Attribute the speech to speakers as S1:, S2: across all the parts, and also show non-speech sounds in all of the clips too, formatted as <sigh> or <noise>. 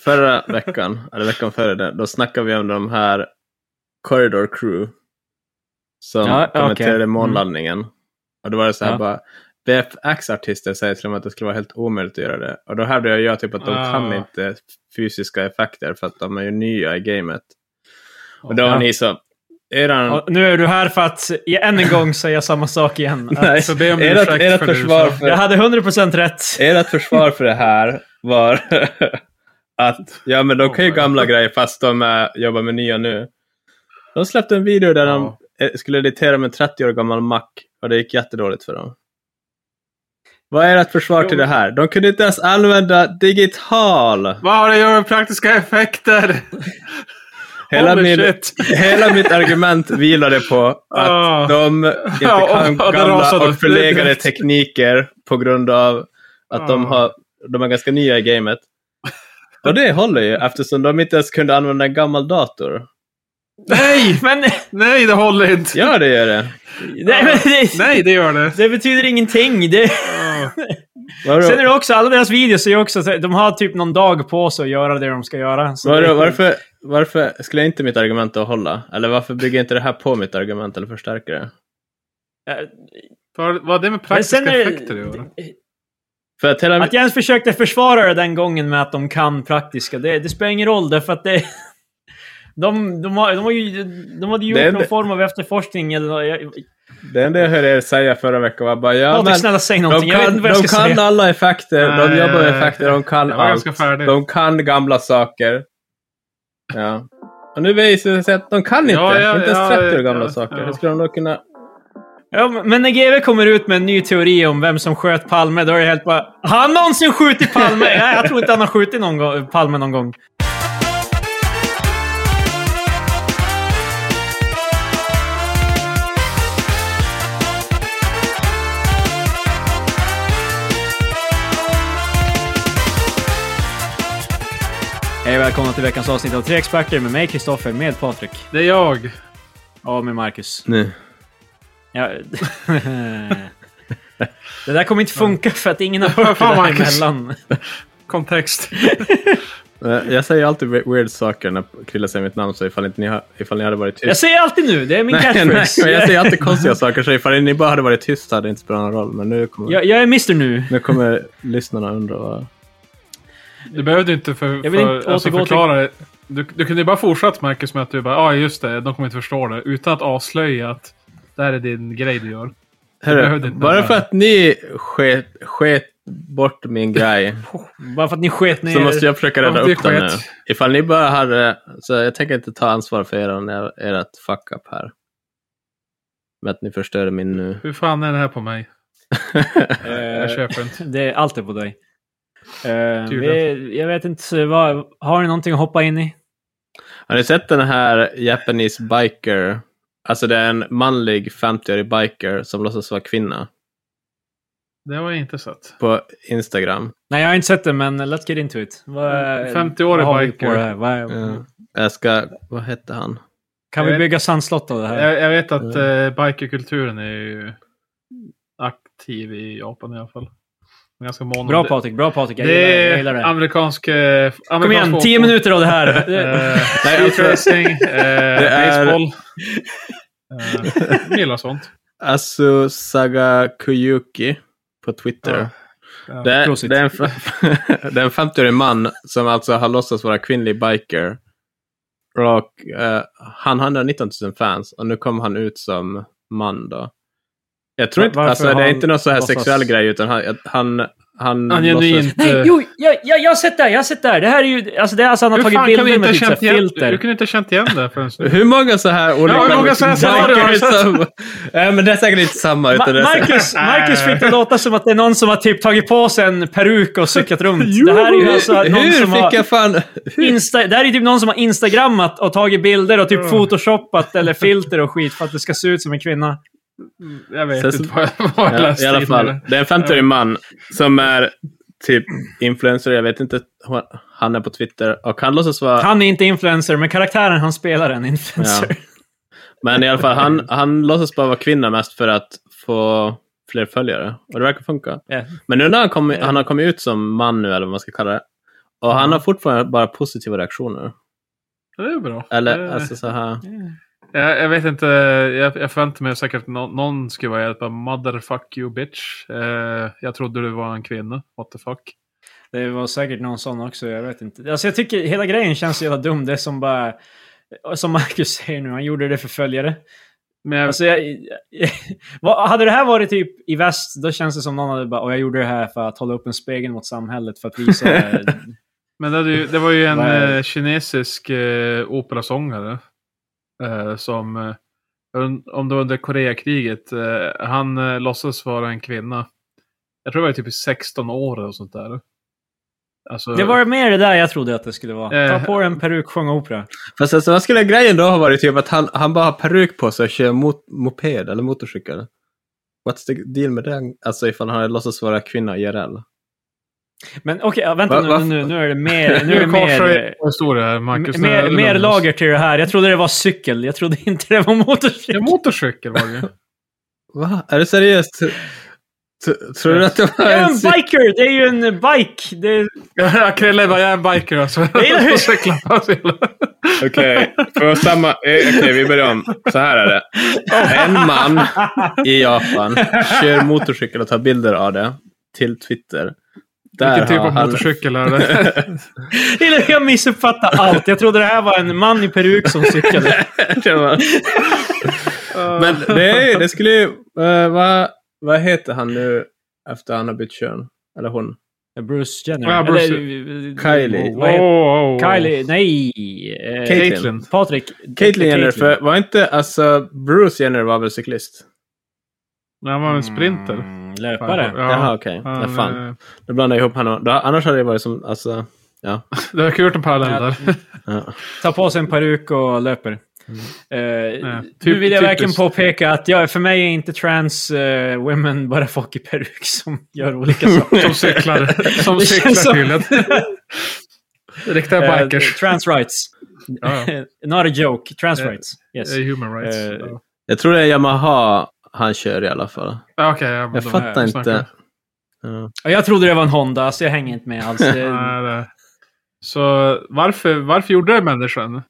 S1: förra veckan, eller veckan före det, då snackade vi om de här Corridor Crew som
S2: Ja, okej. Mm.
S1: kommenterade månlandningen. Och då var det så här
S2: Ja.
S1: bara, VFX-artister säger till och med att det skulle vara helt omöjligt att göra det. Och då hävdade jag ju typ att de
S3: Ah.
S1: kan inte fysiska effekter för att de är ju nya i gamet. Och då var ni så, eran...
S2: Och nu är du här för att i- än en gång säga samma sak igen.
S1: <laughs>
S2: Att
S1: nej,
S3: så be om
S1: ert,
S3: ursäkt
S1: ert,
S3: för det du
S1: försvar
S3: sa.
S1: för,
S2: Jag hade 100% rätt.
S1: ert försvar för det här var <laughs> att ja, men de kan ju
S3: Oh my
S1: gamla grejer fast de är, jobbar med nya nu. De släppte en video där de eh, skulle editera med en 30 år gammal Mac och det gick jättedåligt för dem. Vad är ert försvar till det här? De kunde inte ens använda digital!
S3: Vad har det att göra med praktiska effekter?
S1: Hela,
S3: Holy
S1: min,
S3: shit.
S1: hela mitt argument vilade på att
S3: Ah.
S1: de inte
S3: Ja, och-
S1: kan
S3: och där
S1: gamla
S3: rasade
S1: och
S3: det
S1: förlegade
S3: direkt.
S1: tekniker på grund av att de,
S3: Ah.
S1: har, de är ganska nya i gamet. Och det håller ju eftersom de inte ens kunde använda en gammal dator.
S3: Nej!
S2: <laughs> Men,
S3: Nej, det håller inte.
S1: Ja, det gör det.
S2: nej, men det,
S3: Nej, det gör det.
S2: det betyder ingenting. Det,
S3: Ja.
S1: Vadå?
S2: sen är det också, alla deras videos är ju också, så- de har typ någon dag på sig att göra det de ska göra. Så
S1: Vadå,
S2: det,
S1: varför, varför skulle inte mitt argument att hålla? Eller varför bygger inte det här på mitt argument eller förstärker det?
S2: Eh,
S3: För, vad har det med
S2: Men
S3: praktiska
S2: sen är
S3: effekter att göra?
S2: det,
S1: För att hela,
S2: Att jag ens försökte försvara det den gången med att de kan praktiska, det, det spelar ingen roll därför att det... De, de, har, de, har ju, de hade gjort
S1: Det är
S2: någon
S1: det-
S2: form av efterforskning eller... nå- Jag, jag,
S1: det enda jag hörde er säga förra veckan var bara ja,
S2: Patrik,
S1: men
S2: snälla säg
S1: de
S2: någonting. jag vet
S1: kan,
S2: inte vad jag
S1: de
S2: ska
S1: kan
S2: säga.
S1: alla effekter, de
S3: Nej,
S1: jobbar med
S3: nej,
S1: effekter, de kan
S3: Jag var
S1: allt.
S3: ganska färdig.
S1: De kan gamla saker. Ja. Och nu visar det sig att de kan inte.
S3: Ja, ja,
S1: inte ens
S3: ja,
S1: 30 år
S3: ja,
S1: gamla
S3: ja.
S1: saker. Hur skulle de då kunna...
S2: Ja, men när GW kommer ut med en ny teori om vem som sköt Palme, då är det helt bara... Har han någonsin skjutit Palme? Nej, jag tror inte han har skjutit någon gång, Palme någon gång. Hej och välkomna till veckans avsnitt av Tre Experter med mig, Kristoffer, med Patrik
S3: Det är jag.
S2: och med Marcus.
S1: Nu.
S2: Ja. <laughs> det där kommer inte funka för att ingen har hört det
S3: Fan,
S2: där
S3: Marcus.
S2: emellan.
S3: Kontext.
S1: Eh, Jag säger alltid we- weird saker när Krilla säger mitt namn, så ifall, inte ni, har, ifall ni hade varit
S2: Jag
S1: tyst.
S2: säger alltid nu, det är min
S1: nej, nej,
S2: catchphrase.
S1: men jag säger alltid konstiga saker, så ifall ni bara hade varit tyst hade det inte spelat någon roll. Men nu kommer,
S2: jag, jag är Mr nu.
S1: nu kommer lyssnarna undra vad...
S3: Du behövde inte, för,
S2: Jag vill
S3: för,
S2: inte
S3: alltså,
S2: återgå till-
S3: förklara det. Du, du kunde ju bara fortsatt Marcus med att du bara ja ah, just det, de kommer inte förstå det. Utan att avslöja att det här är din grej du gör. behövde
S1: Hörru,
S3: inte
S1: bara
S3: vara-
S1: för att ni sket, sket bort min grej
S2: Bara för att ni sket ner
S1: så måste jag försöka rädda
S3: Ja, det är
S1: upp den nu.
S3: sket.
S1: Ifall ni bara hade... Så jag tänker inte ta ansvar för er, ert fuck-up här. Med att ni förstörde min nu.
S3: Hur fan är det här på mig?
S2: Eh,
S3: Jag köper inte.
S2: det är alltid på dig. Eh,
S3: Tydligen.
S2: vi, jag vet inte, vad, har ni någonting att hoppa in i?
S1: Har ni sett den här Japanese biker? Alltså det är en manlig 50-årig biker som låtsas vara kvinna
S3: Det var inte sött.
S1: på Instagram.
S2: Nej, jag har inte sett det, men let's get into it. Vad,
S3: Mm, 50-årig
S2: vad har vi
S3: biker.
S2: på det här? Vad,
S1: Ja. Jag ska... Vad hette han?
S2: Kan vi
S3: Jag vet-
S2: bygga sandslott av det här?
S3: Jag, jag vet att
S1: Ja.
S3: eh, bikerkulturen är ju aktiv i Japan i alla fall. De är Ganska mån om
S2: Bra
S3: det.
S2: Patrik, bra Patrik. Jag,
S3: Det
S2: gillar, jag
S3: är
S2: gillar det.
S3: amerikansk... eh,
S2: Kom
S3: amerikansk
S2: igen,
S3: fotboll.
S2: 10 minuter av det
S3: <laughs>
S2: här.
S3: Eh,
S1: Nej, alltså- <laughs>
S3: Streetracing, eh,
S1: är-
S3: baseball. Eh, jag gillar sånt.
S1: Asu Sagakuyuki på Twitter.
S3: Ja. Ja.
S1: Det är,
S2: Prosit.
S1: det, är en, f- <laughs> det är en 50-årig man som alltså har låtsats vara kvinnlig biker. Och, eh, han har 119 000 fans och nu kom han ut som man då. Jag tror
S2: Va-
S1: inte,
S2: varför
S1: alltså,
S2: har
S1: det är
S2: han
S1: inte någon så här
S2: låtsas-
S1: sexuell grej utan han... han han
S3: Han
S1: låtsas-
S3: genuint...
S2: Nej,
S3: eh,
S2: jo, jag, jag, jag har sett det här, jag har sett det här. Det här är ju, alltså det är alltså han har
S3: Hur
S2: tagit
S3: fan kan vi
S2: bilder med typ
S3: inte ha
S2: så här
S3: känt igen,
S2: filter.
S3: hur kunde inte ha känt igen det förrän nu?
S1: Hur många så här olika...
S3: Ja, hur många så här scenarier har du sett?
S1: som, <laughs> Nej, men det är säkert inte samma. Utan det
S2: Ma-
S1: är säkert-
S3: <laughs>
S2: Marcus, Marcus fick det låta som att det är någon som har typ tagit på sig en peruk och
S3: <laughs>
S2: cyklat runt. Det här är ju alltså någon
S1: hur
S2: som
S1: fick
S2: har...
S1: jag fan...
S2: Insta, det här är ju typ någon som har instagrammat och tagit bilder och typ
S3: Ja.
S2: photoshopat
S3: <laughs>
S2: eller filter och skit för att det ska se ut som en kvinna.
S3: Jag vet
S1: Sen så-
S3: inte vad jag, vad jag
S1: Ja,
S3: läste
S1: I alla
S3: in
S1: fall.
S3: det.
S1: Det är en 50-årig man som är typ influencer. Jag vet inte. Han är på Twitter och han låtsas vara...
S2: Han är inte influencer, men karaktären han spelar är en influencer.
S1: Ja. Men i alla fall, han, han låtsas bara vara kvinna mest för att få fler följare. Och det verkar funka.
S2: <laughs> Ja.
S1: Men nu när han, kom, han har kommit ut som man nu, eller vad man ska kalla det. Och han har fortfarande bara positiva reaktioner.
S3: Det är bra.
S1: Eller
S3: det,
S1: alltså så här.
S3: jag, jag vet inte. Jag, jag förväntade mig säkert nå- någon skulle vara hjälpa. Motherfuck you bitch. Eh, jag trodde du var en kvinna. What the fuck.
S2: Det var säkert någon sån också, jag vet inte. Alltså jag tycker hela grejen känns så jävla dum. Det är som bara... Som Marcus säger nu, han gjorde det för följare.
S3: Men jag,
S2: Alltså jag, <laughs> vad, hade det här varit typ i väst, då känns det som någon hade bara och jag gjorde det här för att hålla upp en spegel mot samhället för att visa...
S3: Men det, hade ju, det var ju en
S2: Vad är det?
S3: eh, kinesisk eh, operasångare. Eh, som, eh, un- om det var under Koreakriget, eh, han eh, låtsades vara en kvinna. Jag tror det var typ i 16 år och sånt där. Alltså,
S2: det var mer det där jag trodde att det skulle vara.
S3: Eh.
S2: Ta på dig en peruk, sjunga opera.
S1: Fast alltså, vad skulle grejen då ha varit? Typ att han, han bara har peruk på sig och kör mot, moped eller motorcykel. What's the deal med det? Alltså ifall han hade låtsats vara kvinna IRL.
S2: Men okej, ja, vänta
S1: Va-
S2: nu,
S1: varför-
S2: nu, nu är det
S3: <laughs>
S2: mer... Nu
S3: Nu
S2: är det
S3: korsar
S2: mer...
S3: vi vår historia här, Marcus. Nu är
S2: Mer,
S3: det
S2: mer
S3: lugnt.
S2: lager till det här. Jag trodde det var cykel. Jag trodde inte det var motorcykel.
S3: Ja, motorcykel var
S2: <laughs>
S3: det ju.
S1: Va? Är det seriöst? T- tror du att det var
S2: Det är en
S1: en cykel?
S2: biker! Det är ju en bike! Det är...
S3: Jag Krille bara, jag är en biker alltså.
S2: gillar hur-
S3: <laughs>
S2: <laughs>
S3: Jag cyklar.
S1: Okej, för samma... eh, Okej, vi börjar om. Så här är det. En man i Japan kör motorcykel och tar bilder av det till Twitter. Där
S3: Vilken typ
S1: har
S3: av
S1: han-
S3: motorcykel är det?
S2: Eller jag missuppfattar allt. Jag trodde det här var en man i peruk som cyklade.
S1: Det var- <laughs> Men det, är, ju- det skulle ju... eh, vad, vad heter han nu efter han har bytt kön? Eller hon?
S2: Bruce Jenner.
S3: Ja, Bruce-
S1: Kylie.
S2: <laughs> Vad heter-
S3: Wow.
S2: Kylie? Nej! Eh,
S1: Caitlyn.
S3: Oh, Caitlyn.
S2: Patrik.
S1: Caitlyn Jenner, för var inte... Alltså, Bruce Jenner var väl cyklist?
S3: Nej, Han var en sprinter.
S2: Mm, löpare.
S1: Jaha, okej. Nej, fan.
S3: eh,
S1: Då blandar jag ihop honom. Då, annars hade det varit som... Alltså,
S3: Det verkar ha gjort en parallell där.
S1: ja.
S2: Tar på sig en peruk och löper. Eh,
S3: Mm. Ja,
S2: nu
S3: typ-
S2: vill jag verkligen
S3: typiskt.
S2: påpeka att jag, för mig är inte trans eh, women bara folk i peruk <laughs> som gör olika
S3: <laughs>
S2: saker.
S3: Som cyklar. Som
S2: Det känns
S3: cyklar
S2: som-
S3: tydligen. Riktiga
S2: Eh,
S3: bikers.
S2: trans rights.
S3: Ja, ja.
S2: <laughs> Not a joke. Trans
S3: Eh,
S2: rights. Yes.
S3: Eh, Human rights.
S2: Eh,
S3: Ja.
S1: Jag tror det är Yamaha han kör i alla fall.
S3: Ja, Okej, ja, men
S1: Jag
S3: då-
S1: fattar
S3: vi
S1: inte.
S3: snackar.
S1: Ja.
S2: Ja, Jag trodde det var en Honda, så jag hänger inte med alls.
S3: <laughs>
S2: Eh, Det-
S3: Nej, det- Så varför, varför gjorde det människan?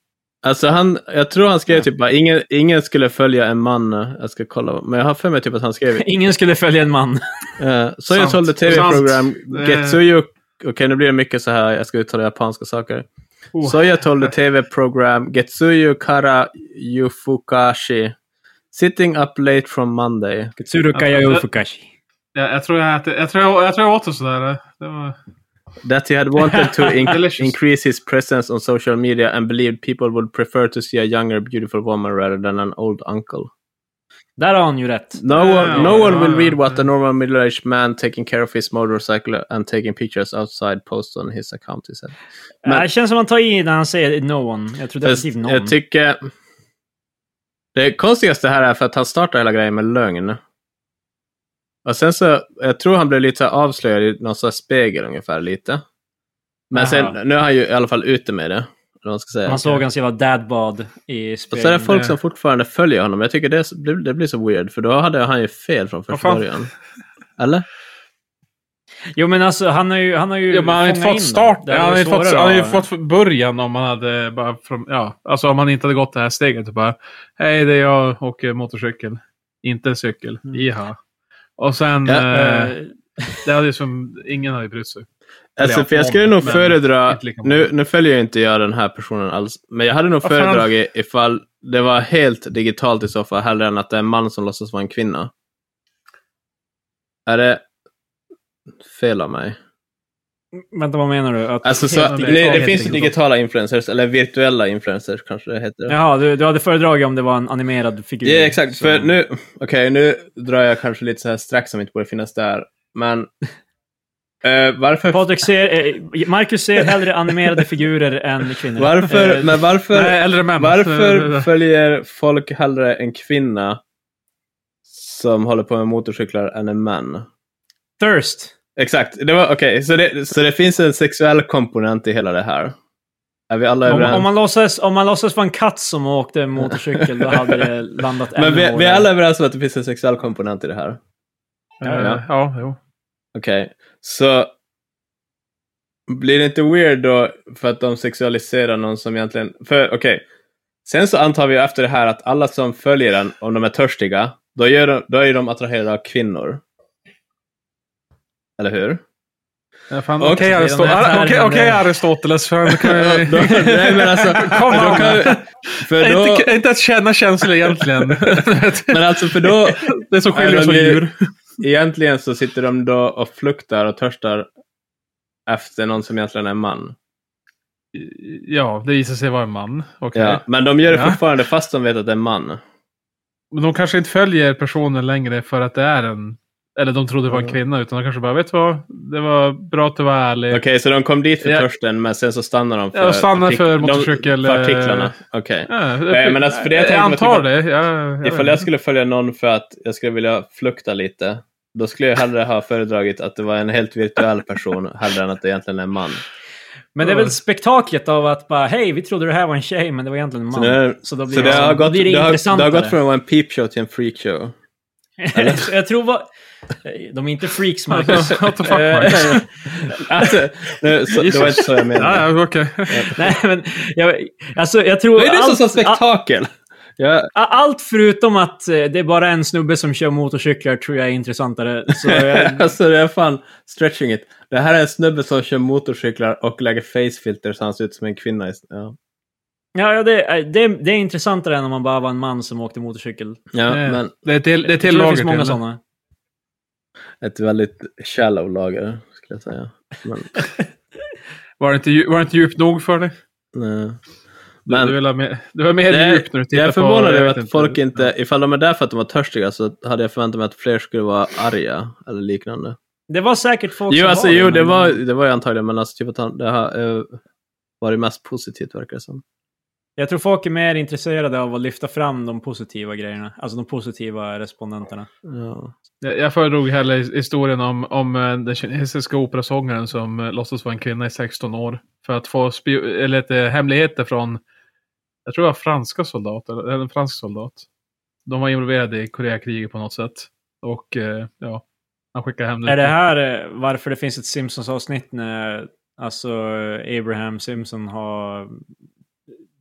S1: Alltså han, jag tror han skrev typ bara, ingen, ingen skulle följa en man. eh, Jag ska kolla, men jag har för mig typ att han skrev.
S2: Ingen skulle följa en
S3: <laughs>
S2: man.
S1: eh, så jag
S3: Sant.
S1: sålde tv-program,
S3: Sant. Eh.
S1: Getsuyu. Okej, nu blir det mycket så här, jag ska uttala japanska saker.
S3: Oh.
S1: Så jag sålde tv-program, Getsuyu Kara Yufukashi. Sitting up late from Monday.
S2: Katsuruka Yaofukashi.
S3: Ja, jag, tror jag, äter, jag, tror jag, jag tror jag åt en sån där. Det var,
S1: That he had wanted
S2: <laughs>
S1: to inc-
S3: Delicious.
S1: increase his presence on social media and believed people would prefer to see a younger, beautiful woman rather than an old uncle.
S2: Där har han ju rätt.
S1: No
S3: Yeah,
S1: one, no one will
S3: yeah,
S1: read what
S3: yeah.
S1: a normal middle-aged man taking care of his motorcycle and taking pictures outside posts on his account, he said. Men-
S2: Eh, det känns som han tar i när han säger no one. Jag tror definitivt någon.
S1: Jag tycker... Det konstigaste här är för att han startar hela grejen med lögn. Och sen så, jag tror han blev lite så här avslöjad i någon sån här spegel ungefär lite. Men
S2: Aha.
S1: sen, nu är han ju i alla fall ute med det. Eller vad man ska säga.
S2: man såg hans jävla dadbad i
S1: Och Eh, så är det
S2: spegeln.
S1: folk som fortfarande följer honom. Jag tycker det, det blir så weird, för då hade han ju fel från
S3: Vad
S1: första
S3: fan?
S1: början. Eller?
S2: Jo men alltså han har ju... Han har ju
S3: ja, men han har inte
S2: fångat
S3: fått
S2: in
S3: start.
S2: dem. Det
S3: Han
S2: är
S3: har ju fått,
S2: svårare
S3: han har ju
S2: att-
S3: fått från början om han hade bara från, ja, alltså om han inte hade gått det här steget. Och bara, Hej, det är jag och åker motorcykel. Inte en cykel. Jaha. Och sen,
S1: Ja,
S3: eh,
S2: Eh,
S3: det hade ju som, ingen hade ju brytt sig.
S1: Alltså,
S3: Eller ja,
S1: för jag skulle
S3: någon,
S1: nog
S3: men
S1: föredra,
S3: inte lika många.
S1: nu, nu följer jag inte jag den här personen alls, men jag hade nog
S3: Vad fan?
S1: föredragit ifall det var helt digitalt i så fall, hellre än att det är en man som låtsas vara en kvinna. Är det fel av mig?
S2: Vänta, vad menar du? Att...
S1: Alltså, så,
S3: Helt
S1: nej,
S3: digitalt,
S1: det
S3: helt
S1: finns ju
S3: digitalt.
S1: digitala influencers, eller virtuella influencers kanske det heter.
S2: Jaha, du, du hade föredragit om det var en animerad figur.
S1: Ja, exakt.
S2: som-
S1: För nu, okej, nu drar jag kanske lite så här strax som inte borde finnas där, men eh, varför,
S2: Patrik ser... Eh, Marcus ser hellre animerade figurer än kvinnor.
S1: varför,
S2: Eh,
S1: men varför,
S3: Nej, äldre
S2: <laughs>
S3: män.
S1: Varför följer folk hellre en kvinna som håller på med motorcyklar än en man?
S2: Thirst.
S1: Exakt, det var okej. Så, det, så det finns en sexuell komponent i hela det här. Är vi alla
S2: Om,
S1: överens?
S2: om, man låtsas, om man låtsas vara en katt som åkte motorcykel, då hade det landat ännu
S1: Men vi, vi är
S2: hårdare.
S1: alla överens om att det finns en sexuell komponent i det här.
S3: Eh, Ja, ja. ja jo.
S1: Okej, så... Blir det inte weird då för att de sexualiserar någon som egentligen... För okej, sen så antar vi ju efter det här att alla som följer den, om de är törstiga, då, gör de, då är ju de attraherade av kvinnor. Eller hur?
S3: Ja, fan,
S1: Och-
S3: Okej Aristo-
S2: den här
S3: Ar- okej- <laughs>
S2: termen
S3: okej,
S2: där.
S3: Aristoteles, fan, då <laughs>
S1: Ja,
S3: kan
S1: <laughs>
S3: jag-
S1: då, nej men alltså,
S3: Kom
S1: då
S3: on.
S1: kan vi, för då,
S3: inte, inte att känna känslor egentligen. <laughs>
S1: men alltså för då,
S3: det som skiljer
S1: Nej,
S3: oss från
S1: men det-
S3: djur.
S1: egentligen så sitter de då och fluktar och törstar efter någon som egentligen är en man.
S3: Ja, det visar sig vara en man. Okej.
S1: Ja, men de gör det
S3: Ja.
S1: fortfarande fast de vet att det är en man.
S3: Men de kanske inte följer personen längre för att det är en... Eller de trodde det var en kvinna, utan de kanske bara, vet du vad? Det var bra att du var ärlig.
S1: Okej, så de kom dit för
S3: Ja.
S1: törsten, men sen så stannar de för,
S3: Ja, de stannar för
S1: de-
S3: motorcykel- eh,
S1: för artiklarna. Okej.
S3: Ja,
S1: Nej, men alltså, för det jag
S3: jag
S1: tänkte-
S3: antar det. Ja, jag
S1: Ifall
S3: vet.
S1: jag skulle följa någon för att jag skulle vilja flukta lite, då skulle jag hellre ha föredragit att det var en helt virtuell person, hellre än att det egentligen är en man.
S2: Men det är väl spektaklet av att bara hej, vi trodde det här var en tjej, men det var egentligen en
S1: Så
S2: man.
S1: nu-
S2: så då blir
S1: Så
S2: det,
S1: det har,
S2: liksom- då
S1: gått,
S2: blir det,
S1: det, har, det
S2: intressantare.
S1: har gått från att vara en peepshow till en
S3: <laughs>
S1: freakshow.
S2: Så <laughs> jag tror vad... Eh, De är
S1: <laughs>
S2: inte freaks, Marcus.
S3: What the fuck, Marcus?
S2: Eh,
S1: Alltså, nu, så, det var inte så jag menade.
S3: Ja, ja, okej.
S2: <laughs> Nej, men jag, alltså, jag tror...
S1: Det är det som sa
S2: allt, a-
S1: spektakel! Ja,
S2: a- allt förutom att eh, det är bara en snubbe som kör motorcyklar tror jag är intressantare.
S1: <laughs>
S2: Så, eh,
S1: alltså det är fan stretching it. Det här är en snubbe som kör motorcyklar och lägger facefilter så han ser ut som en kvinna. i- Ja,
S2: ja, ja, det, är- det, är- det är intressantare än om man bara var en man som åkte motorcykel.
S3: <laughs>
S1: ja
S3: Eh,
S1: men
S3: Det är till, det är
S2: Jag
S3: till
S2: tror det
S3: lager
S2: finns många
S3: till.
S2: sådana.
S1: ett väldigt shallow lager, skulle jag säga. Men, <laughs>
S3: Var det inte, dju- var det inte djup nog för dig?
S1: nej.
S3: Men,
S1: Men-
S3: du, vill ha mer, du var mer
S1: Det är-
S3: djup när du tittar
S1: jag är
S3: på-
S1: förvånad över
S3: vet
S1: att folk inte, ifall de är där för att de var törstiga så hade jag förväntat mig att fler skulle vara arga eller liknande.
S2: Det var säkert folk
S1: Jo,
S2: som
S1: alltså,
S2: var
S1: jo
S2: men-
S1: det, var, det var ju antagligen, men alltså, typ att han, det har eh, varit mest positivt verkar det som.
S2: Jag tror folk är mer intresserade av att lyfta fram de positiva grejerna. Alltså de positiva respondenterna.
S1: Ja.
S3: Jag, jag föredrog hellre his- historien om, om eh, den kinesiska operasångaren som eh, låtsas vara en kvinna i 16 år. För att få spio- eller lite hemligheter från, jag tror det var franska soldater, eller en fransk soldat. De var involverade i Koreakriget på något sätt. Och eh, ja, han skickade hem
S2: Är det här eh, varför det finns ett Simpsons-avsnitt när alltså eh, Abraham Simpson har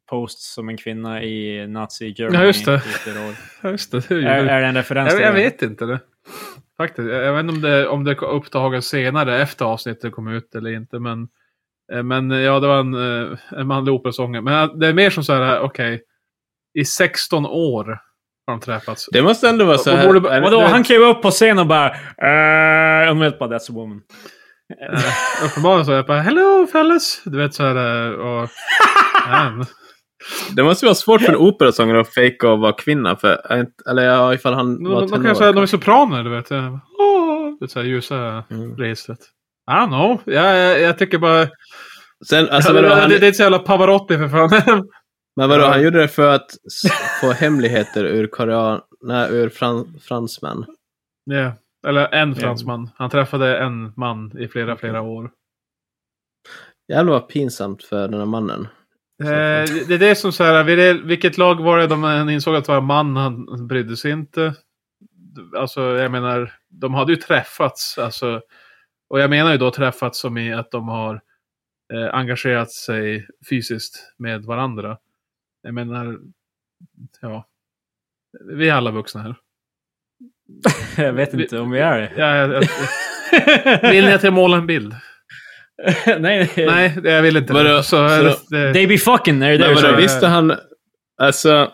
S2: posts som en kvinna i nazi Germany?
S3: Ja, just
S1: <laughs>
S3: det.
S2: i flera
S3: <laughs>
S2: år?
S3: Ja, Just det, hur,
S2: Är, är det en referens
S3: jag,
S2: till
S3: jag
S2: det?
S3: vet inte det. Faktiskt. Jag, jag vet inte om det, om det uppdagas senare efter avsnittet kom ut eller inte. Men, eh, men eh, ja, det var en, eh, en manlig operasångare. Men eh, det är mer som så här, okej. I 16 år har de träffats.
S1: Det måste ändå vara så
S3: Och
S1: här.
S3: borde-
S1: är det-
S2: Vadå,
S1: det-
S2: han klev upp på scen och bara... Uh, och vet bara that's a woman. <laughs>
S3: Eh, uppenbarligen så är jag bara, hello fellas. Du vet så här. eh,
S1: <laughs>
S3: Och, man.
S1: Det måste vara svårt för en operasångare att fejka och vara kvinna. För, eh, eller ja, ifall han
S3: De, de,
S1: var
S3: de kan
S1: tenor.
S3: säga, de är sopraner, du vet. Eh, åh, Du vet så här ljusa
S1: Mm.
S3: registret. I don't know. Jag, jag, jag tycker bara...
S1: Sen, alltså, vadå,
S3: det,
S1: han,
S3: det, det är inte så jävla Pavarotti för fan. <laughs>
S1: men vadå,
S3: Ja.
S1: han gjorde det för att s- få hemligheter ur, korean, nej, ur fran, fransmän.
S3: Ja, Eller en fransman. Han träffade en man i flera, flera år.
S1: Jävlar vad pinsamt för den här mannen.
S3: Eh, det det är det som så här, vid det- vilket lag var det de han insåg att det var en man, han brydde sig inte. Alltså jag menar, de hade ju träffats. Alltså, och jag menar ju då träffats som i att de har eh, engagerat sig fysiskt med varandra. Jag menar, ja. Vi är alla vuxna här.
S2: jag vet inte om vi är
S3: <laughs>
S2: det.
S3: Ja, jag, jag, vill ni att jag målar en <laughs> bild?
S2: <laughs> nej, nej.
S3: Nej, det- jag vill inte
S1: Vadå?
S3: det. Så,
S1: Så-
S3: det,
S2: They be fucking, är
S1: Men
S2: det det du
S1: vadå,
S2: säger?
S1: visste han... Alltså...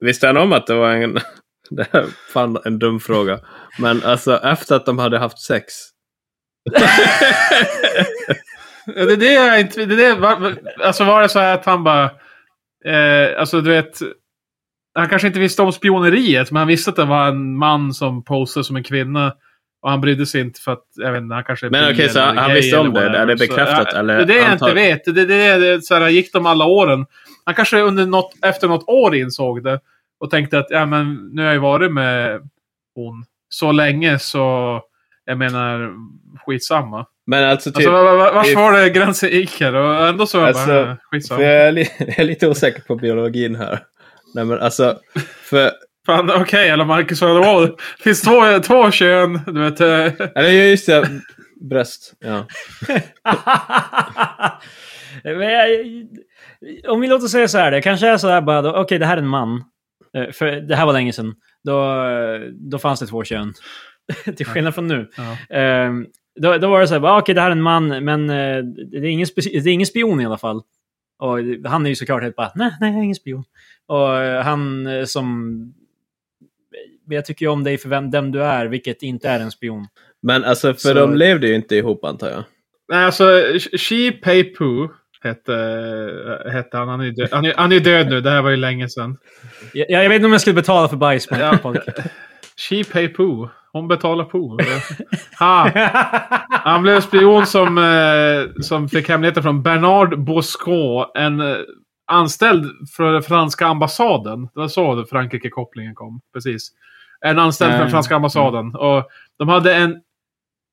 S1: Visste han om att det var en... <laughs> Det här är fan en dum fråga. Men alltså efter att de hade haft sex.
S3: Ja, Det är det jag inte... Det är det, var, var- alltså var det så här att han bara... Eh, alltså du vet... Han kanske inte visste om spioneriet, men han visste att det var en man som postade som en kvinna. Och han brydde sig inte för att, jag vet inte, han kanske... är
S1: Men
S3: bi
S1: okej, så
S3: eller
S1: han
S3: gay
S1: visste om
S3: eller
S1: det?
S3: whatever.
S1: Är det bekräftat
S3: Så, ja,
S1: eller
S3: Det är det jag
S1: antag-
S3: inte vet. Det, det, det, det, så här, gick de alla åren. Han kanske under något, efter något år insåg det. Och tänkte att, ja men nu har jag ju varit med hon så länge så, jag menar, skitsamma.
S1: Men alltså typ...
S3: Alltså, var, var, vars
S1: if-
S3: var det gränsen gick här? Och ändå så var jag
S1: Alltså,
S3: bara, "Eh,
S1: för
S3: skitsamma.
S1: jag, är li- <laughs> jag är lite osäker på biologin här. Nej men alltså... För,
S3: Fan, okej, eller Marcus, vad det var. Det finns två, två kön, du vet. eh,
S1: eller just det. bröst. Ja.
S2: <laughs> Men jag, om vi låter säga så här, det kanske är så här bara, då, okej det här är en man. Eh, För det här var länge sedan. Då, eh, då fanns det två kön. <laughs> Till skillnad från nu.
S3: Ja.
S2: Eh, då, då var det så här, bara, okej det här är en man, men eh, det, är ingen speci- det är ingen spion i alla fall. Och han är ju såklart helt bara, nej, nej, jag är ingen spion. Och eh, han eh, som... Men Jag tycker ju om dig för vem, vem du är, vilket inte är en spion.
S1: Men alltså, för
S2: Så-
S1: de levde ju inte ihop antar jag.
S3: Nej, alltså Shi Pei-Poo hette, eh, hette han. Han är, ju död, han, är, han är död nu. Det här var ju länge sedan.
S2: Jag, jag vet inte om jag skulle betala för bajs, men...
S3: Ja. Shi Pei-Poo. Hon
S1: <laughs>
S3: betalar Poo. Ha! Han blev spion som, eh, som fick hemligheter från Bernard Bosco, en eh, anställd från den franska ambassaden. Det var så Frankrike-kopplingen kom. Precis. En anställd från
S2: Nej.
S3: franska ambassaden. Och de hade en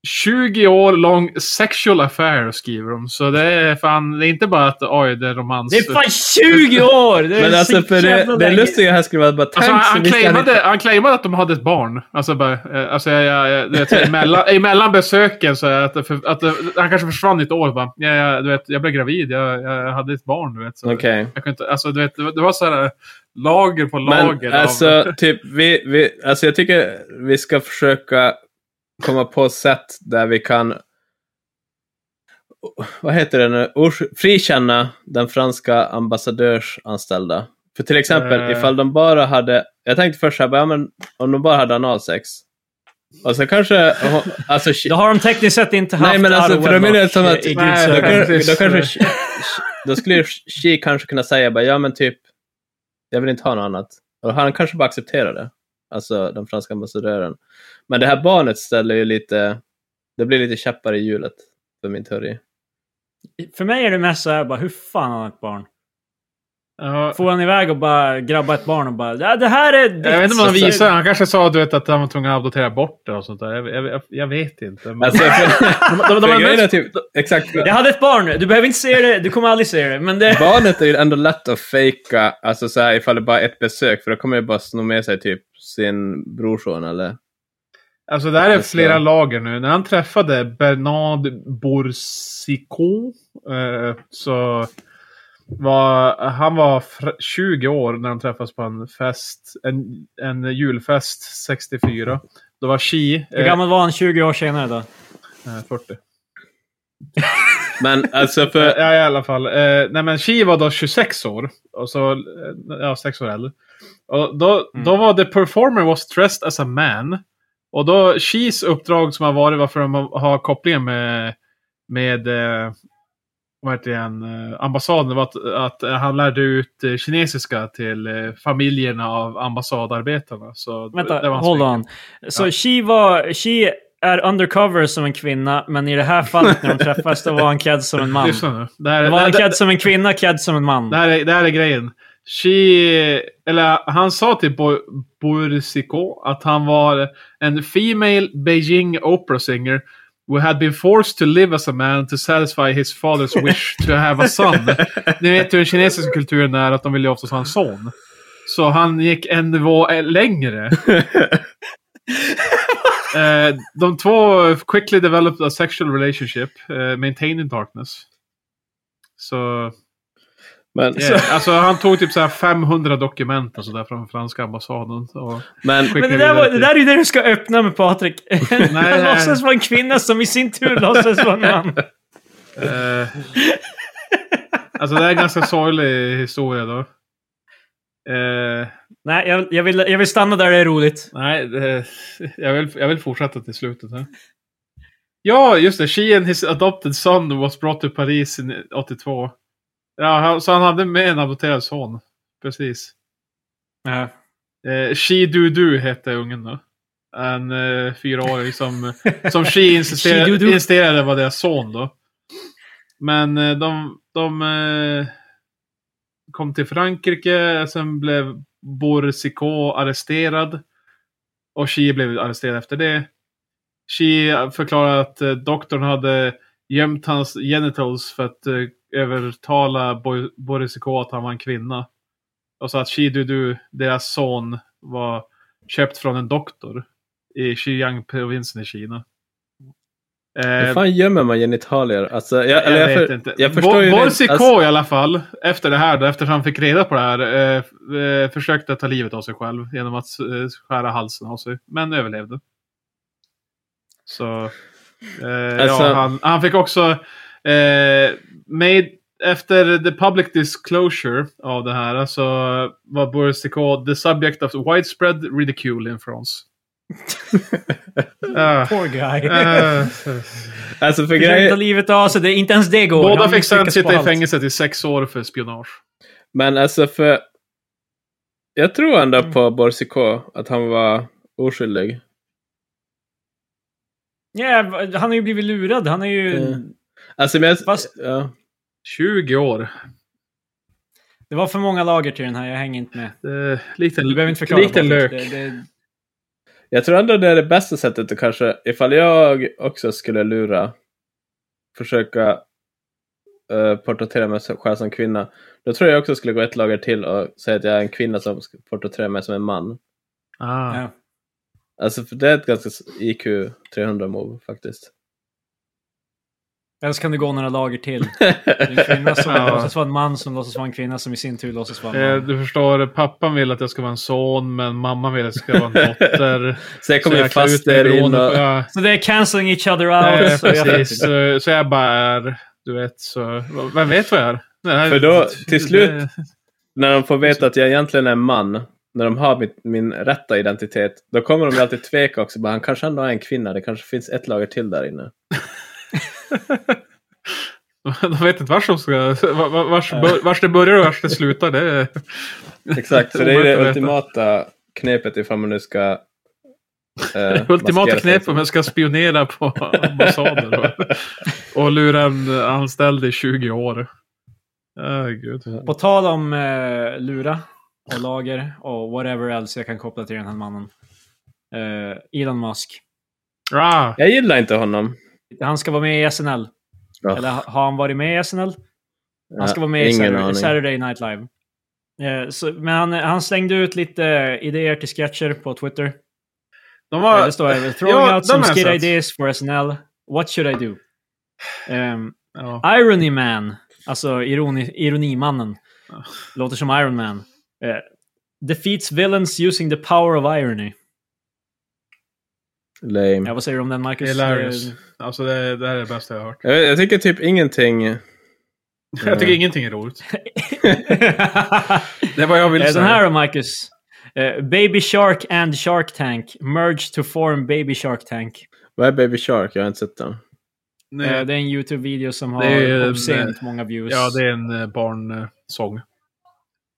S3: 20 år lång sexual affair, skriver de. Så det är fan, det är inte bara att oj, det är romans.
S2: det är fan 20 år! Det är
S1: Men alltså,
S2: så
S1: för
S2: jävla
S1: det, det
S2: länge.
S1: lustiga här skulle vara bara, tänk
S3: Alltså,
S1: så
S3: han,
S1: visste han inte-
S3: claimade, han claimade att de hade ett barn. Alltså, bara, eh, alltså jag, jag, jag, du vet, emellan, emellan besöken så är att, det för, att det- han kanske försvann i ett år. Bara, jag, jag, du vet, jag blev gravid, jag, jag hade ett barn. Du vet, så
S1: Okej.
S3: jag kunde inte, alltså, du vet, det, var- det var så här eh, lager på lager.
S1: Men
S3: av-
S1: alltså, typ, vi, vi, alltså, jag tycker vi ska försöka komma på sätt där vi kan vad heter det nu, Ors- frikänna den franska ambassadörsanställda. För till exempel
S3: Eh.
S1: ifall de bara hade, jag tänkte först så här, bara, ja, men om de bara hade analsex. Och så kanske, alltså, shi-
S2: Då har de tekniskt sett inte haft
S1: nej men alltså
S2: out of
S1: för de är det
S2: wedlock
S1: som
S2: i-
S1: att,
S2: i
S3: Nej,
S1: då,
S2: Guds ögon.
S1: kan, då
S3: precis.
S1: kanske, shi- shi- då skulle ju shi- Shi kanske kunna säga bara, ja men typ, jag vill inte ha något annat. Och han kanske bara accepterar det. Alltså den franska ambassadören. Men det här barnet ställer ju lite, det blir lite käppar i hjulet, för min teori.
S2: För mig är det mest såhär bara, hur fan har han ett barn?
S3: ja,
S2: Får han iväg och bara grabba ett barn och bara, "Ja, det här är ditt.
S3: jag vet inte om han
S1: Alltså-
S2: Så-
S3: visade. Han kanske sa du vet, att han var tvungen att adoptera bort det och sånt där. Jag, jag, jag, jag vet inte. Men,
S1: Alltså, för,
S3: <laughs> de, de,
S1: för
S3: de,
S1: grejen
S3: de,
S1: är typ, exakt.
S2: Jag hade ett barn, du behöver inte se det, du kommer aldrig se det. Men det...
S1: Barnet är ju ändå lätt att fejka, alltså så här, ifall det bara är ett besök, för då kommer det bara sno med sig typ sin brorson eller...
S3: Alltså det här är
S1: Just det.
S3: flera lager nu. När han träffade Bernard Boursicot eh, så var han var fr- 20 år när han träffades på en fest, en, en julfest 64. Då var Xi
S2: Hur
S3: eh,
S2: gammal var han 20 år senare då?
S3: eh, 40.
S1: Men alltså för...
S3: Ja, i alla fall. Eh, nej, men Xi var då 26 år. Och så, eh, ja, 6 år äldre. Och då,
S2: Mm.
S3: då var the performer was dressed as a man. Och då Xis uppdrag som har varit varför de har kopplingen med, med eh, vad heter det, igen, eh, ambassaden det var att, att eh, han lärde ut eh, kinesiska till eh, familjerna av ambassadarbetarna. Så det
S2: Vänta,
S3: var hans
S2: hold
S3: mycket.
S2: on. Så she, var, she är undercover som en kvinna, men i det här fallet när de träffas då var han klädd som en man.
S3: Lyssna nu. Det här,
S2: Det
S3: det-
S2: var han
S3: det-
S2: klädd som en kvinna, klädd som en man.
S3: Det här är, det här är grejen. She, eller han sa till Bo- Boursicot att han var en female Beijing opera singer who had been forced to live as a man to satisfy his father's wish to have a son. Ni vet hur den kinesiska kulturen är, att de vill ju oftast ha en son. Så han gick en nivå eh, längre. Eh, de två quickly developed a sexual relationship, eh, maintaining darkness. Så
S1: Men,
S3: Yeah. Alltså han tog typ så här 500 dokument och så där från franska ambassaden. Och
S1: men
S3: skickade
S2: Men det där,
S3: vidare
S2: var,
S3: till-
S2: det där är ju det du ska öppna med Patrik. <laughs>
S3: <laughs> nej.
S2: Han låtsas vara en kvinna som i sin tur låtsas vara en man.
S3: Eh, alltså det är en ganska sorglig historia då. Eh,
S2: Nej, jag, jag, vill, jag vill stanna där det är roligt.
S3: nej, det, jag, vill, jag vill fortsätta till slutet här. Ja, just det. She and his adopted son was brought to Paris in 82. Ja, han- så han hade med en adopterad son. Precis.
S2: Ja.
S3: Eh, She Du Du hette ungen då. En eh, fyraåring som, eh, som She
S2: She
S3: insisterade,
S2: Du Du.
S3: insisterade var deras son då. Men eh, de, de eh, kom till Frankrike, sen blev Boursicot arresterad. Och She blev arresterad efter det. She förklarade att eh, doktorn hade gömt hans genitals för att eh, övertala Bo- Boursicot att han var en kvinna. Och så att Shi Dudu, deras son, var köpt från en doktor i Xiyang-provinsen i Kina.
S1: Hur
S3: Eh,
S1: fan gömmer man genitalier? Alltså, jag,
S3: jag,
S1: eller jag,
S3: vet
S1: för,
S3: inte.
S1: jag förstår
S3: Bo-
S1: ju
S3: Boris
S1: rent-
S3: K
S1: alltså-
S3: i alla fall, efter det här då, efter han fick reda på det här, eh, f- eh, försökte ta livet av sig själv genom att eh, skära halsen av sig, men överlevde. Så, eh,
S1: Alltså-
S3: ja, han, han fick också, eh, made, efter the public disclosure av det här, så var Boris K the subject of widespread ridicule
S1: <laughs>
S3: in France. Ah,
S2: Poor
S1: <laughs>
S2: guy.
S3: eh,
S1: Alltså för
S2: <laughs> Försöker ta
S1: grejer,
S2: livet av sig, det, inte ens det går.
S3: Båda
S2: Han
S3: fick sen
S2: misslyckas på
S3: sitta i
S2: allt.
S3: fängelse i sex år för spionage.
S1: men alltså för... Jag tror ändå på Boris K, att han var oskyldig.
S2: Ja, han har ju blivit lurad. Han är ju...
S1: Eh. Alltså men jag...
S2: Fast-
S1: Ja.
S3: 20 år.
S2: Det var för många lager till den här, jag hänger inte med.
S3: Eh, liten
S2: Du behöver inte förklara.
S3: liten
S2: Patrik.
S3: lök.
S2: Det, det,
S1: Jag tror ändå det är det bästa sättet att kanske, ifall jag också skulle lura, försöka eh, porträttera mig som- själv som kvinna, då tror jag också skulle gå ett lager till och säga att jag är en kvinna som ska porträttera mig som en man.
S3: Ah.
S2: ja.
S1: Alltså för det är ett ganska s- IQ 300 move faktiskt.
S2: Eller så kan det gå några lager till. Det är en kvinna som
S3: <laughs> Ja.
S2: låtsas vara en man som låtsas vara en kvinna som i sin tur låtsas vara en
S3: Eh,
S2: man.
S3: du förstår, pappan vill att jag ska vara en son, men mamman vill att jag ska vara
S1: <laughs>
S3: en dotter.
S1: Så jag kommer
S3: Så
S1: ju
S3: klär ut
S1: fast
S3: mig
S1: er in
S3: beroende på-
S1: och...
S3: Ja,
S2: Så det är cancelling each other
S3: eh,
S2: out. Så jag vet
S3: precis.
S2: inte.
S3: Så, så jag bara är, du vet, så... Vem vet vad jag är? Det här-
S1: För då, till slut,
S3: det-
S1: när de får veta att jag egentligen är en man, när de har mitt, min rätta identitet, då kommer de ju alltid tveka också. Bara, han kanske ändå är en kvinna, det kanske finns ett lager till där
S3: <laughs>
S1: inne.
S3: <laughs> De vet inte vars de ska... var- var- Vars, bör- vars det börjar och vars det slutar. Det är...
S1: Exakt, så det är
S3: Omöjligt att
S1: det
S3: veta.
S1: ultimata knepet ifall man nu ska... eh,
S3: <laughs> Ultimata
S1: maskera sig
S3: knep
S1: som-
S3: om jag ska spionera på ambassader
S1: <laughs>
S3: va? och lura en anställd i 20 år. Oh, gud.
S2: På tal om eh, lura och lager och whatever else jag kan koppla till den här mannen. Eh, Elon Musk.
S3: Ah,
S1: Jag gillar inte honom.
S2: Han ska vara med i SNL.
S1: Ja.
S2: Eller ha- har han varit med i SNL? Han ska vara med i
S1: Ingen
S2: Saturday,
S1: aning.
S2: Saturday Night Live. Eh, så, men han, han slängde ut lite idéer till sketcher på Twitter.
S3: de
S2: Eh,
S3: var,
S2: det står här, throwing
S3: Ja,
S2: out
S3: de
S2: some
S3: har jag
S2: skit
S3: sett.
S2: ideas for SNL. What should I do? Ehm,
S3: ja.
S2: Irony Man, alltså ironi, ironimannen.
S3: Ja.
S2: Låter som Iron Man. Eh, defeats villains using the power of irony. Ja,
S1: Lame.
S2: vad säger du om den Marcus?
S3: Hilarious. <laughs>
S2: Eh,
S3: Alltså det, det här är det bästa jag har hört.
S1: Jag, vet- jag tycker typ ingenting... Mm.
S3: Jag tycker ingenting är roligt. Det är vad jag vill
S2: Eh,
S3: säga.
S2: den här då Marcus. Eh, baby Shark and Shark Tank. Merge to form Baby Shark Tank.
S1: Vad är Baby Shark? Jag har inte sett den.
S3: Nej,
S2: Eh, det är en YouTube-video som
S3: Det är ju
S2: har
S3: en, eh,
S2: obscent många views.
S3: Ja, det är en eh, barnsång.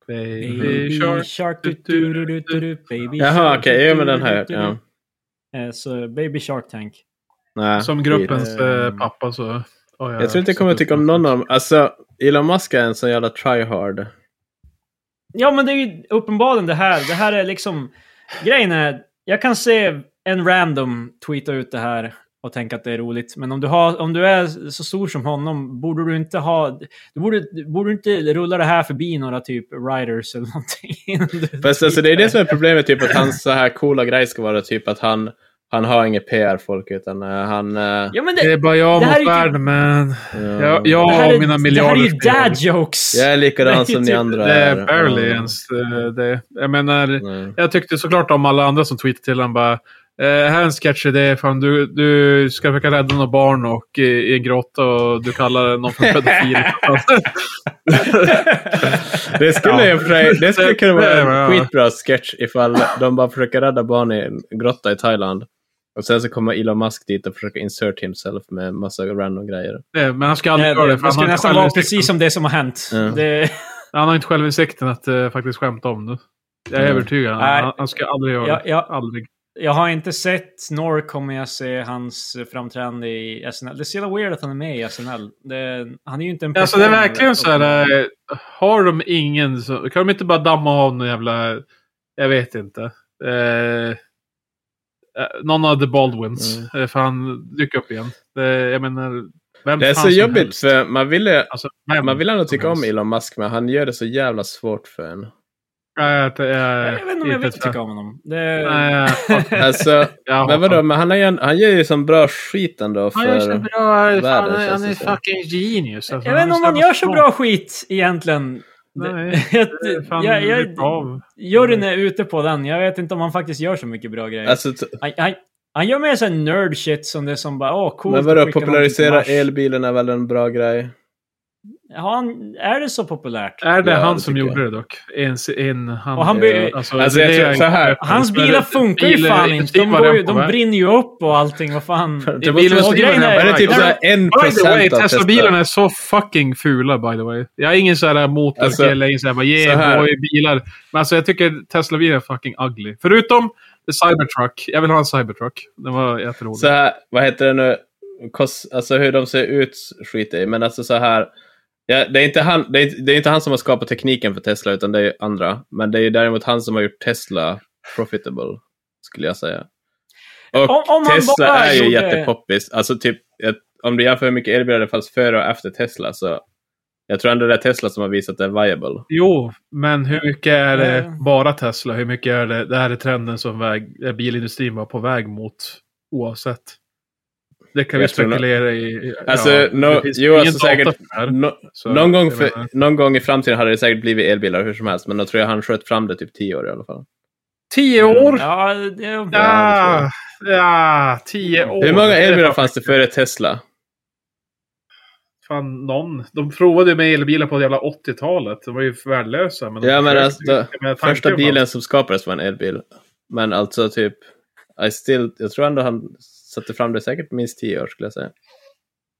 S3: Baby
S2: Baby
S3: Shark.
S2: Shark, du, du, du, du, du, du, Baby
S1: Jaha,
S2: Shark,
S1: okej.
S2: du,
S1: Jo,
S2: du,
S1: men den har
S2: du,
S1: jag hört.
S2: du,
S1: Ja.
S2: du. Eh, Så Baby Shark Tank.
S1: Nej,
S3: Som gruppens
S2: Eh,
S3: eh, pappa så... har
S1: Jag tror inte jag kommer tycka om någon av dem. Alltså, Elon Musk är en sån jävla tryhard.
S2: Ja, men det är ju uppenbarligen det här. Det här är liksom... Grejen är, jag kan se en random tweeta ut det här och tänka att det är roligt. Men om du, har, om du är så stor som honom, borde du inte ha... Du borde, du borde inte rulla det här förbi några typ writers eller någonting. <laughs>
S1: Fast alltså, det är det som är problemet, typ att hans så här coola grej ska vara typ att han, han har inget PR-folk utan eh, han... eh,
S2: Ja, men
S3: Det
S2: det,
S3: är bara jag
S2: Det här är
S3: mot
S2: ju typ-
S3: världen, men... Jag,
S1: ja.
S2: det här
S3: jag
S2: är,
S3: och mina
S2: det här är
S3: miljarder...
S2: ju
S3: ska jag-
S2: dad jokes!
S1: Jag är
S2: Det är
S1: likadan
S2: ju
S1: som ni
S2: typ-
S1: andra
S3: Det
S1: Ja.
S3: är barely ens eh, det. Jag menar,
S1: Nej.
S3: jag tyckte såklart om alla andra som tweetade till honom bara eh, här är en sketchidé, fan du, du ska försöka rädda några barn och i, i en grotta och du kallar någon för
S2: <laughs>
S3: pedofil. <laughs>
S1: Det skulle
S3: Ja.
S1: ju för sig, det skulle kunna vara en
S3: Ja.
S1: skitbra sketch ifall de bara försöker rädda barn i en grotta i Thailand. Och sen så kommer Elon Musk dit och försöker insert himself med massa random grejer.
S3: Nej, Eh, Men han ska aldrig
S2: Nej,
S3: göra det,
S2: det,
S3: för
S2: det
S3: han har,
S2: skulle
S3: inte
S2: nästan vara
S3: självinsikten.
S2: precis som det som har hänt.
S1: Ja.
S2: Det,
S3: han har inte självinsikten att eh, faktiskt skämta om det. Jag är
S1: Mm.
S3: övertygad.
S2: Nej.
S3: Han, han ska aldrig göra
S2: jag,
S3: det.
S2: jag,
S3: Aldrig.
S2: Jag har inte sett, nor kommer jag se hans framträdande i SNL. Det är så jävla weird att han är med i SNL. Det, han är ju inte en
S3: Alltså det är
S2: performer.
S3: verkligen så här, eh, har de ingen så, kan de inte bara damma av någon jävla, jag vet inte. Eh, eh, någon av the Baldwins,
S1: Mm.
S3: eh, för han dyker upp igen. Det, jag menar, vem
S1: Det är
S3: fan
S1: så
S3: som
S1: jobbigt
S3: helst.
S1: för man ville,
S3: Alltså, vem
S1: man vill ändå
S3: som
S1: tycka om
S3: helst.
S1: Elon Musk men han gör det så jävla svårt för en.
S3: Nej, jag, jag,
S2: Jag vet inte om jag vill tycka om honom. Det,
S3: typ Nej, jag fattar.
S1: Alltså,
S2: <laughs>
S3: Jag
S1: men vadå,
S3: hoppar.
S1: men han, är, ju en- han gör ju som bra skit ändå.
S3: Han gör så
S1: För,
S3: bra. Han,
S1: världen,
S3: han, är-
S1: känns
S3: han
S1: det
S3: är
S1: som.
S3: fucking genius. Alltså,
S2: jag vet inte om
S3: är
S2: han gör så
S3: smart.
S2: bra skit egentligen. <laughs>
S3: Nej,
S2: Jag,
S3: det är fan
S2: jag, jag,
S3: lite av.
S2: juryn är ute på den. Jag vet inte om han faktiskt gör så mycket bra grejer.
S1: alltså, t-
S2: han, han, han gör mer sån nerd shit som det som bara, åh coolt.
S1: men
S2: att
S1: vadå,
S2: skicka någonting till
S1: popularisera
S2: Mars.
S1: elbilen är väl en bra grej?
S2: Har han, är det så populärt?
S3: Är det
S1: Ja,
S3: han
S1: det
S3: som
S1: tycker
S3: gjorde det dock? En, en, han,
S2: Och han by-
S1: Alltså, jag
S3: det
S1: tror-
S3: är-
S1: så här.
S2: Hans bilar funkar ju
S3: Bilar-
S2: fan inte. De,
S3: bilar
S2: går ju,
S3: är på
S2: de
S3: väg.
S2: brinner ju upp och allting. Vad <laughs> fan.
S1: Det
S3: bilen
S1: måste
S2: och
S1: vara-
S3: stiger
S2: grejen
S3: här
S1: är det
S3: på
S1: typ
S3: väg.
S1: såhär en
S3: By the way,
S1: procent av
S3: Tesla-bilarna
S1: Tesla?
S3: är så fucking fula by the way. Jag är ingen sån här motorkille, ingen sån här bara
S1: Alltså, så här.
S3: yeah boy bilar. Men alltså jag tycker Tesla-bilar är fucking ugly. Förutom the Cybertruck. Jag vill ha en Cybertruck. Den var jätterolig.
S1: Så här, vad heter det nu? Kos, alltså hur de ser ut skiter jag i, men alltså så här. Ja, det, är inte han, det, är, det är inte han som har skapat tekniken för Tesla, utan det är andra. Men det är ju däremot han som har gjort Tesla profitable, skulle jag säga. Och
S2: Om- om han
S1: Tesla
S2: bara
S1: är ju
S2: gjorde-
S1: jättepoppis. Alltså typ, ett, om du jämför hur mycket elbilar det fanns före och efter Tesla, så jag tror ändå det är Tesla som har visat det är viable.
S3: Jo, men hur mycket är det
S1: Eh.
S2: Ja.
S3: bara Tesla? Hur mycket är det, det här är trenden som väg, eh, bilindustrin var på väg mot oavsett? Det kan vi
S1: Jag tror nog-
S3: spekulera i.
S1: Alltså, no-
S3: det finns
S1: jo,
S3: ingen
S1: alltså
S3: data
S1: säkert-
S3: för det här,
S1: Nå-
S3: så
S1: någon, gång
S3: jag
S1: för,
S3: menar-
S1: någon gång i framtiden hade det säkert blivit elbilar hur som helst, men då tror jag han sköt fram det typ tio år i alla fall.
S3: Tio år?
S2: Ja, det,
S3: Ja, ja, tio år.
S1: Hur många
S3: Det är
S1: elbilar
S3: fan-
S1: fanns det före Tesla?
S3: Fan, någon. De provade ju med elbilar på jävla 80-talet. De var ju värdelösa. Men de
S1: Ja, men
S3: försökte.
S1: alltså, då-
S3: Jag menar, tanken
S1: Första
S3: fanns.
S1: bilen som skapades var en elbil. Men alltså typ, I still, jag tror ändå han satte fram det säkert minst tio år skulle jag säga.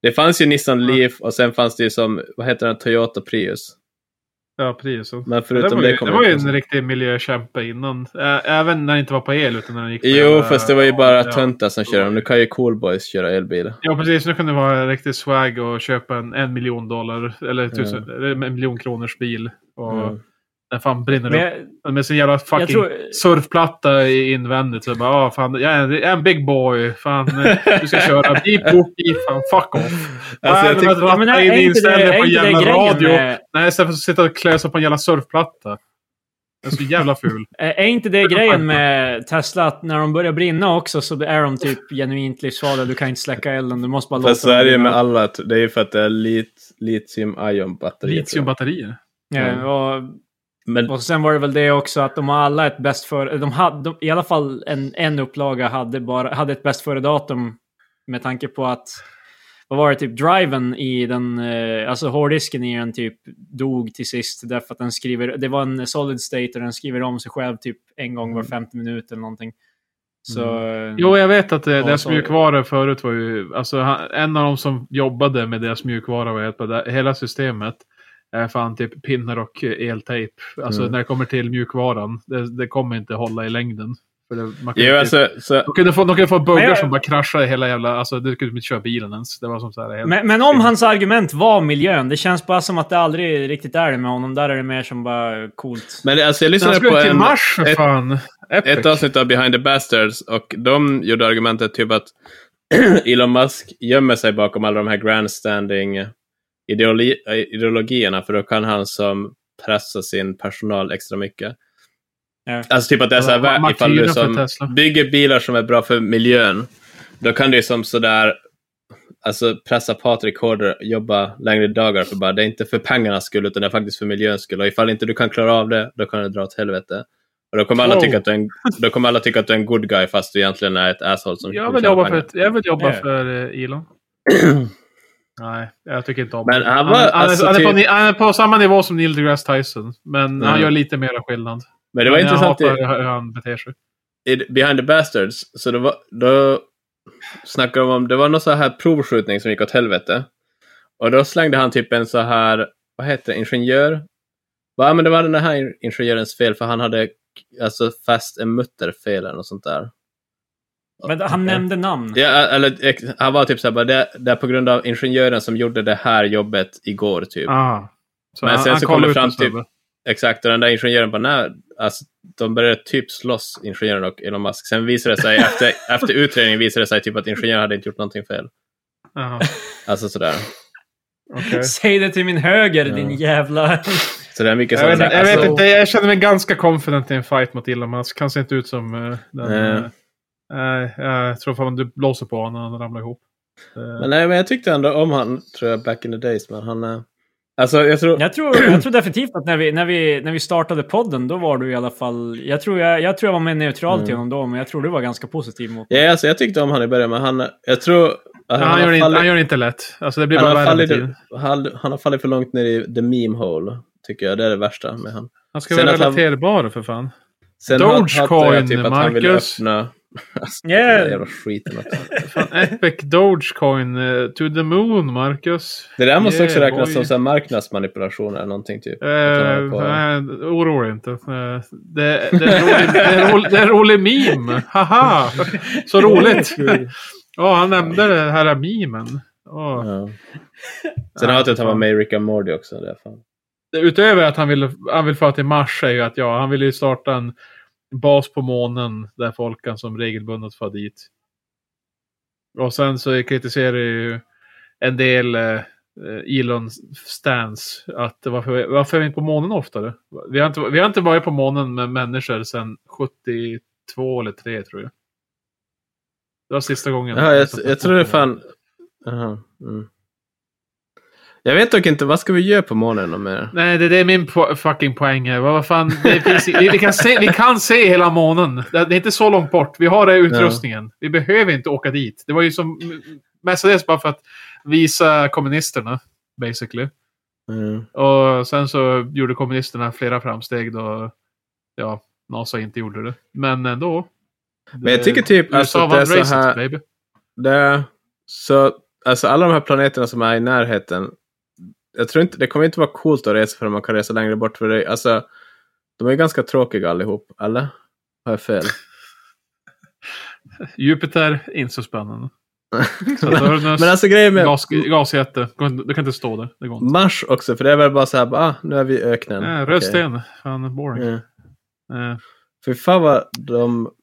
S1: Det fanns ju Nissan
S3: Mm.
S1: Leaf och sen fanns det ju som, vad heter den, Toyota Prius.
S3: Ja, prisen.
S1: Men
S3: Det
S1: förutom
S3: var,
S1: det,
S3: ju,
S1: kom
S3: det var ju
S1: inte-
S3: en riktig miljökämpe innan. Ä- Även när det inte var på el. Utan när det gick på
S1: Jo,
S3: jävla-
S1: fast det var ju bara
S3: ja.
S1: töntar som körde dem. Nu kan ju coolboys köra elbil.
S3: Ja, precis. Nu kan det vara riktig swag och köpa en, en miljon dollar. Eller tusen, eller en miljon kronors bil. Och
S1: Mm.
S3: Den fan brinner upp.
S2: men,
S3: Med sin jävla fucking
S2: Jag tror-
S3: surfplatta i invändigt. Så bara, ah, fan, jag är, jag är en big boy. Fan, eh, du ska
S1: <laughs>
S3: köra beep, boop, beep, fan, fuck off.
S1: Alltså, jag
S3: Nej, men
S1: tyckte,
S3: att ratta
S2: men är,
S3: in
S2: är inte det,
S3: inställningen
S2: är
S3: på en
S2: inte det
S3: jävla
S2: grejen
S3: radio.
S2: med,
S3: Nej, istället för att sitta och klösa på en jävla surfplatta. Den är så
S1: <laughs>
S3: jävla ful.
S2: är inte det grejen med Tesla att när de börjar brinna också så är de typ genuint livsfarliga. Du kan inte släcka elden. Du måste bara låta
S1: fast så
S2: dem
S1: är det ju
S2: brinna.
S1: med alla, att- det är ju för att det är lit, litium-ion-batterier. tror jag.
S3: Litiumbatterier.
S2: Ja, och
S1: Men
S2: Och sen var det väl det också att de har alla ett bäst före... De hade, de, I alla fall en, en upplaga hade, bara, hade ett bäst före-datum med tanke på att... Vad var det? Typ driven i den... Eh, alltså hårddisken i den typ dog till sist därför att den skriver... Det var en solid state och den skriver om sig själv typ en gång var 50 minut eller någonting. Så... eh,
S3: Jo, jag vet att det,
S2: Ja,
S3: deras
S2: så-
S3: mjukvara förut var ju... Alltså, han, en av de som jobbade med deras mjukvara var helt på det, hela systemet. är fan typ pinnar och eh, eltejp. Alltså
S1: Mm.
S3: när det kommer till mjukvaran. Det, det kommer inte hålla i längden. För det, man kan
S1: jo,
S3: inte-
S1: alltså, så,
S3: de kunde få, de kunde få buggar
S2: Men jag-
S3: som bara kraschade hela jävla... Alltså du kunde inte köra bilen ens. Det var som så här helt...
S2: Men, men om hans argument var miljön, det känns bara som att det aldrig riktigt är det med honom. Där är det mer som bara coolt.
S1: men det- alltså, jag
S3: han
S1: lyssnade
S3: skulle
S1: på
S3: till
S1: en...
S3: Mars för
S1: ett-
S3: fan! Epic.
S1: ett avsnitt av Behind the Bastards och de gjorde argumentet typ att <clears throat> Elon Musk gömmer sig bakom alla de här grandstanding ideoli- äh, ideologierna för då kan han som pressa sin personal extra mycket.
S2: Ja.
S1: Alltså typ att det är så här,
S3: Ja,
S1: vä- ifall du
S3: martyren för
S1: som
S3: Tesla.
S1: bygger bilar som är bra för miljön, då kan du som sådär alltså pressa Patrik hårdare, jobba längre dagar för bara det är inte för pengarnas skull utan det är faktiskt för miljöns skull. Och ifall inte du kan klara av det, då kan du dra åt helvete. Och då kommer alla
S3: Wow.
S1: tycka att du är en, då kommer alla tycka att du är en good guy fast du egentligen är ett asshole som
S3: Jag
S1: vill
S3: vill
S1: tjäna
S3: jobba för,
S1: pengar.
S3: ett, jag vill jobba
S2: Ja.
S3: för
S1: <clears throat>
S3: eh, Elon. Nej, jag tycker inte om
S1: Men han var-
S3: han, han,
S1: alltså,
S3: är, han, är på,
S1: typ-
S3: ni- han är på samma nivå som Neil deGrasse Tyson. Men
S1: Mm.
S3: han gör lite mer skillnad.
S1: Men det var
S3: Men
S1: intressant
S3: Jag
S1: i, Typ.
S3: hatar hur han beter sig.
S1: i Behind the Bastards, så det var, då snackade de om, det var någon så här provskjutning som gick åt helvete. Och då slängde han typ en så här, vad heter det, ingenjör? Va, men det var den här ingenjörens fel för han hade alltså fäst en mutter fel eller något sånt där.
S2: Men han nämnde namn.
S1: Ja, eller ex- han var typ såhär, det, det är på grund av ingenjören som gjorde det här jobbet igår typ.
S3: Ah. Så
S1: Men sen så kom
S3: kollar
S1: det
S3: ut
S1: fram
S3: en
S1: till-
S3: snubbe.
S1: Exakt, och den där ingenjören bara, nej, alltså, de började typ slåss, ingenjören och Elon Musk. Sen visade det sig, efter, efter utredningen visade det sig typ att ingenjören hade inte gjort någonting fel.
S3: Jaha,
S1: <laughs> Alltså sådär.
S2: <laughs>
S3: okej.
S2: Säg det till min höger,
S1: Ja.
S2: din jävla...
S1: Så det är mycket
S3: Jag vet,
S1: sådana
S3: jag,
S1: där.
S3: vet
S1: Alltså,
S3: inte, jag känner mig ganska confident i en fight mot Ilham. Han kan se inte ut som eh, den...
S1: Nej.
S3: eh, Nej, jag tror fan du blåser på honom när han ramlar ihop. Eh,
S1: Men, nej, men jag tyckte ändå om han, tror jag, back in the days. Men han... eh, Alltså, jag tror...
S2: Jag tror, jag tror definitivt att när vi, när, vi, när vi startade podden, då var du i alla fall... Jag tror jag, jag, tror jag var mer neutral
S1: Mm.
S2: till honom då, men jag tror du var ganska positiv mot
S1: Ja, alltså, jag tyckte om han i början, men han... Jag tror... att
S3: han,
S1: har
S3: gör det inte,
S1: fallit-
S3: han gör det inte lätt. Alltså det blir
S1: han,
S3: bara
S1: har
S3: värre med
S1: fallit,
S3: tiden.
S1: han, han har fallit för långt ner i the meme hole, tycker jag. Det är det värsta med han.
S3: Han ska
S1: Sen
S3: vara
S1: att han-
S3: relaterbar för fan.
S1: Sen
S3: Dogecoin,
S1: hatar jag typ att han vill
S3: Marcus.
S1: öppna... Alltså,
S2: Yeah.
S1: den där jävla skiten också. <laughs>
S3: Fan, Epic Dogecoin eh, to the moon, Marcus.
S1: Det där måste
S3: Yeah,
S1: också räknas
S3: boy.
S1: som så här marknadsmanipulation eller någonting typ.
S3: Eh,
S1: Att han håller på-
S3: nej, oroa dig inte. Eh, det, det, är rolig, det, är rolig, det är en rolig meme. Haha! Så roligt. Ja, han nämnde den här memen. Ja.
S1: Ja. Sen har jag att han var med i Rick and Morty också. Det är fan.
S3: Utöver att han vill, han vill föra till Mars är ju att ja, han vill ju starta en bas på månen där folk kan som regelbundet få dit. Och sen så kritiserar ju en del eh, eh, Elon Stans att varför, varför är vi inte på månen oftare? Vi har inte, vi har inte varit på månen med människor sedan 72 eller 3 tror jag. Det var sista gången.
S1: Ja, jag, jag tror det fan... Jaha, mm. Jag vet dock inte, vad ska vi göra på morgonen då mer?
S3: Nej, det, det är min po- fucking poäng här. Vad vad fan, det finns, vi, vi, kan se, vi kan se hela månen. Det, det är inte så långt bort. Vi har den utrustningen. Vi behöver inte åka dit. Det var ju som mestadels bara för att visa kommunisterna, basically.
S1: Mm.
S3: Och sen så gjorde kommunisterna flera framsteg då, ja, NASA inte gjorde det. Men ändå.
S1: Men jag tycker typ
S3: USA
S1: alltså att
S3: vann
S1: det är så
S3: racet,
S1: här-
S3: baby.
S1: Det, så, alltså alla de här planeterna som är i närheten. Jag tror inte, det kommer inte vara coolt att resa förrän man kan resa längre bort. För det, alltså, de är ju ganska tråkiga allihop, eller? Har jag fel?
S3: Jupiter, inte
S1: <laughs>
S3: så spännande. Så att Uranus,
S1: Men alltså grejen med
S3: gas, gasjätte. Går inte- Du kan inte stå där. Det går inte.
S1: Mars också, för det är väl bara så här, bara, ah, nu är vi i öknen.
S3: Nej,
S1: Okej.
S3: Eh, röd sten. Fan, boring.
S1: Mm.
S3: Eh,
S1: För fan vad de...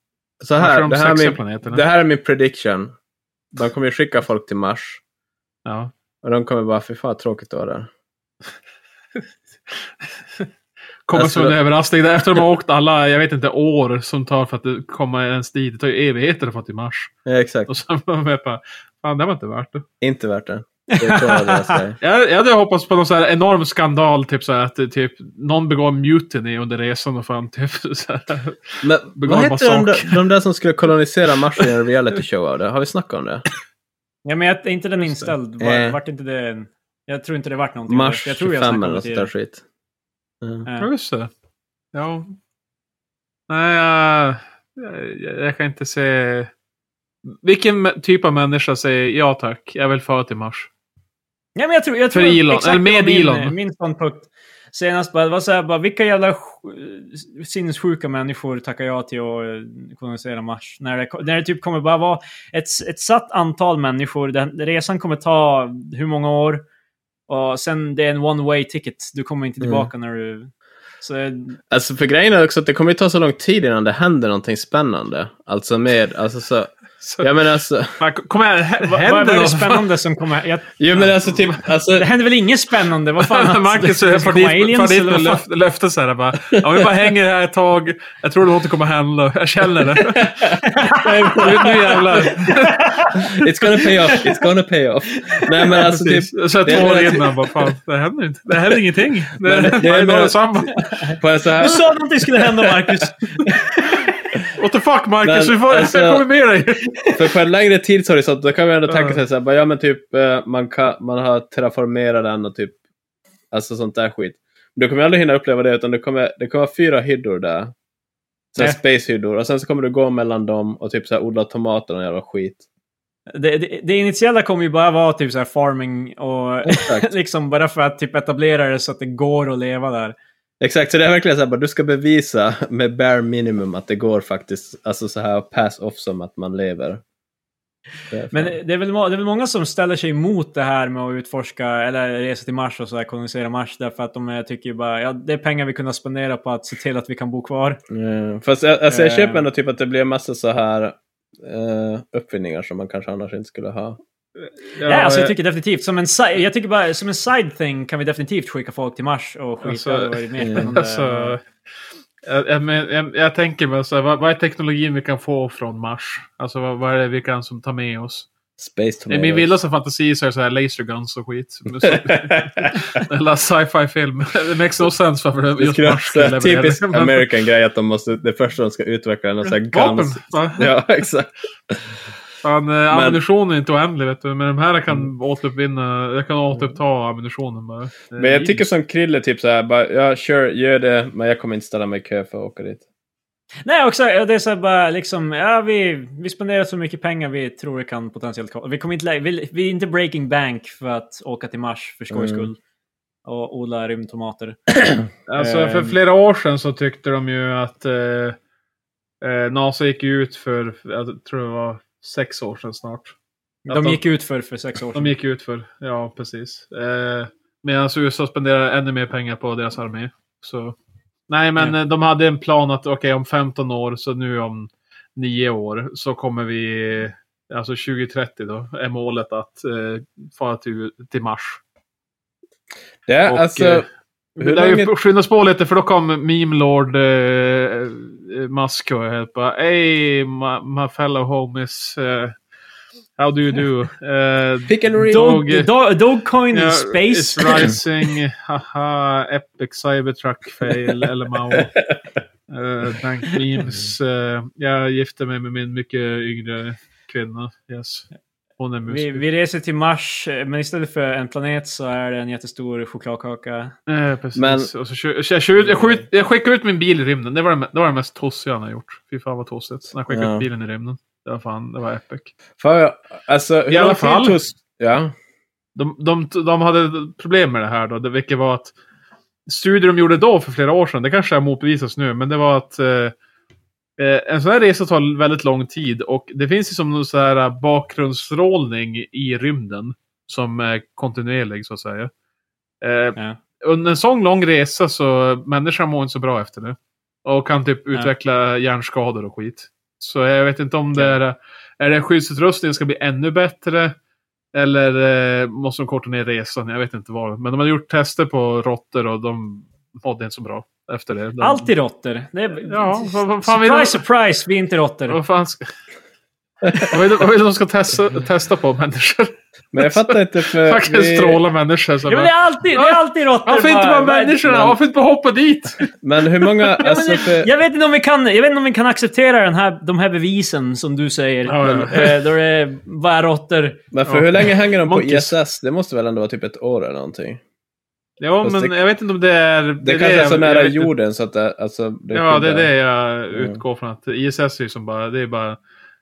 S1: Så
S3: varför
S1: här,
S3: de
S1: det här, är
S3: sexiga
S1: min,
S3: planeterna?
S1: det här är min prediction. De kommer ju skicka folk till Mars.
S3: Ja.
S1: Och de kommer bara, fy fan vad tråkigt det var där.
S3: Kommer
S1: Alltså-
S3: som en överraskning. Där Efter
S1: <laughs>
S3: de har åkt alla, jag vet inte, år som tar för att det- komma ens dit. Det tar ju evigheter att få till Mars. <laughs>
S1: Ja, exakt,
S3: Och sen var man bara, fan det var inte värt det.
S1: inte värt det. Det är så jag
S3: <laughs>
S1: säger.
S3: Jag, jag hade hoppats på någon så här enorm skandal, typ så här att det typ, någon begår mutiny under resan och fan <laughs> typ så här.
S1: Men
S3: Begår
S1: vad hette de,
S3: massaker.
S1: där- de där som skulle kolonisera Mars i en reality show av det? Har vi snackat om det?
S2: Ja, men jag, är inte den inställd? Var,
S1: Eh.
S2: vart inte det, en- jag tror inte det vart någonting.
S1: Mars
S2: jag tror jag
S1: 25
S2: snackade
S1: eller
S2: om det
S1: något sånt där skit. Mm.
S2: tidigare.
S3: Ja,
S2: Eh,
S3: just det. Ja. Nej, jag, jag, jag kan inte se... Vilken mä- typ av människa säger ja tack, jag vill föra till Mars?
S2: Ja, men jag tror, jag
S3: För
S2: tror
S3: Elon,
S2: exakt
S3: eller
S2: det var
S3: med
S2: min,
S3: Elon.
S2: Min ståndpunkt senast bara, det var så här, bara, vilka jävla sj- sinnessjuka människor tackar jag till att eh, kolonisera Mars? När det, ko- när det typ kommer bara vara ett, ett satt antal människor, den, resan kommer ta hur många år? Och sen det är en one way ticket, du kommer inte
S1: Mm.
S2: tillbaka när du... Så, eh,
S1: Alltså för grejen är också att det kommer ju ta så lång tid innan det händer någonting spännande. Alltså med, alltså så,
S3: Så,
S1: jag menar alltså,
S3: fan, kom igen, hä-
S2: vad,
S3: händer
S2: vad är det
S3: något?
S2: spännande som kommer... Jag,
S1: jo men alltså typ,
S3: <laughs>
S1: alltså,
S2: det händer väl inget spännande? Vad fan? att-
S3: Marcus
S2: det kommer
S3: för dit, för
S2: aliens,
S3: dit
S2: eller
S3: med
S2: vad fan?
S3: löf, löfte så här bara. Om vi bara hänger här ett tag. Jag tror det inte kommer hända. Jag känner
S2: <laughs>
S3: det.
S1: <laughs>
S3: nu, nu jävlar.
S1: it's gonna pay off, it's gonna pay off. Nej men alltså typ,
S3: Precis. så jag
S1: det är
S3: två år
S1: relativt-
S3: innan bara, fan, det händer inte. Det händer ingenting. Det,
S1: Men det- det är
S3: varje dag är
S1: mer-
S3: samma.
S1: på en så här,
S2: Du sa någonting skulle hända Marcus!
S3: What the fuck Marcus,
S1: Men,
S3: vi får,
S1: alltså-
S3: jag kommer med dig.
S1: För på en längre tidshorisont då kan man ändå tänka
S3: Ja.
S1: sig så här, bara, ja men typ eh, man, kan, man har terraformerat den och typ alltså sånt där skit. Men du kommer aldrig hinna uppleva det utan du kommer, det kommer vara fyra hyddor där. Sen
S2: Nej.
S1: spacehyddor och sen så kommer du gå mellan dem och typ så här odla tomater och jävla skit.
S2: Det, det, det initiala kommer ju bara vara typ så här farming och
S1: Exakt.
S2: <laughs> liksom bara för att typ etablera det så att det går att leva där.
S1: Exakt, så det är verkligen så här, bara, du ska bevisa med bare minimum att det går faktiskt, alltså så här pass off som att man lever. Det är fan-
S2: Men det är, väl, må- det är väl många som ställer sig emot det här med att utforska eller resa till Mars och så här, kolonisera Mars därför att de eh, tycker ju bara ja, det är pengar vi kunde spendera på att se till att vi kan bo kvar.
S1: Mm, fast jag, alltså jag
S2: Eh.
S1: köper ändå typ att det blir en massa så här eh, uppfinningar som man kanske annars inte skulle ha.
S2: Ja, alltså, jag tycker definitivt som en, si- jag tycker bara, som en side thing kan vi definitivt skicka folk till Mars och skita
S3: Alltså,
S2: alltså, vad det är mer spännande.
S3: Alltså, jag, jag, men- jag, jag tänker mig så här, vad, vad är teknologin vi kan få från Mars? Alltså vad, vad är det vi kan som ta med oss?
S1: Space
S3: I
S1: Tomatoes.
S3: min
S1: <laughs>
S3: vildaste fantasi så är det så här laser guns och skit. Men så- Hela sci-fi film. <laughs> Det makes no sense varför det
S1: Det
S3: just
S1: skulle vara
S3: Mars
S1: så här
S3: skulle
S1: typisk
S3: leverera. Men-
S1: American grej att de måste, det första de ska utveckla är någon sån här
S3: Vapen!
S1: guns.
S3: va?
S1: Ja, <laughs> exakt.
S3: Fan, eh, ammunition är inte oändlig vet du. Men de här kan återuppvinna, jag kan återuppta ammunitionen bara.
S1: Mm. Men jag tycker som Krille, typ så här, bara, ja, sure, gör det, men jag kommer inte ställa mig i kö för att åka dit.
S2: Nej, också, ja, det är så här bara liksom, ja, vi, vi spenderar så mycket pengar vi tror det kan potentiellt kosta. Vi, kommer inte, lä- vi, vi är inte breaking bank för att åka till Mars för skojs
S1: Mm.
S2: skull. Och odla rymdtomater.
S3: Alltså för
S2: Ehm.
S3: flera år sedan så tyckte de ju att eh, eh, NASA gick ju ut för, jag tror det var sex år sedan snart. Att
S2: De gick ut för, för sex år
S3: de
S2: sedan.
S3: gick ut för, ja precis. Eh, Medan USA spenderar ännu mer pengar på deras armé. Så. Nej men eh, de hade en plan att okej om 15 år, så nu om 9 år, så kommer vi, alltså 2030 då, är målet att eh, fara till, till Mars.
S1: Det är
S3: Och, eh,
S1: alltså,
S3: Det
S1: hur
S3: lär
S1: länge...
S3: ju skyndas på lite för då kom Meme Lord eh, eh, Musk och helt bara Hey my, my fellow homies. eh, how do you do?
S1: <laughs>
S3: Eh,
S1: Pick and read.
S3: Dog-
S2: Dog, dog, Dogecoin in
S3: It's
S2: space.
S3: rising. Haha. Epic Cybertruck fail.
S1: <laughs>
S3: LMAO. Uh, dank memes. Eh, jag gifte mig med min mycket yngre kvinna. Yes. Hon
S2: <laughs>
S3: är
S2: Vi,
S3: musiker.
S2: vi reser till Mars, eh, men istället för en planet så är det en jättestor chokladkaka.
S3: Eh, precis.
S1: Men-
S3: Och så, kö- jag, kö- jag, skjut, jag skickade ut min bil i rymden. Det var det, me- det var det mest tossiga han har gjort. Fy fan vad tossigt. När jag skickade
S1: Ja.
S3: ut bilen i rymden. Det var fan, det var epic.
S1: För, alltså, hur
S3: I alla
S1: lång tid
S3: fall.
S1: togs- Ja.
S3: De, de, de hade problem med det här då, det, vilket var att studier de gjorde då för flera år sedan, det kanske har motbevisats nu, men det var att eh, eh, en sån här resa tar väldigt lång tid och det finns ju som någon sån här eh, bakgrundsstrålning i rymden som är kontinuerlig så att säga. Eh,
S2: Ja.
S3: under en sån lång resa så människan mår inte så bra efter det. Och kan typ
S2: Nej.
S3: utveckla hjärnskador och skit. Så jag vet inte om det är, eh, är det skyddsutrustningen ska bli ännu bättre. Eller eh, måste de korta ner resan? Jag vet inte vad. Men de har gjort tester på råttor och de mådde inte så bra efter det. De,
S2: Alltid råttor. Det är-
S3: Ja, vad- vad fan vill
S2: surprise,
S3: de-
S2: surprise, vi är inte råttor.
S3: Vad fan ska... vad, vill, de- vad vill de ska testa, testa på människor?
S1: Men jag fattar inte
S3: <laughs>
S1: för...
S3: Man kan stråla människor. Så
S2: Ja, men det
S3: bara,
S2: är alltid, det är alltid råttor.
S3: varför inte
S2: bara-
S3: bara människorna?
S1: men-
S3: Varför inte bara hoppa <laughs> dit?
S1: Men hur många...
S2: Ja, men
S1: Alltså,
S2: det-
S3: Eh,
S1: för...
S2: Jag vet inte om vi kan, jag vet inte om vi kan acceptera den här, de här bevisen som du säger.
S3: Ja, ja.
S2: Eh, Då det är bara råttor.
S1: Men för
S3: Ja.
S1: hur länge hänger de på
S3: Monkeys.
S1: ISS? Det måste väl ändå vara typ ett år eller någonting?
S3: Ja,
S1: Fast
S3: men
S1: det-
S3: jag vet inte om det är...
S1: Det,
S3: är
S1: kanske är så
S3: jag-
S1: nära
S3: jag vet inte.
S1: jorden så att det, alltså, det
S3: Ja, det är
S1: skyddar-
S3: det jag utgår från. Att ISS är ju som bara, det är bara,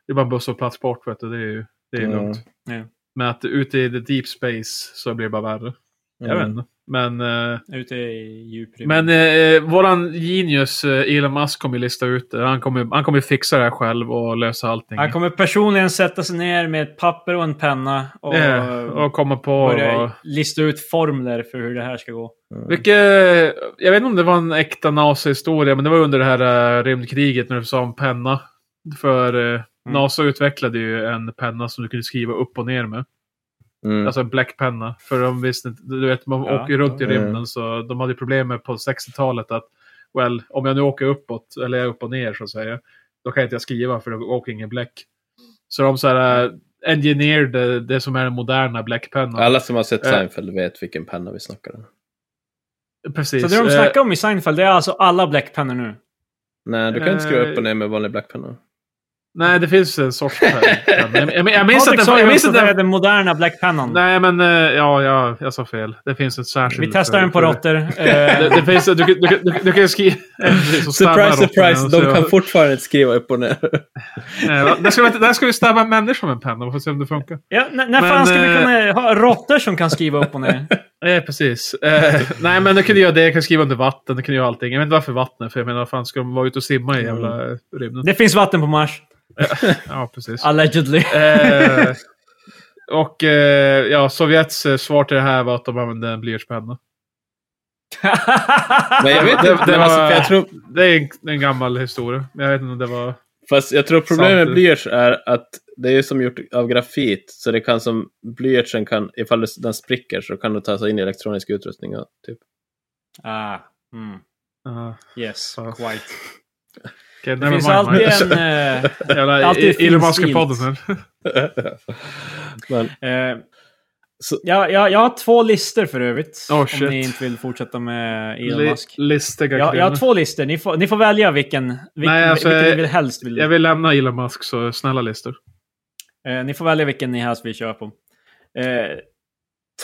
S3: det är bara en busshållplats bort. Vet du. Det är ju det är ju
S1: Ja.
S3: lugnt.
S2: Ja.
S3: Men att ute i the deep space så blir det bara värre. Jag
S1: Mm.
S3: vet inte. Men, eh,
S2: Ute i djuprymden.
S3: men eh, våran genius eh, Elon Musk kommer ju lista ut det. Han kommer, han kommer fixa det här själv och lösa allting.
S2: Han kommer personligen sätta sig ner med ett papper och en penna och,
S3: Eh, och komma på... vad-
S2: börja lista ut formler för hur det här ska gå.
S1: Mm.
S3: Vilket, jag vet inte om det var en äkta NASA-historia, men det var under det här eh, rymdkriget när du sa om penna. För eh,
S2: Mm.
S3: NASA utvecklade ju en penna som du kunde skriva upp och ner med.
S1: Mm.
S3: Alltså en bläckpenna. För de visste inte, du vet man
S2: Ja.
S3: åker ju runt i
S1: Mm.
S3: rymden så de hade ju problem med på 60-talet att well, om jag nu åker uppåt, eller jag är upp och ner så att säga, då kan inte jag skriva för då åker ingen bläck. Så de så här eh, engineerade det som är den moderna bläckpennan.
S1: Alla som har sett
S3: Eh.
S1: Seinfeld vet vilken penna vi snackar om.
S3: Precis.
S2: Så det de
S3: Eh,
S2: snackar om i Seinfeld, det är alltså alla bläckpennor nu.
S1: Nej, du kan inte skriva
S3: Eh.
S1: upp och ner med vanlig blackpenna.
S3: Nej, det finns en sorts
S2: <laughs>
S3: färg. Jag, jag, jag minns att
S2: Patrik
S3: den...
S2: sa ju
S3: Jag minns
S2: också att
S3: att
S2: det är
S3: den
S2: den moderna bläckpennan.
S3: nej, men eh, ja, ja, jag sa fel. Det finns ett särskilt...
S2: Vi testar
S3: för-
S2: den på
S3: för-
S2: råttor. Eh,
S3: Det, det finns, du, du, du, du, du kan ju skriva... <laughs>
S1: Surprise, surprise! De kan fortfarande inte skriva upp och
S3: <laughs>
S1: ner.
S3: Där Eh, ska, vi, där ska vi stabba en människa med en penna och få se om det funkar.
S2: ja, n- när
S3: Men,
S2: fan ska vi
S3: eh,
S2: kunna ha råttor som kan skriva upp och ner?
S3: Eh, precis. Eh, nej, men du kan ju göra det. Jag kan skriva under vatten. Du kan göra allting. Jag vet inte varför vattnet. För jag menar, vad fan ska de vara ute och simma i jävla eh, rymden?
S2: Det finns vatten på Mars.
S3: Ja, precis.
S2: Allegedly. <laughs>
S3: Eh, och eh, ja, Sovjets eh, svar till det här var att de använde en blyertspenna.
S1: Men jag vet
S3: Det-
S1: inte,
S3: det
S1: men alltså,
S3: var-
S1: för jag tror...
S3: Det är en, det är en gammal historia. Men jag vet inte om det var...
S1: Fast jag tror problemet med
S3: Sant.
S1: blyerts är att det är ju som gjort av grafit, så det kan som blyertsen kan, ifall det- den spricker så kan du ta sig in i elektronisk utrustning. Och, typ. <laughs>
S2: Ah, mm.
S3: Ja.
S2: Yes,
S3: Ja. <laughs>
S2: quite.
S3: Okej,
S2: Det
S3: never
S2: finns
S3: mind.
S2: alltid en... eh,
S3: Jävla
S2: alltid
S3: i-
S2: ett fint
S3: Elon Musk-podden
S2: stilt.
S3: här.
S1: Men,
S2: Eh,
S1: Så-
S2: ja, ja, jag har två listor för övrigt.
S3: Oh,
S2: om
S3: shit.
S2: ni inte vill fortsätta med Elon
S3: Li-
S2: Musk.
S3: Listiga
S2: Jag, jag har
S3: kvinnor.
S2: två listor. Ni får, ni får välja vilken, vilken,
S3: Nej, alltså,
S2: vilken ni
S3: eh,
S2: vill helst vill.
S3: Jag vill lämna Elon Musk, så snälla listor.
S2: Eh, ni får välja vilken ni helst vill köra på. Eh,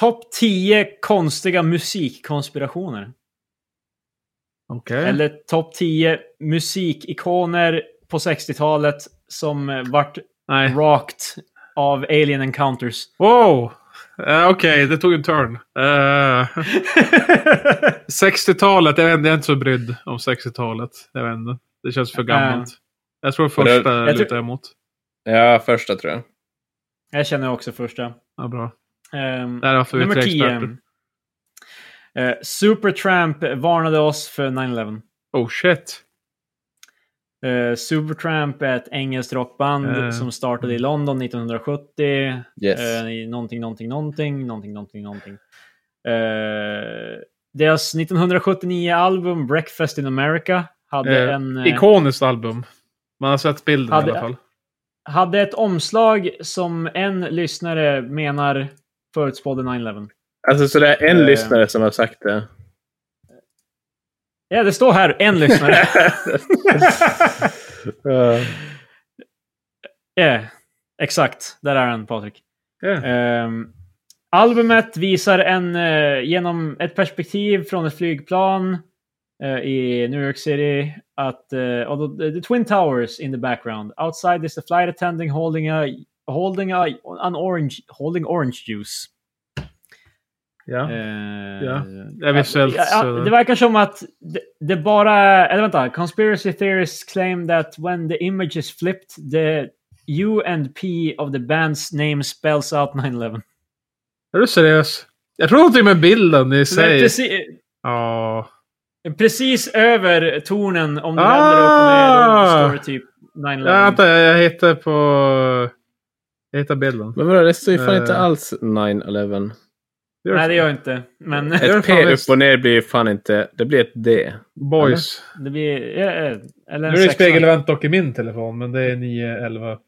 S2: Topp 10 konstiga musikkonspirationer.
S3: Okej.
S2: Eller topp 10 musikikoner på 60-talet som eh, vart
S3: Nej.
S2: rocked av alien encounters.
S3: Wow! Eh, Okej, det tog en turn. Eh, 60-talet, jag, vet inte, jag är inte så brydd om 60-talet. Jag vet inte. Det känns
S2: Eh.
S3: för gammalt. Jag tror första
S1: Jag
S2: tror-
S3: lutar jag emot.
S1: ja, första tror jag.
S2: <laughs> jag känner också första.
S3: Ja, bra.
S2: Ehm,
S3: Där är varför vi är
S2: Nummer
S3: tre
S2: 10.
S3: experter.
S2: Eh, Supertramp varnade oss för 9-11.
S3: Oh shit.
S2: Eh, Supertramp är ett engelskt rockband
S3: Eh.
S2: som startade i London 1970.
S1: Yes.
S2: Eh, i någonting, någonting, någonting, någonting, någonting, någonting. Eh, deras 1979-album Breakfast in America hade,
S3: Eh,
S2: en, eh,
S3: Ikoniskt album. Man har sett bilden
S2: Hade-
S3: i alla fall.
S2: hade ett omslag som en lyssnare menar förutspådde 9-11.
S1: Alltså så det är en
S2: Eh.
S1: lyssnare som har sagt det.
S2: Ja, det står här, en
S3: <laughs>
S2: lyssnare.
S1: Ja.
S2: Ja, exakt. Där är han, Patrik.
S3: Yeah.
S2: Ehm, albumet visar en eh, genom ett perspektiv från ett flygplan eh, i New York City att eh, och då- the, the Twin Towers in the background. Outside is the flight attendant holding a holding a, an orange holding orange juice.
S3: Ja.
S2: Eh,
S3: Ja, det är visuellt,
S2: ja,
S3: så-
S2: det verkar som att det, det bara... Eller vänta. Conspiracy theorists claim that when the image is flipped the U and P of the band's name spells out
S3: <laughs>
S2: 9-11.
S3: Är du seriös? Jag tror någonting med bilden i
S2: Så det är
S3: sig.
S2: Precis,
S3: Ja.
S2: precis över tornen, om du
S3: Ah!
S2: vänder upp och ner, då står det typ
S3: Ja,
S2: 9-11.
S3: Vänta, jag, jag hittar på... Jag hittar bilden.
S1: Men vadå, det står ju fan inte
S3: Eh.
S1: alls 9-11.
S2: Nej, det gör jag inte.
S3: <laughs>
S2: Men
S3: det gör
S1: Ett
S3: fan
S1: P
S3: visst.
S1: upp och ner blir ju fan inte, det blir ett D.
S3: Boys.
S2: det blir... eh, eh, Eller
S3: Nu
S2: en
S3: är det
S2: sexa.
S3: spegelvänt dock i min telefon, men det är 9-11.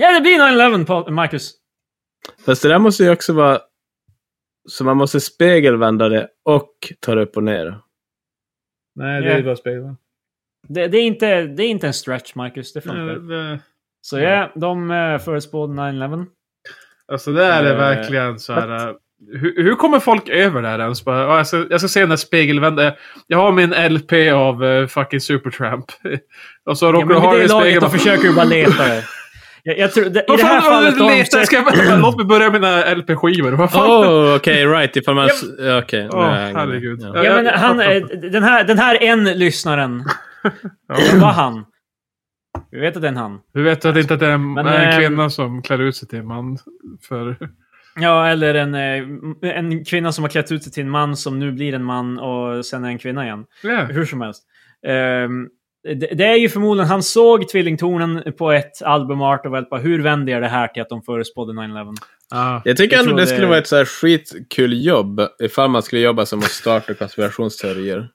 S2: Ja, det blir 9-11, Pa- Marcus.
S1: Fast det där måste ju också vara... Så man måste spegelvända det och ta det upp och ner.
S3: Nej, det
S2: Ja.
S3: är bara spegelvänt.
S2: Det, det, är inte, det är inte en stretch, Marcus. Det funkar.
S3: Eh, det-
S2: Så ja, de eh, förutspådde 9-11.
S3: Alltså det här är
S2: Eh,
S3: verkligen så här... eh, Hur, hur kommer folk över det här ens? Bara, "Ja, jag, ska, jag ska se den där spegelvända... Jag har min LP av eh, fucking Supertramp. <laughs> och så
S2: Ja,
S3: råkar
S2: men
S3: du ha
S2: vid
S3: den i
S2: det laget
S3: spegeln.
S2: då försöker du bara leta det. Jag, jag tror, det, I
S3: <laughs> Vad
S2: det här
S3: fan
S2: fallet...
S3: har
S2: har
S3: du
S2: de
S3: letat?
S2: sett-
S3: Ska jag- <laughs> Låt mig börja med mina LP-skivor. Vad fan?
S1: Oh, okej, right. Ifall man... s- Okej. nu
S3: Åh,
S1: har jag hängt med.
S3: herregud.
S1: Ja.
S3: Ja.
S2: Ja, men han, eh, den, här, den här en lyssnaren. Det var han. Vi vet att det är en han.
S3: Du vet att det inte är en,
S2: Men,
S3: en
S2: ehm,
S3: kvinna som klär ut sig till en man? För...
S2: Ja, eller en, eh, en kvinna som har klätt ut sig till en man som nu blir en man och sen är en kvinna igen.
S3: Ja.
S2: Hur som helst. Ehm, det, det är ju förmodligen, han såg Tvillingtornen på ett albumart och väl bara, hur vänder jag det här till att de förespådde 9-11?
S3: Ah.
S1: Jag tycker
S2: Jag
S1: ändå
S2: tror
S1: det
S2: det-
S1: skulle vara ett så här skitkul jobb ifall man skulle jobba som att starta konspirationsteorier.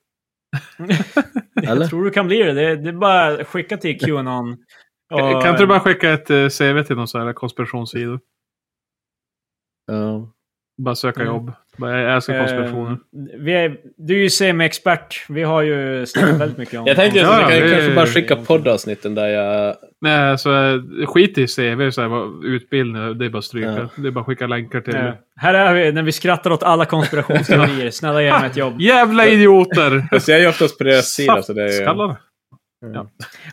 S1: Eller?
S2: <laughs> Jag tror du kan bli det. Det, det är bara att skicka till Qanon.
S3: Kan
S2: Och-
S3: inte du bara skicka ett eh, CV till någon sån här konspirationssida?
S1: Ja.
S3: Bara söka
S2: Mm.
S3: jobb. Bara, jag älskar konspirationer.
S2: Eh, vi är, du är ju semi-expert. Vi har ju snackat
S3: <clears throat>
S2: väldigt mycket om
S1: Jag tänkte
S2: om-
S1: att vi
S3: Ja,
S1: kan
S3: det-
S1: kanske bara skicka poddavsnitten där jag...
S3: Nej, så eh, skit i CV. Så här, vad- utbildning, det är bara att stryka.
S1: Ja.
S3: Det är bara att skicka länkar till.
S2: Eh, Här är vi när vi skrattar åt alla konspirationsteorier. Snälla ge mig ett jobb.
S3: Jävla idioter!
S2: <laughs>
S1: Alltså jag är ju oftast på deras sida så det är ju...
S3: Skallarna.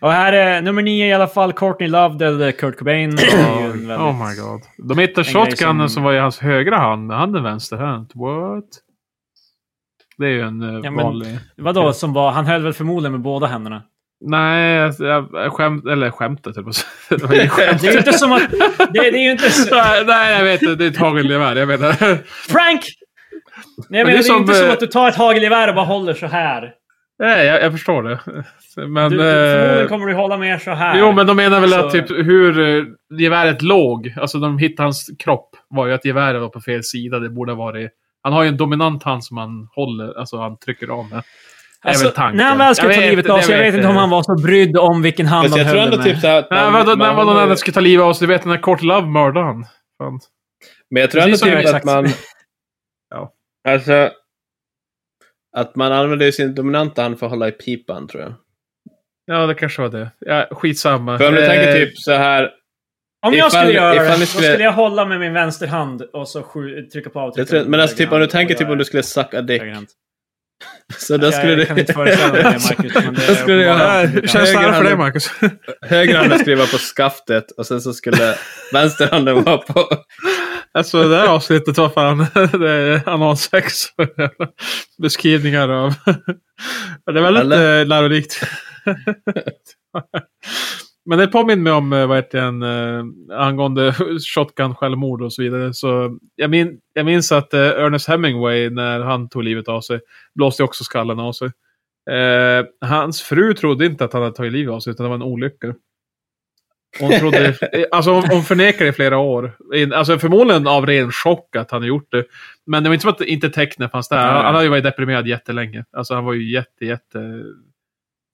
S2: Och här är nummer nio i alla fall. Courtney Love dödade Kurt Cobain. Det är ju en väldigt-
S3: Oh my god. De hittar
S2: En grej
S3: shotgunen som...
S2: som
S3: var i hans högra hand, men han är vänsterhänt. What? Det är ju en eh,
S2: Ja, men-
S3: vanlig...
S2: Vadå som var? Han höll väl förmodligen med båda händerna.
S3: Nej, alltså, jag, jag skämt... Eller skämtet, höll jag på att säga. Det
S2: <laughs>
S3: var inget skämt.
S2: Det är ju inte som att... Det, det är ju inte... s-
S3: <laughs> Nej, nej, jag vet inte. Det är ett hagelgevär. Jag menar.
S2: Frank! Nej men det är,
S3: som,
S2: inte som
S3: eh,
S2: att du tar ett hagelgevär och bara håller så här.
S3: Nej, jag, jag förstår det. <laughs> Men,
S2: du, du,
S3: eh,
S2: förmodligen kommer du hålla med så här.
S3: Jo, men de menar väl att
S2: Så-
S3: typ hur eh, geväret låg, alltså de hittade hans kropp, var ju att geväret var på fel sida. Det borde ha varit... Han har ju en dominant hand som han håller, alltså han trycker av med. Det är väl tanken.
S2: Alltså, när han väl skulle
S3: Jag
S2: ta
S3: vet-
S2: livet av sig, jag vet inte om han var så brydd om vilken hand
S1: Fast
S2: han
S1: jag tror
S2: höll
S1: ändå
S2: det
S1: typ
S2: med.
S1: så här att
S3: Nej,
S1: man-
S3: vadå, när
S1: man
S3: var det
S1: har
S3: någon
S1: ju-
S3: annan skulle ta livet av sig? Du vet, när Kort Love mördade han. Fan.
S1: Men jag tror ändå
S3: Precis som
S1: typ
S3: jag
S1: att man...
S3: Ja.
S1: Alltså... Att man använder ju sin dominanta hand för att hålla i pipan, tror jag.
S3: Ja, det kanske var det. Ja, skitsamma.
S1: För om du
S3: Eh,
S1: tänker typ så här...
S2: Om jag
S1: Ifall-
S2: skulle göra
S1: ifall
S2: det,
S1: ni
S2: då
S1: skulle-
S2: skulle jag hålla med min vänsterhand och så skju- trycka på
S1: Jag
S2: avtrycket.
S1: tror,
S2: med
S1: men alltså
S2: höger
S1: typ om du
S2: hand
S1: tänker
S2: och
S1: typ om
S2: göra
S1: du skulle sucka dick.
S2: högerhand.
S1: Så då skulle
S2: jag
S1: du...
S2: kan inte
S1: <laughs>
S2: föreställa mig det, Marcus, men det är
S1: Då skulle du
S2: uppenbart.
S1: göra...
S3: Nej, det Känns nära för dig, Marcus.
S1: Högerhanden skriva på skaftet och sen så skulle vänsterhanden vara på...
S3: alltså, det här avsnittet var fan <laughs> det är analsex. Beskrivningar av... det är väldigt
S1: Eller?
S3: eh, lärorikt. Men det påminner mig om eh, vad heter den, eh, angående shotgun, självmord och så vidare. Så jag, min, jag minns att eh, Ernest Hemingway, när han tog livet av sig, blåste också skallen av sig. Eh, hans fru trodde inte att han hade tagit livet av sig, utan det var en olycka. Hon, trodde, eh,
S1: <laughs>
S3: alltså hon, hon förnekade i flera år. In- Alltså förmodligen av ren chock att han hade gjort det. Men det var inte som att det inte tecknet fanns där. Han, han hade ju varit deprimerad jättelänge. Alltså han var ju jätte, jätte...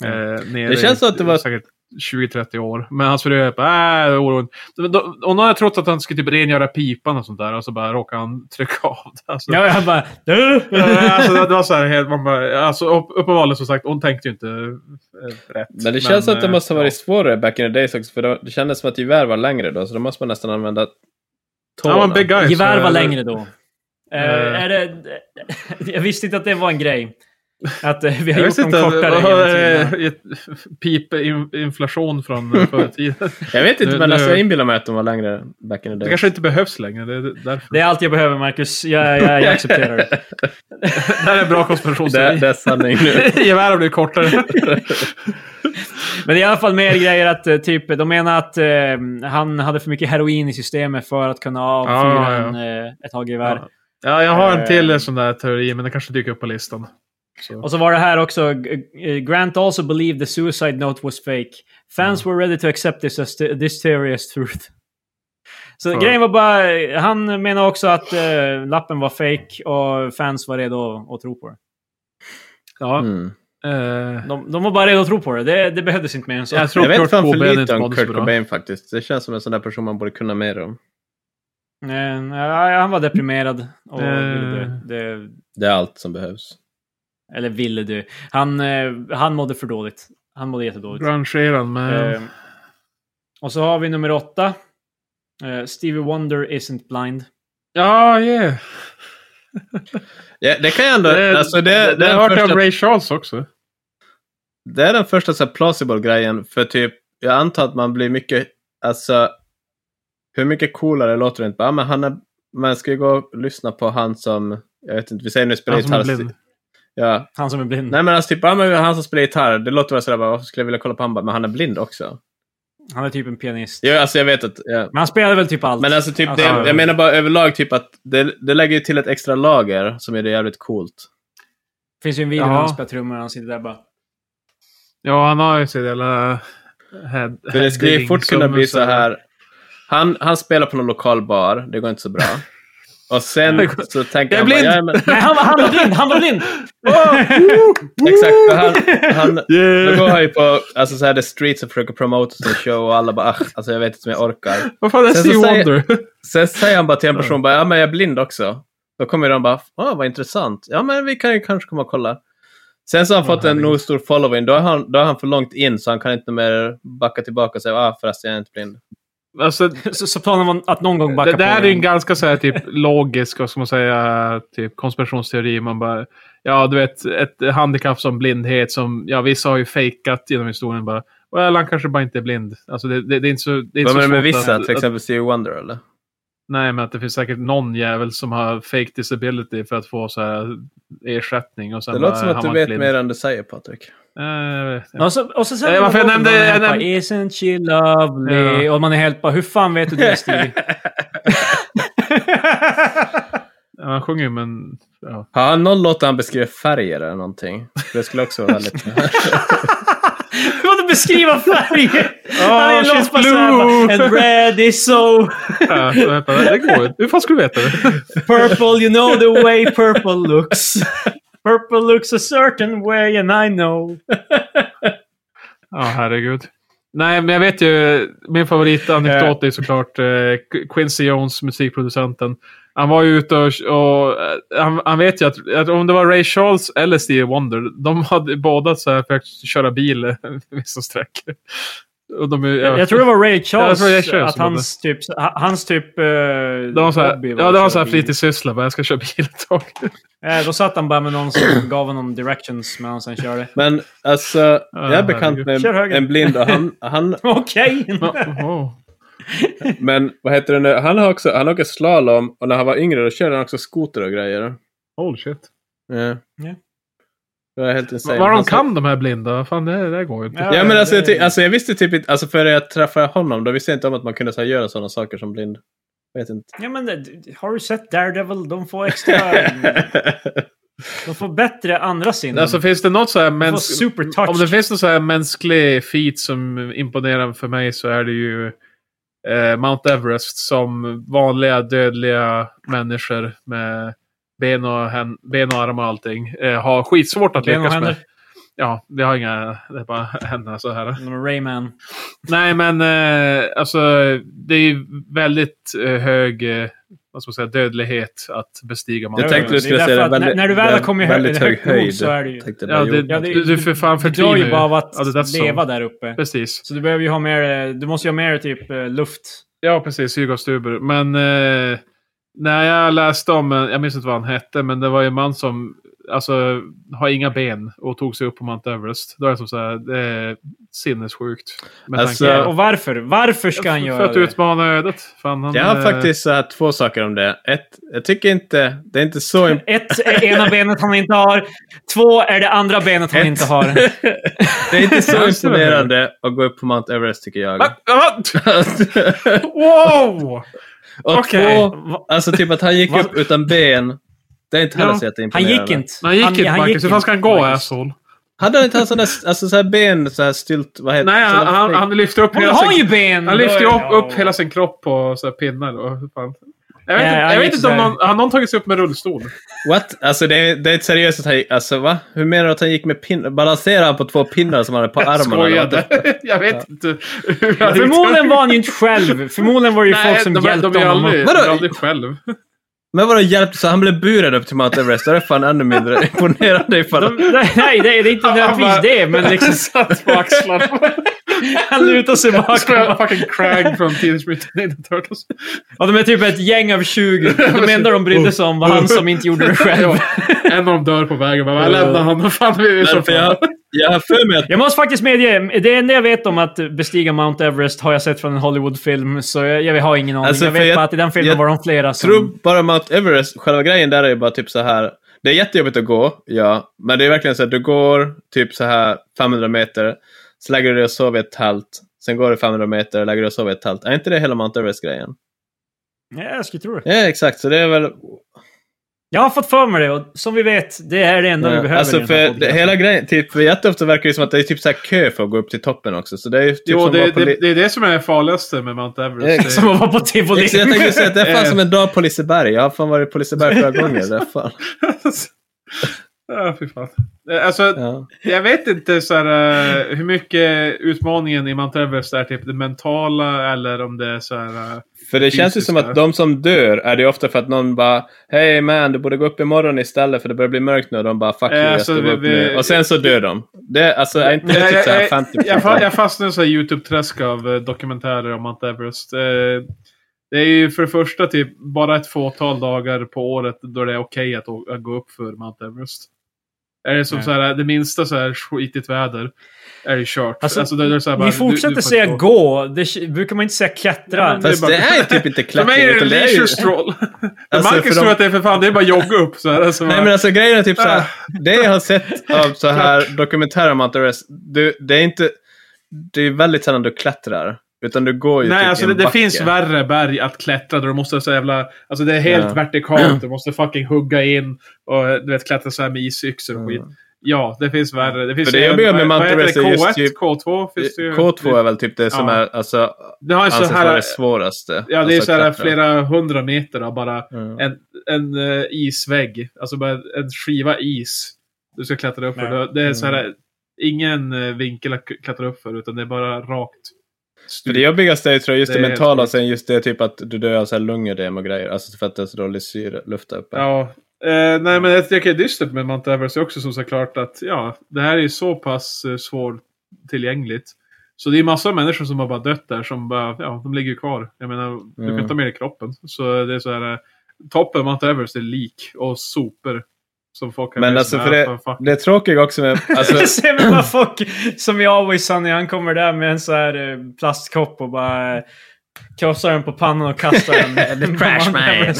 S3: Eh, nere
S1: Det känns
S3: i-
S1: som att det var-
S3: Säkert 20-30 år. Men hans fru är bara, äh, oron. Men då- Hon hade trott att han skulle typ rengöra pipan och sånt där. Och så bara råkade han trycka av det. Alltså.
S2: Ja, jag bara... Du!
S3: Eh, alltså, det var så här helt, man bara, alltså, upp, uppenbarligen som sagt, hon tänkte ju inte eh, rätt.
S1: Men det känns som att det
S3: eh,
S1: måste ha varit
S3: ja.
S1: svårare back in the days också. För det, var- det kändes som att gevär var längre då. Så då måste man nästan använda tårna.
S3: Ja, men big
S2: <laughs>
S3: guys.
S2: Gevär var
S3: eh,
S2: längre då. Eh,
S3: Eh.
S2: är det, <laughs> jag visste inte att det var en grej. Att eh, vi har
S3: Jag
S2: gjort
S3: vet
S2: dem
S3: inte,
S2: kortare genom tiderna.
S3: pipinflation från eh,
S1: <laughs>
S3: förr i tiden.
S1: Jag vet inte,
S3: Nu-
S1: men
S3: nu-
S1: alltså, jag inbillar mig att de var längre back in the
S3: Det
S1: days.
S3: kanske inte behövs längre. Det är <laughs> därför.
S2: Det är allt jag behöver, Marcus. Jag, jag, jag accepterar det.
S3: Det här är en bra
S1: det,
S3: konspirationsteori.
S1: det är sanning nu.
S3: Gevär har blivit
S1: <laughs>
S3: kortare.
S2: Men det är i alla fall mer grejer att eh, typ, de menar att eh, han hade för mycket heroin i systemet för att kunna avfyra
S3: ja.
S2: en, eh, ett tag gevär.
S3: Ja, jag har
S1: Eh.
S3: en till sån där teori, men den kanske dyker upp på listan. Så.
S2: Och så var det här också. eh, Grant also believed the suicide note was fake. Fans
S3: Mm.
S2: were ready to accept this as th- this theory as truth. <laughs> Så
S3: Ja.
S2: grejen var bara, han menar också att eh, lappen var fake och fans var redo att tro på det.
S3: <laughs> Ja,
S1: Mm.
S3: eh,
S2: De, de var bara redo att tro på det. Det, det behövdes inte mer än så.
S3: jag tror
S1: Jag vet
S3: Kurt
S1: fan för
S3: Cobain
S1: lite
S3: inte
S1: om
S3: mådde så
S1: Kurt
S3: bra.
S1: Cobain faktiskt. Det känns som en sån där person man borde kunna mer om.
S2: Eh, ja, han var deprimerad och
S3: Eh.
S2: ville dö. Det,
S1: Det är allt som behövs.
S2: eller ville dö. Han, eh, han mådde för dåligt. Han mådde jättedåligt.
S3: Grunge-eran med...
S2: Eh, och så har vi nummer åtta. Eh, Stevie Wonder isn't blind.
S3: Ja, yeah.
S1: Ja, det kan jag ändå...
S3: Det,
S1: alltså, det, det,
S3: det
S1: är
S3: har jag
S1: den
S3: hört
S1: första,
S3: av Ray Charles också.
S1: det är den första så här, plausible grejen. För typ, jag antar att man blir mycket... Alltså, hur mycket coolare låter det inte? Bara, "Ah, men han är, man ska ju gå och lyssna på han som... Jag vet inte, vi säger nu spelar
S3: Han som är
S1: gitarr.
S3: blind.
S1: Ja.
S2: Han som är blind.
S1: Nej men alltså typ, ja, men han som spelar gitarr, det låter väl sådär bara, varför skulle jag vilja kolla på han? Bara, Men han är blind också.
S2: Han är typ en pianist.
S1: Ja, alltså jag vet att... Ja.
S2: Men han spelar väl typ allt.
S1: Men alltså typ,
S2: Alltså,
S1: det, jag menar bara överlag typ att det, det lägger ju till ett extra lager som gör det jävligt coolt.
S2: Det finns ju en video när
S3: Ja.
S2: han spelar trummor och han sitter där bara...
S3: Ja, han har ju sitt jävla... Head,
S1: För det skulle ju
S3: heading
S1: fort kunna
S3: som-
S1: bli så här. Han, han spelar på någon lokal bar, det går inte så bra. Och sen så tänker
S3: Jag är
S1: han bara,
S3: blind!
S1: ja, men,
S2: Nej, han, han var blind! Han var blind!
S1: exakt, för han, han, då
S3: Yeah.
S1: går han ju på alltså, så här, the streets och försöker promota sin show och alla bara, "Ach, alltså jag vet inte om jag orkar.
S3: Vad fan är
S1: Sen så
S3: Stevie
S1: säger-
S3: Wonder?
S1: Sen säger han bara till en person, bara, ja men jag är blind också. Då kommer de bara, ah, vad intressant. Ja men vi kan ju kanske komma och kolla. Sen så har han
S3: Åh,
S1: fått en
S3: herregud.
S1: nog stor following. Då är, han, då är han för långt in så han kan inte mer backa tillbaka och säga, ah förresten jag är inte blind.
S3: Alltså,
S2: <laughs> Så, så planen var att någon gång backa
S3: det där
S2: på
S3: är en ganska så här, typ, <laughs> logisk vad ska man säga, typ, konspirationsteori. Man bara, ja, du vet, ett handikapp som blindhet som ja, vissa har ju fejkat genom historien. Bara, well, han kanske bara inte är blind. Alltså, det, det, det är inte så, det är inte
S1: Vad
S3: så
S1: menar du med
S3: svårt
S1: vissa?
S3: att-
S1: Till exempel Stevie Wonder eller?
S3: Nej, men att det finns säkert någon jävel som har fake disability för att få så här ersättning. Och sen
S1: Det låter som att
S3: bara, han
S1: du
S3: var inte
S1: vet
S3: blind.
S1: mer än du säger Patrik.
S3: Eh, jag vet inte.
S2: Och så, och så sen
S3: Eh, varför jag nämnde- jag
S2: bara,
S3: nämnde-
S2: Isn't she lovely? Och man är helt bara, hur fan vet du det Stevie?
S3: Ja, Han sjunger ju men... Ja.
S1: Har han någon låt där han beskriver färger eller någonting? Det skulle också vara
S2: <laughs>
S1: väldigt...
S2: Du måste beskriva
S3: <laughs>
S2: färger! Han är en
S3: Ah, she's
S2: låtsas så här,
S3: blue.
S2: bara, And red is so
S3: Ja, vänta, det går inte. Hur fan skulle du
S2: <laughs>
S3: veta det?
S2: purple, you know the way purple looks. Purple looks a certain way and I know.
S3: Ja, herregud. Nej, men jag vet ju. Min favoritanekdot är såklart eh, Qu- Quincy Jones, musikproducenten. Han var ju ute och... och eh, han, han vet ju att, att om det var Ray Charles eller Stevie Wonder, de hade båda så här försökt köra bil <laughs> eh, vissa sträckor. Och de, är- ja.
S2: Jag tror det var Ray
S3: jag
S2: Charles.
S3: tror det var Ray Charles
S2: att
S3: som hade-
S2: hans typ... Hans typ... eh,
S3: de har så här,
S2: hobby var
S3: ja,
S2: att
S3: det var
S2: köra
S3: så här
S2: bil.
S3: fritidssyssla. Bara, jag ska köra bil
S2: <laughs>
S3: ett tag.
S2: Eh, Då satt han bara med någon som <clears throat> gav honom directions medan han sen körde. <laughs>
S1: Men alltså, jag är bekant med
S2: Ah, Kör höger.
S1: en blind och han, han,
S2: Okej!
S3: Oh, oh.
S1: men vad heter det nu? Han har också, han åker slalom och när han var yngre då körde han också skoter och grejer.
S3: Holy shit.
S1: Ja.
S2: Ja.
S1: Det var helt insane.
S3: Vad de
S1: Han sa-
S3: kan de här blinda? Fan, det, det går ju inte.
S1: Ja men alltså, jag, ty-
S2: det-
S1: alltså jag visste typ inte, alltså före jag träffade honom då visste jag inte om att man kunde så här, göra sådana saker som blind. Jag vet
S2: <laughs>
S1: inte.
S2: Ja, men det- har du sett Daredevil? De får extra...
S3: <laughs>
S2: de får bättre andra sinnen.
S3: Alltså finns det något så här
S2: de får
S3: mäns-
S2: super touch.
S3: Om det finns någon så här mänsklig feat som imponerar för mig så är det ju eh, Mount Everest som vanliga dödliga människor med ben och, hän- ben och armar och allting eh, har skitsvårt att
S2: Ben och
S3: lyckas med.
S2: händer.
S3: Ja, vi har inga, det är bara händer så här.
S2: De är Rayman.
S3: Nej, men eh, alltså det är ju väldigt eh, hög eh, vad ska man säga, dödlighet att bestiga Mount
S1: Jag
S2: tänkte
S1: tänkte
S2: det
S1: du skulle
S2: är därför
S1: säga
S2: att
S1: det.
S2: när- när du väl har kommit hö-
S1: väldigt hög
S2: högt nog
S1: höjd.
S2: så är det ju-
S1: Tänkte
S3: Ja,
S1: bara,
S3: det,
S1: jo.
S2: Ja, det-
S3: du, du för fan Alltså,
S2: Du drar ju
S3: fördriver
S2: bara av att
S3: Ja, det där som-
S2: leva där uppe.
S3: Precis.
S2: Så du behöver ju ha mer... eh, Du måste ju ha mer typ eh, luft.
S3: Ja, precis. Hugo Stuber. Men eh, när jag läste om, eh, jag minns inte vad han hette, men det var ju en man som alltså, har inga ben och tog sig upp på Mount Everest. Då är det som så här, det är sinnessjukt. Med
S1: Alltså,
S3: tanke-
S2: Ja, Eh, och varför? Varför ska han
S3: för
S2: göra
S3: att
S2: det?
S3: utmana ödet. Fan, han,
S1: Jag har
S3: eh,
S1: faktiskt så här, två saker om det. Ett, jag tycker inte, det är inte så...
S3: <laughs>
S1: imp-
S2: Ett är ena benet han inte har. Två är det andra benet han
S1: Ett.
S2: inte har.
S1: det är inte så
S3: Jag ser det.
S1: imponerande att gå upp på Mount Everest tycker jag. <laughs>
S3: Va? Va? <laughs> Wow!
S1: och
S3: Okej.
S1: två, alltså typ att han gick
S3: Va?
S1: upp utan ben. Det är inte heller
S3: Ja,
S1: så
S2: Han
S1: jätteimponerande.
S2: gick inte.
S3: Han gick inte Marcus. Hur fan ska han gå,
S2: Marcus.
S3: asshole?
S1: Hade han inte han sån där, alltså så här ben, så här stylt, vad heter
S3: Nej, han,
S1: sån där
S3: han,
S1: fake-
S3: han lyfte upp
S2: Han
S3: hela
S2: har
S3: sin-
S2: ju ben!
S3: Han lyfte ju
S2: Då-
S3: upp, upp hela sin kropp på så här pinnar. Då. Hur fan? Jag vet
S2: Nej,
S3: inte,
S2: han
S3: jag vet
S2: gick
S3: inte om
S2: sådär.
S3: någon, har någon tagit sig upp med rullstol?
S1: What? Alltså det är, det är ett seriöst att han gick, alltså va? Hur menar du att han gick med pinnar? Balanserade han på två pinnar som han hade på armarna? eller vad?
S3: Skojade. <laughs> Jag vet inte. hur
S2: Ja,
S3: jag-
S2: Förmodligen var han ju inte själv. Förmodligen var det ju folk som
S3: de, de,
S2: hjälpte
S3: de är
S2: honom.
S3: aldrig,
S2: upp.
S3: de är
S1: Vadå?
S3: aldrig själv.
S1: Men vadå hjälpte? Så han blev buren upp till Mount Everest? Det är fan ännu mindre <laughs> imponerande ifall...
S2: De, <laughs> nej, det, det är inte
S3: <laughs> Han bara-
S2: nödvändigtvis det, men liksom,
S3: <laughs> satt på axlarna.
S2: han lutar
S3: <laughs>
S2: sig
S3: Spelade
S2: bakåt.
S3: fucking Krang från Teenage Mutant Ninja Turtles.
S2: Och de är typ ett gäng av 20. De enda de brydde sig om var han som inte gjorde
S1: <laughs>
S2: det själv.
S3: Ja, en av dem dör på vägen. Bara, jag lämnar honom. Fan, vi är så
S1: Därför jag,
S3: fan.
S1: jag har typ för mig att...
S2: Jag måste faktiskt medge, det enda jag vet om att bestiga Mount Everest har jag sett från en Hollywoodfilm, så jag, jag har ingen aning.
S1: Alltså,
S2: jag
S1: för
S2: vet
S1: jag-
S2: bara att i den filmen
S1: jag
S2: var de flera
S1: Jag
S2: som...
S1: tror bara Mount Everest, själva grejen där är ju bara typ så här. Det är jättejobbigt att gå, ja. Men det är verkligen så att du går typ så här 500 meter, så lägger du dig och sover i ett tält. Sen går du 500 meter, lägger dig och sover i ett tält. Är inte det hela Mount Everest-grejen?
S2: Ja, jag skulle tro det.
S1: Ja, exakt. Så det är väl
S2: Jag har fått för mig det och som vi vet, det är det enda vi
S1: Ja,
S2: behöver i
S1: alltså
S2: den
S1: för
S2: här
S1: det,
S2: podcasten.
S1: hela grejen, typ, för jätteofta verkar det som att det är typ så här kö för att gå upp till toppen också. Så det är ju typ
S3: Jo,
S1: som
S3: det,
S1: att vara på
S3: det,
S1: li-
S3: det är det som är det farligaste med Mount
S1: Exakt.
S3: Everest.
S2: <laughs> Som att vara på tivoli.
S1: Exakt, jag tänkte säga att det
S2: <laughs>
S1: är fan
S3: Eh.
S1: som en dag på Liseberg. Jag har fan varit på Liseberg flera gånger. Det är fan.
S3: <laughs> Ja, fy fan. Eh, Alltså,
S1: Ja.
S3: Jag vet inte så här, eh, hur mycket utmaningen i Mount Everest är typ det mentala eller om det är så här... eh,
S1: För det känns ju som att de som dör är det ju ofta för att någon bara Hej man, du borde gå upp imorgon istället för det börjar bli mörkt nu. Och de bara Fuck you,
S3: Eh,
S1: jag
S3: alltså,
S1: ska gå
S3: vi-
S1: upp
S3: vi-
S1: nu. Och sen så dör de. Det, alltså, är inte det
S3: jag,
S1: typ så här
S3: jag,
S1: 50
S3: Eh, jag, fa- jag fastnade i så här YouTube-träsk av eh, dokumentärer om Mount Everest. Eh, Det är ju för det första typ bara ett fåtal dagar på året då det är okej att, å- att gå upp för Mount Everest. Är det som
S2: Ja.
S3: så här, eh, det minsta så här skitigt väder är det kört.
S2: Alltså,
S3: då är det så här bara,
S2: Ni
S3: du-
S2: fortsätter
S3: du får
S2: säga
S3: inte
S2: gå. Det k- brukar man inte säga
S3: Ja,
S2: klättra.
S3: men-
S1: Fast det är ju typ inte
S3: <laughs> För
S1: klackning.
S3: mig är det
S1: utan det är ju-
S3: leisure stroll. <laughs>
S1: Alltså, för
S3: Marcus
S1: de-
S3: tror att det är för fan, det är bara jogga upp. Så här, alltså,
S1: Nej
S3: bara-
S1: men alltså grejen är typ så
S3: Ah.
S1: här. Det jag har sett av så här dokumentärer om Mount Everest. Du, det är inte... Det är väldigt sällan du klättrar. Utan du går ju
S3: Nej,
S1: typ
S3: alltså
S1: i
S3: det,
S1: en
S3: det
S1: backe.
S3: finns värre berg att klättra då du måste så jävla... Alltså det är helt
S1: Ja. <clears throat>
S3: vertikalt, du måste fucking hugga in och eh, du vet klättra så här med isyxor och
S1: Mm.
S3: skit. Ja, det finns värre. Det finns
S1: För det
S3: ju-
S1: jobbiga med
S3: vad- vad
S1: Mount
S3: heter
S1: Everest är
S3: det?
S1: just
S3: K1,
S1: typ-
S3: K2 finns det ju.
S1: K2 är väl typ det som
S3: Ja.
S1: är alltså,
S3: Det har ju
S1: anses
S3: så
S1: vara
S3: här...
S1: det svåraste.
S3: Ja, det är
S1: alltså,
S3: så här
S1: att klättra.
S3: flera hundra meter av bara
S1: Mm.
S3: en, en eh, isvägg. Alltså bara en skiva is du ska klättra upp
S2: Nej.
S3: för. Det är så
S1: Mm.
S3: här, ingen eh, vinkel att k- klättra upp för, utan det är bara rakt.
S1: För det jobbigaste är ju, tror jag, just det,
S3: Det är helt
S1: mentala och
S3: sjukt.
S1: sen just det typ att du dör av så här lungödem och grejer. Alltså för att det är så dålig syre, luft där uppe.
S3: Ja. Eh, nej, men jag tycker det är dystert med Mount Everest också som såklart att ja, det här är ju så pass eh, svårtillgängligt. Så det är massor av människor som har bara dött där som bara, ja, de ligger ju kvar. Jag menar, du kan
S1: Mm.
S3: inte ta med dig kroppen. Så det är så här, eh, toppen av Mount Everest är lik och sopor. Som folk har
S1: Men
S3: med
S1: alltså,
S3: sig.
S1: för
S3: Ja, fan, fuck.
S1: Det tråkiga också
S3: <laughs>
S1: med... Alltså,
S2: <laughs> Jag ser mig bara folk som i Always Sunny, han kommer där med en så här eh, plastkopp och bara eh, krossar den på pannan och kastar
S1: <laughs>
S2: den.
S4: Crash man.
S3: Nej,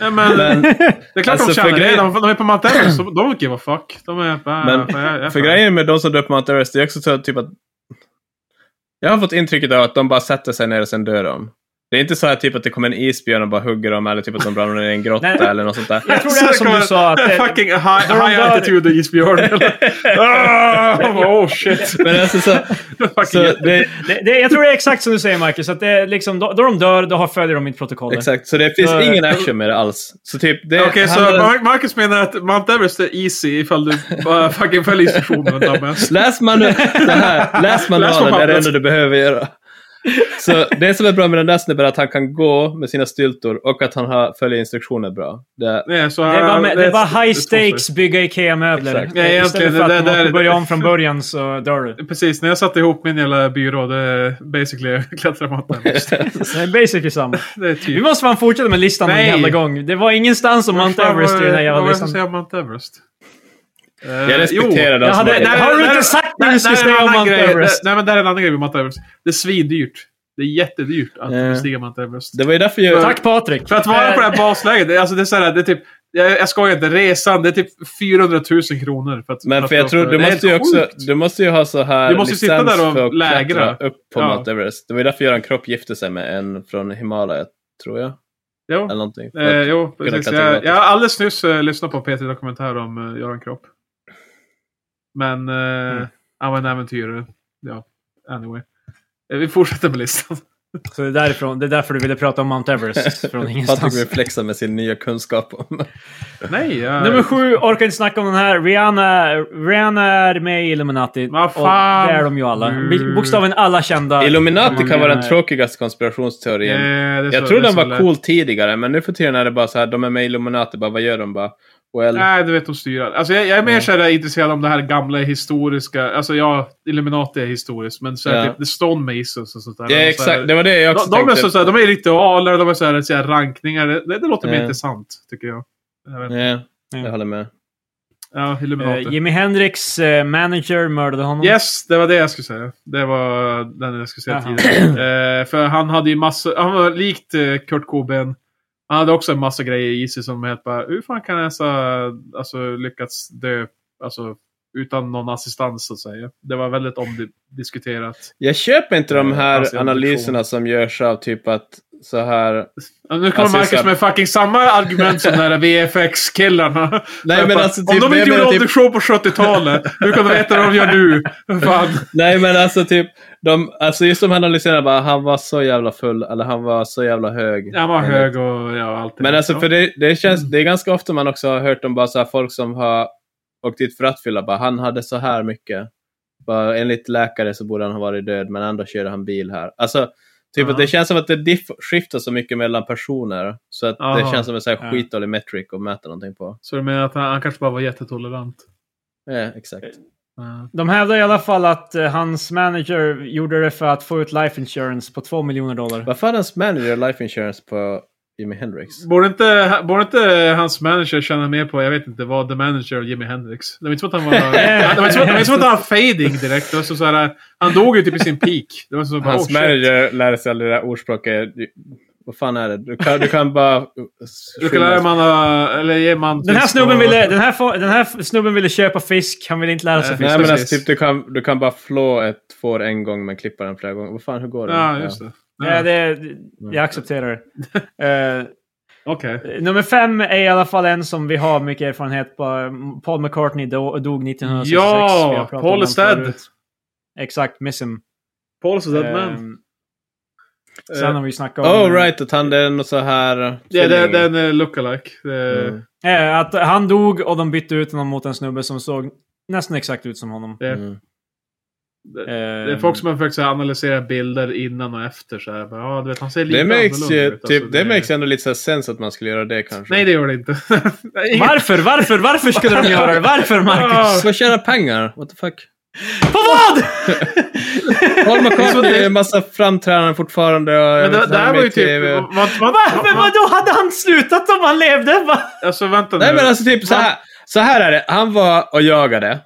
S3: men,
S1: men,
S3: <laughs> det är klart
S1: alltså,
S3: de tjänar
S1: för
S3: det.
S1: grejen-
S3: De, de är på Mount Everest, de, de give a fuck. De är bara,
S1: Men-
S3: fan, jag- jag-
S1: för grejen med de som dör på Mount Everest, det är också så typ att... Jag har fått intrycket av att de bara sätter sig ner och sen dör de. Det är inte så här typ att det kommer en isbjörn och bara hugger dem eller typ att de ramlar ner i en grotta
S2: Nej.
S1: eller något sånt där.
S2: Jag tror det är som du sa. Att det,
S3: <laughs> Fucking high,
S2: Då de
S3: high
S2: dör-
S3: altitude isbjörn.
S1: <laughs>
S3: <laughs> Ah, oh shit.
S1: Men alltså så,
S3: <laughs> Fucking
S1: så det,
S2: <laughs> det, det, jag tror det är exakt som du säger Marcus. Att det är liksom, då, då de dör, då har- följer de inte protokollet.
S1: exakt, så det finns
S2: Så-
S1: ingen action med det alls. Så typ det
S3: Okej, så
S1: handlar-
S3: Mar- Marcus menar att Mount Everest är easy ifall du bara fucking följer
S1: <laughs>
S3: instruktionerna. dumbass.
S1: Läs, manu-
S3: <laughs>
S1: det här, läs manualen, det är det enda du behöver göra. Så det som är bra med den där snubben är att han kan gå med sina styltor och att han har, följer instruktioner bra. Det,
S3: Nej, så
S2: Det
S3: här-
S2: är bara, med, det är bara high
S3: så svårt.
S2: stakes bygga IKEA-möbler.
S1: Exakt.
S3: Ja, egentligen,
S2: Istället för att
S3: det-
S2: man
S3: det-
S2: måste
S3: det-
S2: börja om från början så dör du.
S3: Precis, när jag satte ihop min jävla byrå, det är basically klättra på Mount
S1: <laughs>
S3: Everest.
S2: Så Det är basically samma.
S3: Det är
S2: Vi
S3: typ...
S2: måste fan fortsätta med listan någon
S3: Nej.
S2: jävla gång. Det var ingenstans om Mount Everest i den här
S3: Vad
S2: jävla
S3: var det som
S2: listan.
S3: säger om Mount Everest? Eh,
S1: jag respekterar
S3: jo.
S1: den som
S2: Jag hade-
S1: har-
S2: nej, Har du inte sagt när du ska
S3: nej,
S2: säga om
S3: en annan
S2: Mount
S3: grej.
S2: Everest?
S3: Det- Nej, men det här är en annan grej med Mount Everest. Det är svindyrt. Det är jättedyrt att
S1: Ja.
S3: bestiga Mount Everest.
S1: Det var ju därför jag...
S2: Tack Patrik!
S3: För att vara på det här basläget, det, är- alltså det är så här, det är typ, jag, jag skojar inte, resan, det är typ 400 000 kronor. För att,
S1: Men
S3: att
S1: för jag
S3: åka.
S1: tror, du
S3: Det är
S1: måste ju
S3: helt
S1: också,
S3: sjukt.
S1: du måste ju ha så här
S3: Du måste ju sitta
S1: licens
S3: där och
S1: för att
S3: lägra.
S1: klättra upp på
S3: Ja.
S1: Mount Everest. Det var ju därför Göran Kropp gifte sig med en från Himalaya, tror jag.
S3: Jo,
S1: Eller någonting. För
S3: eh,
S1: att-
S3: jo
S1: kunna
S3: precis.
S1: klättra
S3: Jag,
S1: gratis.
S3: jag har alldeles nyss eh, lyssnat på p Dokumentär om eh, Göran Kropp. Men eh,
S1: Mm.
S3: han var en äventyrare. Ja, anyway. Eh, Vi fortsätter med listan.
S2: Så det är, därifrån, det är därför du ville prata om
S1: <laughs>
S2: Mount Everest från
S1: Patrik
S2: ingenstans.
S1: vill flexa med sin nya kunskap om...
S3: Nej, jag...
S2: Nummer sju, orkar inte snacka om den här. Rihanna, Rihanna är med i Illuminati.
S3: Vad
S2: Och
S3: fan.
S2: det är de ju alla.
S3: Mm.
S2: Bil- Bokstaven alla kända. Eh,
S1: Illuminati kan vara den
S2: Nej.
S1: tråkigaste konspirationsteorin.
S3: Eh, det är så-
S1: Jag tror
S3: det är
S1: den
S3: så
S1: var
S3: lätt.
S1: cool tidigare, men nu för tiden är det bara så här, de är med i Illuminati, bara vad gör de? Bara, well,
S3: Nej, du vet de styr allt. Alltså jag, jag är mer så här intresserad om det här gamla historiska. Alltså ja, Illuminati är historiskt, men så här,
S1: Ja.
S3: typ The Stonemasons och sånt där.
S1: ja,
S3: Och Så
S1: exakt,
S3: här,
S1: det var det jag också typ.
S3: de, de, är
S1: tänkte.
S3: så, så här, de är ritualer, de är så här, så här rankningar. Det, det, det låter mer
S1: Ja.
S3: intressant, tycker jag. jag vet.
S1: Ja,
S2: Ja.
S1: jag håller med.
S3: Ja, Illuminati.
S2: Eh, Jimi Hendrix eh, manager mördade honom.
S3: Yes, det var det jag skulle säga. Det var den jag skulle säga
S2: Jaha.
S3: tidigare. Eh, för han hade ju massa, han var likt eh, Kurt Cobain. Han hade också en massa grejer i sig som helt bara, hur fan kan jag så, alltså, lyckats dö alltså, utan någon assistans så att säga. Det var väldigt omdiskuterat.
S1: Jag köper inte de
S3: Eh,
S1: här
S3: alltså, jag har en
S1: analyserna som görs av typ att så här...
S3: Ja, Nu kommer
S1: Alltså,
S3: Marcus
S1: så här-
S3: med fucking samma argument som de där VFX-killarna.
S1: Nej, men alltså,
S3: Om
S1: typ, jag
S3: de inte gjorde
S1: menar typ-
S3: audition på 70-talet, hur kan de veta vad de gör nu? Fan.
S1: Nej men alltså typ, de, alltså just de här analyserna bara, han var så jävla full, eller han var så jävla hög.
S3: Han var hög och ja, allt det
S1: Men
S3: där.
S1: alltså för det, det känns, det är ganska ofta man också har hört om bara så här folk som har åkt dit för rattfylla, bara han hade så här mycket. Bara, enligt läkare så borde han ha varit död, men ändå körde han bil här. Alltså, typ
S3: Ja.
S1: att det känns som att det diff- skiftar så mycket mellan personer, så att
S3: Aha.
S1: det känns som en så
S2: Ja.
S1: här skitdålig metric att mäta någonting på.
S3: Så du menar att han, han kanske bara var jättetolerant? Eh,
S1: Ja, exakt.
S3: Ja.
S2: De hävdar i alla fall att eh, hans manager gjorde det för att få ut life insurance på 2 miljoner dollar.
S1: Varför hade hans manager life insurance på Jimi Hendrix?
S3: Borde, inte, borde inte hans manager känna mer på, jag vet inte vad, the manager och Jimi Hendrix? Det var inte som att
S2: <laughs>
S3: han var... det var inte som att- det var inte som att han var fading direkt. Det var så så här, han dog ju typ i sin peak. Det var så bara,
S1: Hans
S3: oh, shit.
S1: manager lärde sig aldrig det där ordspråket. Vad fan är det? Du kan, du kan bara...
S3: Du kan lära man... eh, Eller ge man...
S2: Den här,
S3: fisk
S2: snubben
S3: och-
S2: ville, den, här, fa- den här f- snubben ville köpa fisk, han ville inte lära sig
S3: Nej,
S2: fisk.
S1: Nej men
S3: precis.
S1: alltså, typ, du, kan, du kan bara flå ett får en gång men klippa den flera gånger. Vad fan, hur går det?
S3: Ja, just det.
S2: Ja,
S3: Ja,
S2: Eh, det, jag
S3: <laughs>
S2: accepterar det. Eh,
S3: Okej.
S2: nummer fem är i alla fall en som vi har mycket erfarenhet på. Mm, Paul McCartney do, dog 1966.
S3: Ja,
S2: Vi har pratat om
S3: Paul
S2: honom
S3: is dead.
S2: förut. Exakt, miss him.
S3: Paul's a dead man.
S2: Ehm, sen har vi ju snackat om...
S1: Oh right, att han det är något så här...
S3: Ja, eh, det, det är
S1: tvilling.
S3: en eh, lookalike. Det,
S1: Mm.
S2: Eh, att han dog och de bytte ut honom mot en snubbe som såg nästan exakt ut som honom. Ehm,
S3: det,
S1: Mm.
S3: det, det är folk som har försökt så här, analysera bilder innan och efter. Så här. Bara, ja, du vet, han ser lite
S1: Det makes,
S3: annorlunda
S1: ju,
S3: ut.
S1: typ,
S3: Alltså,
S1: det makes ändå lite så här sens att man skulle göra det kanske.
S3: Nej, det gör det inte. <laughs> Nej, ingen-
S2: Varför? Varför? Varför skulle de göra det?
S3: <laughs>
S2: Varför, Marcus?
S1: För att tjäna pengar? What the fuck?
S2: På vad?
S1: Paul McCartney är en massa framträdanden fortfarande. Och, jag
S3: Men det,
S1: vet,
S3: det
S1: han är
S3: här
S1: med
S3: var ju
S1: i
S3: typ...
S1: TV.
S3: Vad, vad,
S2: Varför? Vadå? Hade han slutat om han levde? Va?
S3: Alltså vänta nu.
S1: Nej men alltså typ så här, så här är det. Han var och jagade.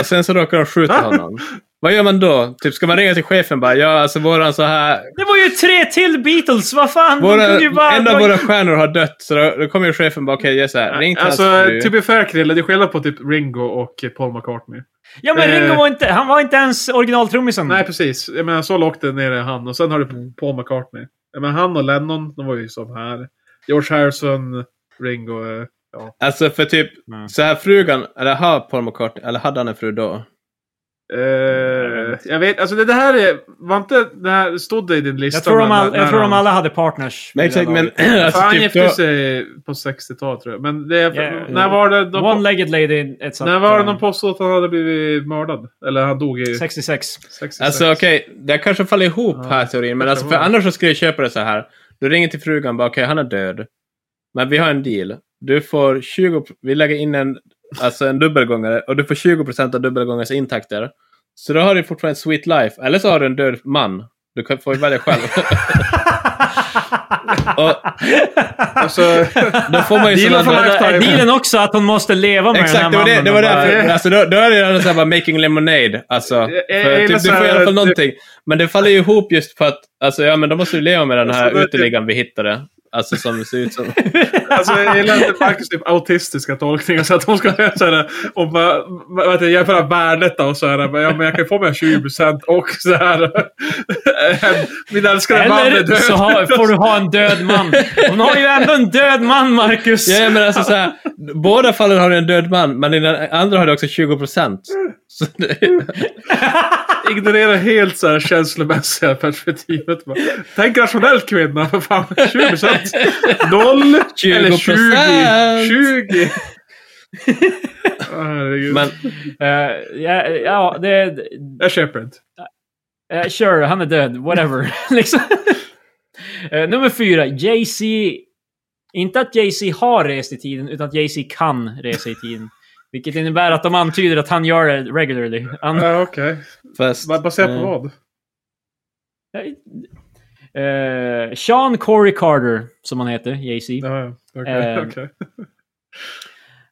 S1: Och sen så råkade de skjuta honom. Vad gör man då? Typ ska man ringa till chefen bara ja alltså våran så här.
S2: Det var ju tre till Beatles, vad fan!
S1: Våra,
S2: de kunde ju bara...
S1: en av våra stjärnor har dött. Så då, då kommer ju chefen bara okej gör så här. Ring till
S3: Alltså,
S1: hans fru.
S3: to be fair Krille, det är skillnad på typ Ringo och eh, Paul McCartney.
S2: Ja men Ringo
S3: Eh.
S2: var inte, han var inte ens originaltrummisen.
S3: Nej, precis. Jag menar, så lågt ner är han. Och sen har du Paul McCartney. Jag menar, han och Lennon, de var ju som här. George Harrison, Ringo. eh,
S1: Alltså för typ
S2: Nej.
S1: så här frugan, eller har Paul McCartney, eller hade han en fru då?
S3: Eh, jag vet Alltså det, det här är... Var inte det här... Stod det i din lista?
S2: jag tror, de
S3: när-
S2: all,
S3: när
S2: jag tror de
S3: han-
S2: alla hade partners.
S1: Nej
S2: vid det
S1: exakt men
S2: laget.
S1: <clears throat>
S3: För
S1: alltså
S3: han
S1: typ
S3: gifte
S1: då.
S3: sig på 60-talet tror jag. Men det...
S2: Yeah.
S3: När var det... De,
S2: One-legged lady, etc.
S3: när var det de påstod att han hade blivit mördad? Eller han dog
S2: Eh,
S3: i
S2: 66.
S3: 66?
S1: Alltså okej, det kanske faller ihop
S3: Ja,
S1: här teorin. Men
S3: kanske
S1: alltså, för
S3: var det.
S1: annars så skulle jag köpa det så här. Du ringer till frugan bara okej, han är död. Men vi har en deal. Du får 20, vi lägger in en, alltså en dubbelgångare och du får 20% av dubbelgångarens intakter. Så då har du fortfarande ett sweet life. Eller så har du en död man. Du kan få välja
S3: <laughs>
S1: själv. och
S3: Alltså, <laughs>
S1: då får man ju såna-
S3: Dealen får man-
S2: Är eh, dealen också att hon måste leva med
S1: Exakt,
S2: den
S1: det
S2: här
S1: var det,
S2: mannen?
S1: det var
S2: och bara-
S1: därför. Alltså, då, då är det redan såhär bara making lemonade. Alltså,
S3: jag
S1: för,
S3: gillar
S1: typ, du
S3: så här
S1: får i alla fall
S3: att-
S1: någonting. Men det faller ju ihop just för att, alltså ja men då måste du leva med den
S3: Alltså,
S1: här
S3: det-
S1: uteliggaren vi hittade. Alltså som ser ut
S3: <laughs>
S1: som...
S3: alltså jag gillar inte Marcus typ autistiska tolkningar. Så att hon ska <laughs> göra såhär och bara, vad heter det, jämföra värdet av såhär. bara, Ja, men jag kan få mig 20% och <laughs> såhär. Min älskade man är
S2: Eller
S3: död.
S2: så har, får
S3: <laughs>
S2: du ha en död <laughs> man. Hon har ju ändå en död man, Marcus!
S1: Ja, ja men alltså såhär, båda fallen har du en död man, men i den andra har du också 20%. <laughs> Så det,
S3: ignorerar helt så här känslomässiga perspektivet. Bara, Tänk rationellt kvinna, för fan.
S1: <laughs>
S3: 20 procent. Noll eller 20. 20. <laughs> Åh, Herregud.
S1: men
S2: Eh, ja, ja, det...
S3: Jag köper inte.
S2: Eh, sure, han är död. Whatever. <laughs> liksom. Eh, nummer fyra. Jay-Z. Inte att Jay-Z har rest i tiden, utan att Jay-Z kan resa i tiden. Vilket innebär att de antyder att han gör det regularly. Han,
S3: Ja, Okej.
S1: fast...
S3: Men Baserat på
S1: eh,
S3: vad?
S2: Eh, Sean Corey Carter, som han heter, Jay-Z.
S3: Ja, ja. Okej.
S2: Ehm.
S3: okej.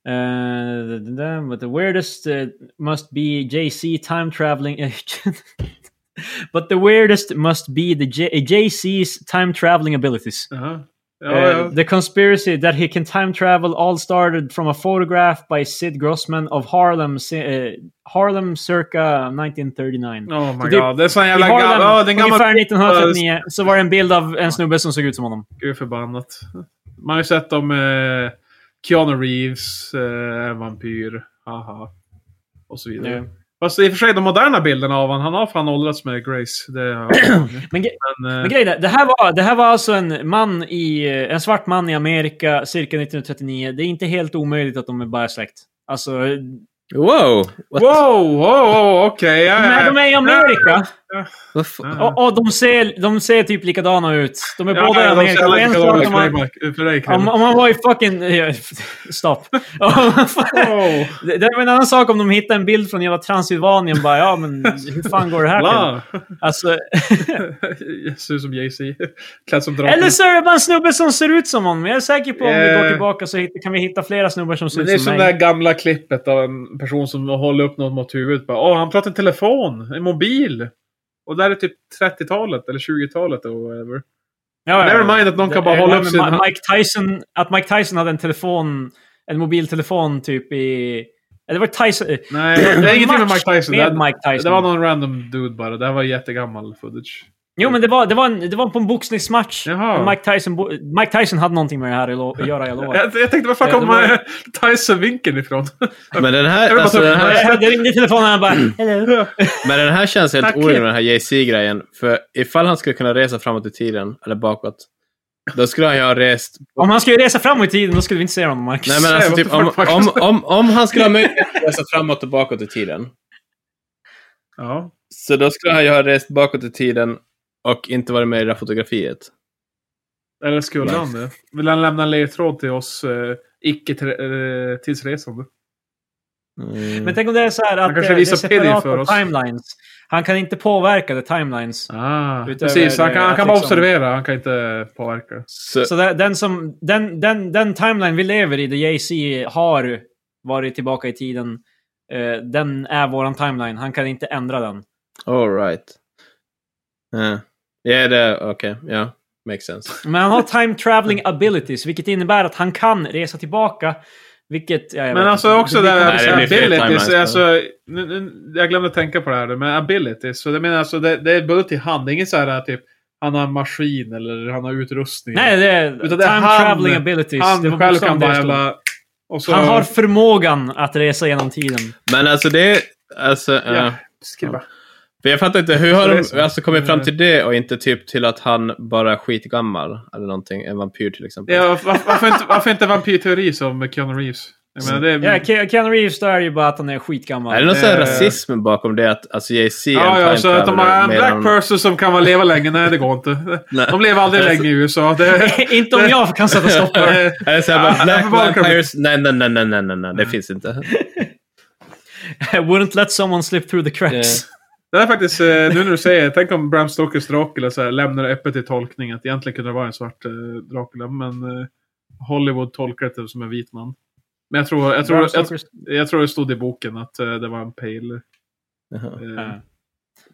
S2: Uh, the, the, but the weirdest uh, must be JC time traveling agent. <laughs> but the weirdest must be the J- JC's time traveling abilities.
S3: Jaha.
S2: Uh,
S3: Ja, ja.
S2: The conspiracy that he can time travel all started from a photograph by Sid Grossman of Harlem, si- uh, Harlem circa 1939.
S3: Oh my
S2: det-
S3: god. Det är sån
S2: I
S3: jävla
S2: Harlem,
S3: gammal... Ja, det är en
S2: ungefär
S3: gammal...
S2: 1939, så var det en bild av en snubbe som såg ut som honom.
S3: Gud förbannat. Man har ju sett om eh, Keanu Reeves, eh, en vampyr, haha. Och så vidare.
S2: Ja.
S3: Fast i och för sig de moderna bilderna av honom, han har fan åldrats med Grace. Det har han.
S2: <clears throat> Men ge-
S3: men,
S2: Men
S3: eh,
S2: grejen är, det här var, det här var alltså en, man i, en svart man i Amerika cirka 1939. Det är inte helt omöjligt att de är bara släkt. Alltså,
S1: Wow! What,
S3: wow, wow, wow okej. ja,
S2: men
S3: ja, ja.
S2: de är i Amerika
S1: vad fa-
S3: Ja.
S2: och, och de, ser, de ser typ likadana ut. De är
S3: Ja,
S2: båda i
S3: ja, de
S2: Amerika.
S3: ser
S2: Och en sak
S3: likadana ut
S2: om
S3: för dig,
S2: man,
S3: Mark- för dig,
S2: om,
S3: Krille.
S2: om man var i fucking... <laughs> ja, Stopp.
S3: Wow.
S2: det det var en annan sak om de hittade en bild från hela Transylvanien. Bara, ja, men hur fan går det här till?
S3: Bla.
S2: Alltså,
S3: <laughs> Jag Ser ut som Jay-Z. Klädd som drottning.
S2: eller så är det bara en snubbe som ser ut som honom. Jag är säker på om vi går
S3: Eh.
S2: tillbaka så hitt- kan vi hitta flera snubbar som ser
S3: Men det är
S2: ut
S3: som
S2: som
S3: det
S2: mig.
S3: här gamla klippet av en person som håller upp något mot huvudet. Bara, Åh, han pratar i telefon, en mobil. Och där är typ 30-talet eller 20-talet eller whatever.
S2: Ja, ja.
S3: Never mind att någon kan bara
S2: Det-
S3: hålla
S2: det-
S3: upp sin hand.
S2: Ma- Mike Tyson, att Mike Tyson hade en telefon, en mobiltelefon typ i... ja, Det var Tyson... eh,
S3: Nej, det är ingenting med Mike Tyson.
S2: Med
S3: det,
S2: Mike Tyson.
S3: det var någon random dude bara. Det här var jättegammal footage.
S2: Jo, men det var, det var, en, det var på en boxningsmatch.
S3: Jaha.
S2: Mike Tyson, bo- Mike Tyson hade någonting med det här att lo- att göra, jag
S3: <laughs>
S2: lovar.
S3: Jag, jag tänkte, var fan
S2: Ja, det
S3: kom
S2: var-
S3: <laughs>
S2: <laughs>
S3: Tyson-vinkeln ifrån?
S1: Men den här,
S3: Jag vill bara
S1: alltså,
S3: ta upp
S1: den
S3: den
S1: här,
S3: här.
S2: Jag ringde i telefonen och han
S3: <clears throat>
S2: bara Hello.
S1: men den här känns helt
S3: Tack.
S1: orimlig, den här JC-grejen. För ifall han skulle kunna resa framåt i tiden, eller bakåt, då skulle han ju ha rest...
S2: Om han skulle resa framåt i tiden då skulle vi inte se honom, Marcus.
S1: Nej men alltså
S3: Nej,
S1: typ,
S3: what
S1: om,
S3: the fuck,
S1: om,
S3: Marcus?
S1: om, om han
S3: <laughs>
S1: skulle ha möjlighet att resa framåt och bakåt i tiden,
S3: ja.
S1: så då skulle han ju ha rest bakåt i tiden och inte varit med i det här fotografiet.
S3: Eller skulle han det? Vill han lämna en ledtråd till oss eh, icke-tidsresande?
S1: Mm.
S2: Men tänk om det är så här att
S3: Han kanske
S2: det-
S3: visar
S2: det är separata
S3: PD för oss.
S2: timelines. Han kan inte påverka the timelines.
S3: Ah,
S2: Utöver
S3: precis. Han kan,
S2: det
S3: han kan
S2: att
S3: bara
S2: liksom-
S3: observera. Han kan inte påverka.
S1: så,
S2: Så det- den, som, den, den, den timeline vi lever i, där Jay-Z har varit tillbaka i tiden, eh, den är våran timeline. Han kan inte ändra den.
S1: all right. Ja, Ja, det... Okej, ja. Makes sense.
S2: Men han har time traveling
S3: Mm.
S2: abilities, vilket innebär att han kan resa tillbaka. Vilket, ja, jag
S3: Men
S2: vet
S3: alltså
S2: inte.
S3: också
S2: Det-
S3: det
S2: det-
S3: här
S1: Nej, det blir fel timelines
S3: abilities.
S1: på
S3: Alltså, nu, nu, jag glömde tänka på det här. Men abilities. Så det menar alltså, det, det är både till hand. Det är inget så här typ han har en maskin eller han har utrustning.
S2: Nej, det är
S3: Utan
S2: time
S3: det är han-
S2: traveling abilities. Det var
S3: han själv
S2: bokstavligen
S3: kan
S2: det
S3: bara
S2: det stod.
S3: jävla... Och så, Mm.
S2: Han har förmågan att resa genom tiden.
S1: Men alltså det... Alltså,
S3: Ja,
S1: ja.
S3: skriva.
S1: För jag fattar inte, hur har
S3: Så det är
S1: de
S3: så. Eh.
S1: alltså, kommit fram till det och inte typ till att han bara är skitgammal? Eller någonting, en vampyr till exempel.
S3: Ja, var- varför, inte, varför inte vampyrteori som Keanu Reeves? Jag menar, det är,
S2: Ja, Ke- Keanu Reeves där är ju bara att han är skitgammal.
S1: Är det någon sån här
S3: Eh.
S1: rasism bakom det? Att alltså, JC är
S3: ja, ja, så att de har en black
S1: person.
S3: person som kan leva länge. Nej, det går inte.
S1: Nej.
S3: De lever aldrig länge i USA.
S1: <laughs>
S3: Det,
S2: <laughs> inte om jag kan sätta stopp
S3: <laughs>
S2: för det.
S3: eh,
S1: Är det så här, bara,
S3: Ja,
S1: black
S3: varför bara-
S1: vampires? Nej, nej, nej, nej, nej, nej, nej, det finns inte.
S2: I wouldn't let someone slip through the cracks.
S3: det är faktiskt, eh, nu när du säger det, tänk om Bram Stokers Dracula så här, lämnar det öppet till tolkning. Att egentligen kunde det vara en svart eh, Dracula, men eh, Hollywood tolkar det som en vit man. Men jag tror, jag, tror,
S2: Bram
S3: jag, jag,
S2: Stokers-
S3: tror det stod i boken att eh, det var en pale,
S1: Jaha.
S3: eh,
S2: Ja.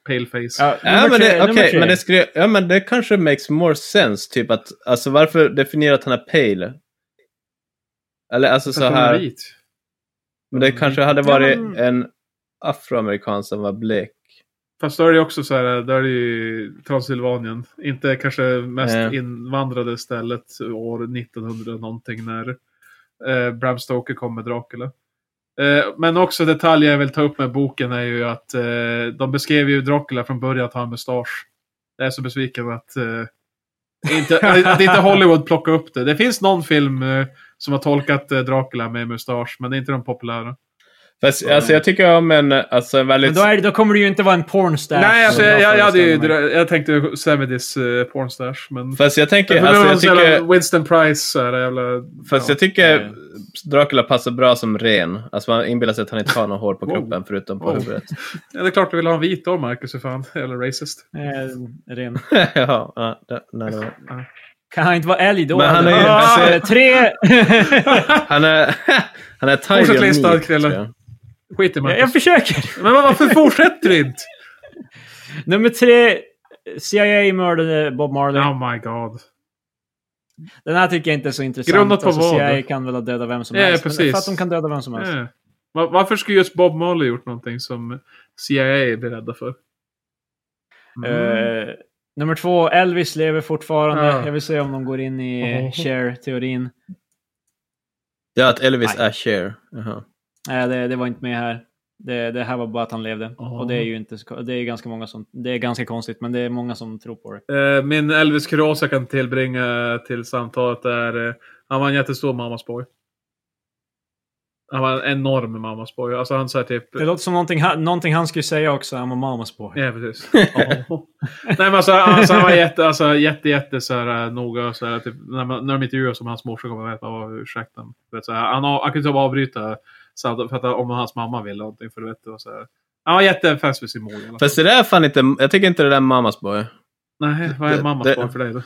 S3: pale face.
S2: Ja,
S1: Ja,
S2: nummer
S1: men
S2: tre-
S1: det,
S2: nummer
S1: okay,
S2: tre.
S1: men det skulle, ja, men det kanske makes more sense. Typ att, alltså varför definiera att han är pale? Eller alltså så
S3: Att hon är
S1: här,
S3: vit.
S1: men det kanske hade
S2: Ja,
S1: varit
S2: men-
S1: en afroamerikan som var blek.
S3: Fast då är det också så här, då är det ju Transylvanien. Inte kanske mest
S1: Eh.
S3: invandrade stället år 1900 någonting när eh, Bram Stoker kom med Dracula. Eh, men också detaljer jag vill ta upp med boken är ju att eh, de beskrev ju Dracula från början att ha en mustasch. Jag är så besviken att, eh, inte, att inte Hollywood plockade upp det. Det finns någon film eh, som har tolkat eh, Dracula med mustasch, men det är inte de populära.
S1: Fast, alltså jag tycker om en, alltså en väldigt...
S2: Men då, är, det- då kommer det ju inte vara en pornstash.
S3: Nej, alltså,
S2: som
S3: jag, jag, jag, hade ju,
S2: föreställer mig.
S3: jag tänkte 70s eh, pornstash, men...
S1: Fast jag tänker,
S3: Men
S1: alltså
S3: det
S1: jag
S3: var någon
S1: tycker,
S3: jävla Winston Price så här, jävla...
S1: fast
S3: ja.
S1: jag tycker
S2: nej.
S1: Dracula passar bra som ren. Alltså man inbillar sig att han inte har något hår på
S3: Wow.
S1: kroppen förutom på
S3: Wow.
S1: huvudet. <laughs>
S3: Ja, det är klart du vill ha en vit då, Marcus. Hur fan? Eller racist.
S2: Eh, ren.
S1: ja, ja, det- nej, det var-
S2: Kan han inte vara älg då?
S1: Men han är ju-
S2: Ah,
S1: alltså-
S2: tre...
S1: han är, <laughs> han är tidy
S3: Fortsätt
S1: och
S3: lista,
S1: neat,
S3: Krille.
S1: tror jag.
S3: Skit i
S2: jag,
S3: Marcus.
S2: jag försöker.
S3: Men varför fortsätter du inte?
S2: Nummer tre. CIA mördade Bob Marley.
S3: Oh my god.
S2: Den här tycker jag inte är så intressant. Alltså,
S3: Grundat på vad?
S2: CIA kan väl ha dödat vem som
S3: Ja,
S2: helst.
S3: precis.
S2: Men För att de kan döda vem som helst.
S3: Eh. Va- Varför skulle just Bob Marley gjort någonting som CIA blir rädda för? Mm.
S2: Eh, nummer två, Elvis lever fortfarande.
S3: Ja.
S2: Jag vill se om de går in i
S3: Oho.
S2: Cher-teorin.
S1: Ja, att Elvis
S2: Nej.
S1: är Cher. Jaha.
S2: Nej, det, det var inte med här. Det, det här var bara att han levde.
S3: Oho.
S2: Och det är ju inte så, det är ganska många som, det är ganska konstigt, men det är många som tror på det.
S3: Eh, Min Elvis Kuros jag kan tillbringa till samtalet är... eh, Han var en jättestor mammas boy. Han var en enorm mammas boy. Alltså han såhär typ...
S2: Det låter som någonting, han- någonting han skulle säga också, I'm a mamas boy.
S3: Ja, precis. Ja. Nej, men alltså, alltså, han var jätte, alltså, jätte, jätte så här, noga. Så här, typ, när, man, när de intervjuade som hans morsa kommer med, bara, ursäkta. mig." Du Vet, så här, han, har- han kunde typ avbryta så att, för att, om hans mamma ville någonting. För, du vet, det var så här, han var jättefäst vid sin mor. i alla fall.
S1: Fast det där är fan inte, jag tycker inte det där är mammas boy.
S3: Nej, vad
S1: det-
S3: är mammas
S1: det-
S3: barn för dig då?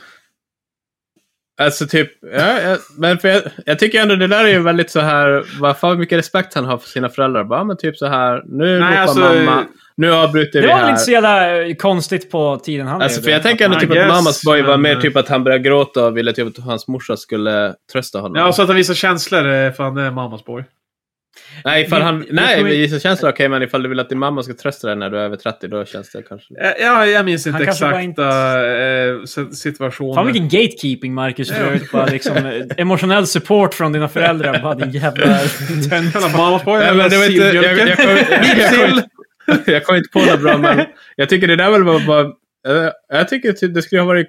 S1: Alltså typ, ja, jag, men för jag, jag tycker ändå det där är ju väldigt så här, vad fan mycket respekt han har för sina föräldrar. Bara, men typ så här, nu
S3: Nej,
S1: ropar
S3: alltså,
S1: mamma, nu avbryter vi
S2: Det var väl
S1: här.
S2: inte så jävla eh, konstigt på tiden han
S1: Alltså,
S2: levde.
S1: för jag tänker ändå
S3: I
S1: typ att
S3: guess,
S1: Mamas Boy var
S3: men-
S1: mer typ att han började gråta och ville typ att hans morsa skulle trösta honom.
S3: Ja, alltså, så att han visar känslor. eh, Fan, det är mammas boy.
S1: nej, ifall han,
S2: Vi- vi
S1: nej,
S2: kommer-
S1: vi känns det okej, men ifall du vill att din mamma ska trösta dig när du är över 30, då känns det kanske...
S3: Eh, Ja, jag minns inte
S2: Han kanske bara
S3: exakta
S2: inte-
S3: eh, si- situationer.
S2: Fan vilken gatekeeping Marcus
S3: Ja.
S2: för övrigt. Bara liksom eh, emotionell support från dina föräldrar. Bara din jävla tönt.
S3: Jävla mammas boy.
S1: Nej, men det var inte, jag, jag, jag, kom, jag, kom inte, jag kom inte på något bra, men jag tycker det där väl var bara... eh, Jag tycker typ det skulle ha varit...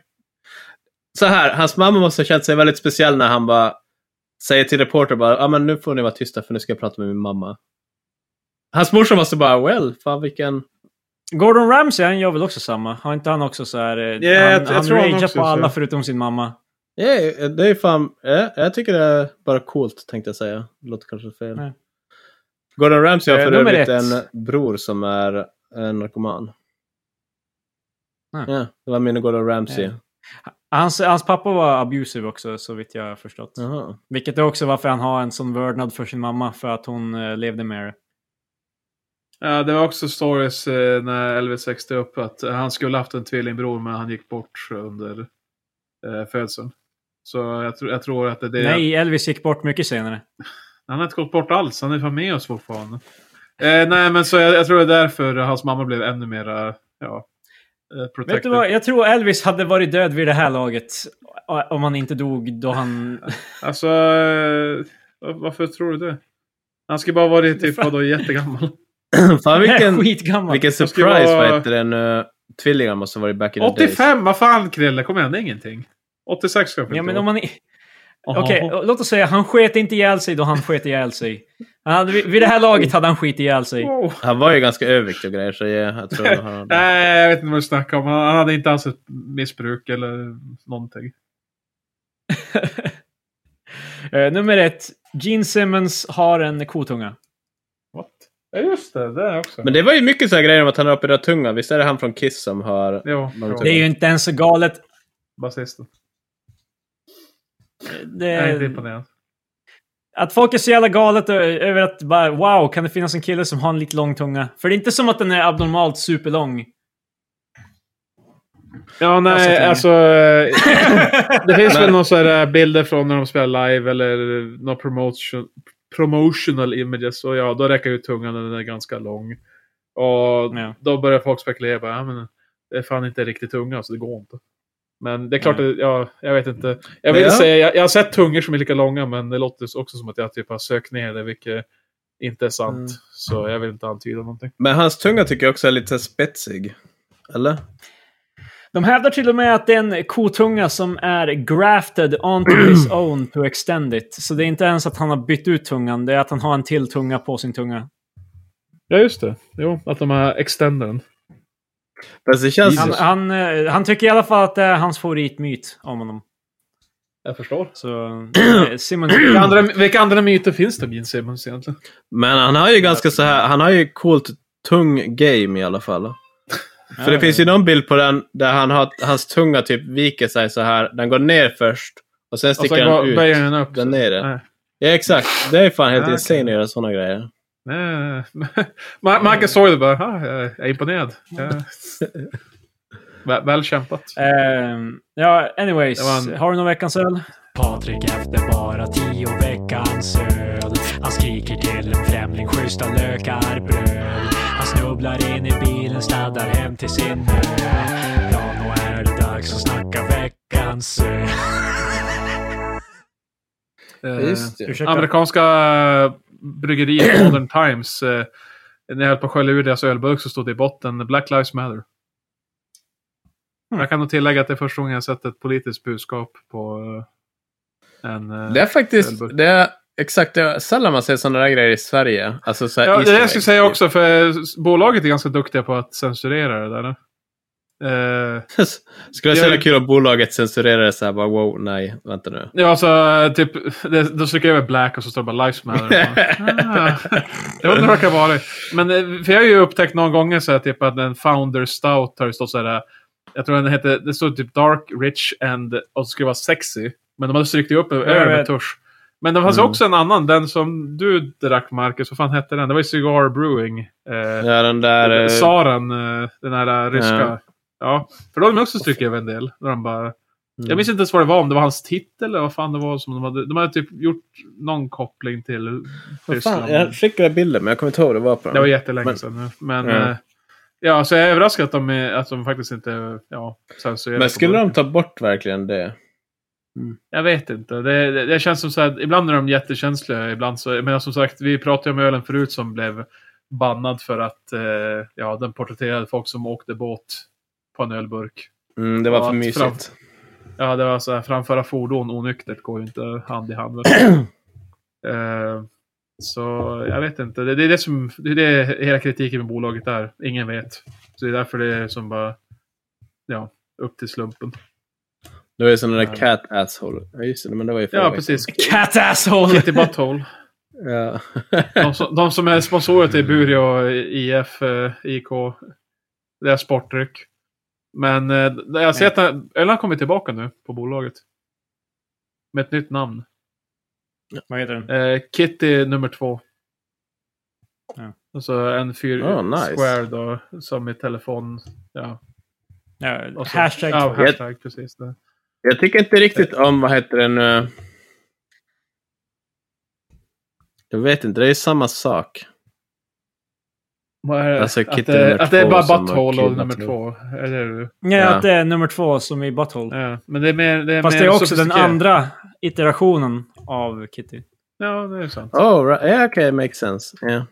S1: Så här, hans mamma måste ha känt sig väldigt speciell när han bara säger till reporter bara ah, men nu får ni vara tysta för nu ska jag prata med min mamma. Hans morsa måste bara well, fan vilken...
S2: Gordon Ramsay han gör väl också samma? Har inte han också så här... eh,
S3: Ja, jag-
S2: han
S3: jag
S2: han
S3: tror han
S2: ragear
S3: också
S2: på alla
S3: så.
S2: förutom sin mamma.
S1: Yeah, det är fan, yeah, jag tycker det är bara coolt tänkte jag säga. Det låter kanske fel.
S2: Nej.
S1: Gordon Ramsay har
S2: Eh,
S1: för
S2: nummer
S1: övrigt
S2: ett.
S1: en bror som är en narkoman.
S2: Ah.
S1: Ja, det var min Gordon Ramsay.
S2: Ja. Hans, hans pappa var abusive också så vitt jag har förstått.
S1: Jaha. <clears throat>
S2: Vilket är också varför han har en sån vördnad för sin mamma. För att hon eh, levde med det.
S3: Ja, det var också stories eh, när Elvis växte upp att eh, han skulle haft en tvillingbror men han gick bort under eh, födseln. Så jag, tr- jag tror att det är det.
S2: Nej, Elvis gick bort mycket senare.
S3: Han har inte gått bort alls, han är fan med oss fortfarande. Eh, nej, men så jag, jag tror det är därför hans mamma blev ännu mer ja, eh, protected.
S2: Vet du vad? Jag tror Elvis hade varit död vid det här laget. o- Om han inte dog då han...
S3: Alltså, eh, var- varför tror du det? Han ska bara vara det typ vadå, jättegammal.
S1: Fan vilken,
S2: <laughs> skitgammal.
S1: vilken
S3: ska
S1: surprise,
S3: vara-
S1: vad heter den, uh, tvillingar måste ha varit back in the days.
S3: 85, vad fan Krille, kom igen, det är ingenting. 86 ska jag
S2: Ja,
S3: fylla
S2: men
S3: år.
S2: om man... i-
S3: Jaha.
S2: Okej, och låt oss säga han sket inte ihjäl sig då han sket ihjäl sig. Han hade, vid vid det här laget hade han skit ihjäl sig.
S3: Wow.
S1: Han var ju ganska överviktig och grejer, så jag, jag
S2: <laughs>
S1: tror han har...
S3: Nej, jag vet inte vad du snackar om. Han han hade inte alls ett missbruk eller någonting.
S2: Eh, nummer ett. Gene Simmons har en kotunga.
S3: What? Ja, just det. Det är också.
S1: Men det var ju mycket sådana grejer om att han har opererat tunga. Visst är det han från Kiss som har...
S3: Jo,
S1: Men-
S3: bra.
S2: Det är ju inte ens så galet. Eh,
S3: basisten.
S2: Det,
S3: Nej, det är imponerande.
S2: Att folk är så jävla galet ö- över att bara wow, kan det finnas en kille som har en lite lång tunga? För det är inte som att den är abnormalt superlång.
S3: Ja,
S2: Jag sätter
S3: nej,
S2: ner.
S3: alltså. eh, <laughs> det finns
S1: Men-
S3: väl några sådana eh, bilder från när de spelar live eller några promotion, promotional images. Och ja, då räcker ju tungan, den är ganska lång. Och
S2: Ja.
S3: då börjar folk spekulera. Bara, ja, men det är fan inte riktigt tunga, så det går inte. Men det är klart,
S2: Nej.
S3: att- ja, jag vet inte. Jag vill
S1: Ja.
S3: säga, jag, jag har sett tungor som är lika långa, men det låter också som att jag typ har sökt ner det, vilket inte är sant.
S1: Mm.
S3: Så jag vill inte antyda någonting.
S1: Men hans tunga tycker jag också är lite spetsig. Eller?
S2: De hävdar till och med att det är en kotunga som är grafted onto his own to extend it. Så det är inte ens att han har bytt ut tungan, det är att han har en till tunga på sin tunga.
S3: Ja, just det. Jo, att de har extendern.
S1: Fast det känns...
S2: Han, han, eh, han tycker i alla fall att det är hans favoritmyt om honom.
S3: Jag förstår.
S2: Så eh, Simmons...
S3: Vilka andra, vilka andra myter finns det om Gene Simmons egentligen?
S1: Men han har ju ganska så här... Han har ju coolt tung game i alla
S3: <laughs>
S1: fall. För det finns ju någon bild på den där han har, hans tunga typ viker sig så här. Den går ner först och sen
S3: Och
S1: sticker
S3: sen
S1: den
S3: går-
S1: ut.
S3: böjer den upp.
S1: Där
S3: så.
S1: nere.
S3: Nej.
S1: Ja, exakt. Det är fan helt
S3: Ja, okej.
S1: insane att göra sådana grejer.
S3: Nej. Ma- Marcus såg det bara. "Ah, Jag är imponerad. Ja. Väl, väl kämpat.
S2: Ehm, ja, anyways.
S3: Det var en-
S2: Har du någon veckans öl?
S4: Patrik efter bara tio veckans öl Han skriker till en främling schyssta lökar bröd Han snubblar in i bilen, sladdar hem till sin ö Ja, nu är det dags att snacka veckans öl
S3: Eh,
S2: Ursäkta.
S3: Amerikanska bryggeriet <clears throat> Modern Times. eh, När jag höll på att skölja ur deras ölburk så stod det i botten Black Lives Matter. Jag kan nog tillägga att det är första gången jag sett ett politiskt budskap på eh, en... eh,
S1: Det är faktiskt...
S3: Ölburk.
S1: Det är exakt det. är Sällan man ser sådana där grejer i Sverige. Alltså så här
S3: Ja, det är
S1: Easter
S3: det jag skulle
S1: eggs,
S3: säga
S1: typ.
S3: också, för bolaget är ganska duktiga på att censurera det där. Eh,
S1: <laughs> Skulle vara så
S3: Ja.
S1: jävla kul om bolaget censurerade det så här bara wow, nej, vänta nu.
S3: ja, alltså, typ, det- de stryker över black och så står det bara
S1: <laughs>
S3: lives matter. Ah, jag undrar vad det kan vara. Men eh, för jag har ju upptäckt någon gång så här, typ, att en founder stout har det stått så här. Jag tror den hette, det stod typ dark, rich and, och så skulle det vara sexy. Men de hade strykt upp över
S2: jag
S3: med
S2: vet.
S3: tusch. Men det fanns
S1: Mm.
S3: också en annan, den som du drack Marcus, vad fan hette den? Det var ju Cigar Brewing. Eh,
S1: Ja, den där... eh,
S3: Saren, eh, den här ryska.
S1: Ja.
S3: Ja. För då hade de också styckt över en del. När de bara,
S1: Mm.
S3: Jag minns inte ens vad det var, om det var hans titel eller vad fan det var som de hade. De hade typ gjort någon koppling till
S1: Vad fan,
S3: Ryssland.
S1: jag skickade bilden men jag kommer inte ihåg vad det var på den.
S3: Det var jättelänge
S1: Men-
S3: sedan nu. Men,
S1: Ja.
S3: ja. ja, så jag är överraskad att de, är, att de faktiskt inte ja, censurerar.
S1: men
S3: på
S1: skulle de
S3: burken.
S1: ta bort verkligen det?
S3: Jag vet inte. Det, det, det känns som så här, ibland är de jättekänsliga, ibland så... Men som sagt, vi pratade ju om ölen förut som blev bannad för att eh, ja, den porträtterade folk som åkte båt på en ölburk.
S1: Mm, det var
S3: Ja,
S1: för
S3: att
S1: mysigt.
S3: fram- Ja, det var så här, framföra fordon onyktert går ju inte hand i hand. eh, så jag vet inte. Det, det är det som det är det hela kritiken med bolaget är. Ingen vet. Så det är därför det är som bara, ja, upp till slumpen.
S1: Det var ju sån där
S3: Ja.
S1: cat asshole. Ja, just det, men det var ju förra
S3: Ja,
S1: veckan.
S3: precis.
S2: Cat asshole!
S3: Kitty Butthole.
S1: Ja.
S3: De som, de som är sponsorer till Bureå IF, eh, IK, deras sportdryck. Men eh, jag ser att den- ölen har kommit tillbaka nu på bolaget. Med ett nytt namn.
S2: <laughs> Vad heter den?
S3: Eh, Kitty nummer två.
S2: Ja.
S3: Och så en fyr
S1: Ah, nice.
S3: square då, som i telefon. Ja,
S2: Ja,
S3: och så,
S2: hashtag
S3: Ja,
S2: två.
S3: hashtag, precis. Det.
S1: jag tycker inte riktigt om, vad heter den nu? Jag vet inte, det är ju samma sak.
S3: Vad är det?
S1: Alltså,
S3: att,
S1: Kitty
S3: det
S1: nummer
S3: att det är
S1: två
S3: bara
S1: som har
S3: butthole och
S1: kidnappat
S3: nummer
S1: nu.
S3: två. Eller,
S2: Nej,
S1: Ja.
S2: att det är nummer två som i Butthole.
S3: ja. Eh, Men det är mer det är
S2: Fast
S3: mer
S2: det är också den
S3: sofistikerat.
S2: andra iterationen av Kitty.
S3: Ja, det är sant.
S1: Oh, right. yeah, okay, makes sense. Yeah.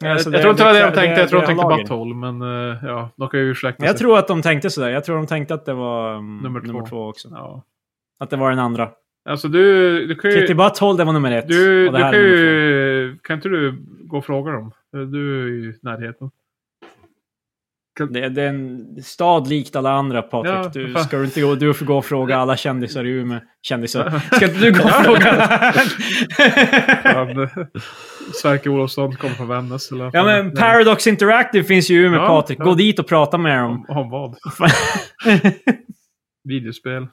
S3: jag,
S2: Alltså,
S3: jag tror inte det var det de tänkte. Jag tror de
S2: det
S3: tänkte
S2: har lager.
S3: butthole. Men eh, ja, de kan ju ursäkta
S2: Jag
S3: sig.
S2: tror att de tänkte sådär. Jag tror de tänkte att det var mm,
S3: Nummer två.
S2: nummer två också.
S3: Ja.
S2: Att det var den andra.
S3: Alltså du, du kan ju...
S2: Kitty Butthole, det var nummer ett.
S3: Du,
S2: och det
S3: du
S2: här
S3: kan
S2: är nummer två.
S3: ju... Kan inte du gå och fråga dem? Du är ju i närheten.
S2: Det, det är en stad likt alla andra, Patrik.
S3: Ja,
S2: du,
S3: fan.
S2: ska du inte gå, du får gå och fråga alla kändisar i Umeå. Kändisar. Ska inte du
S3: <laughs>
S2: gå och fråga alla?
S3: Han, Sverker Olofsson kommer från Vännäs. eller vad
S2: Ja
S3: fan.
S2: men Paradox Interactive finns ju i Umeå,
S3: Ja,
S2: Patrik. Gå
S3: ja.
S2: dit och prata med dem.
S3: Om, om vad? Videospel.
S2: <laughs>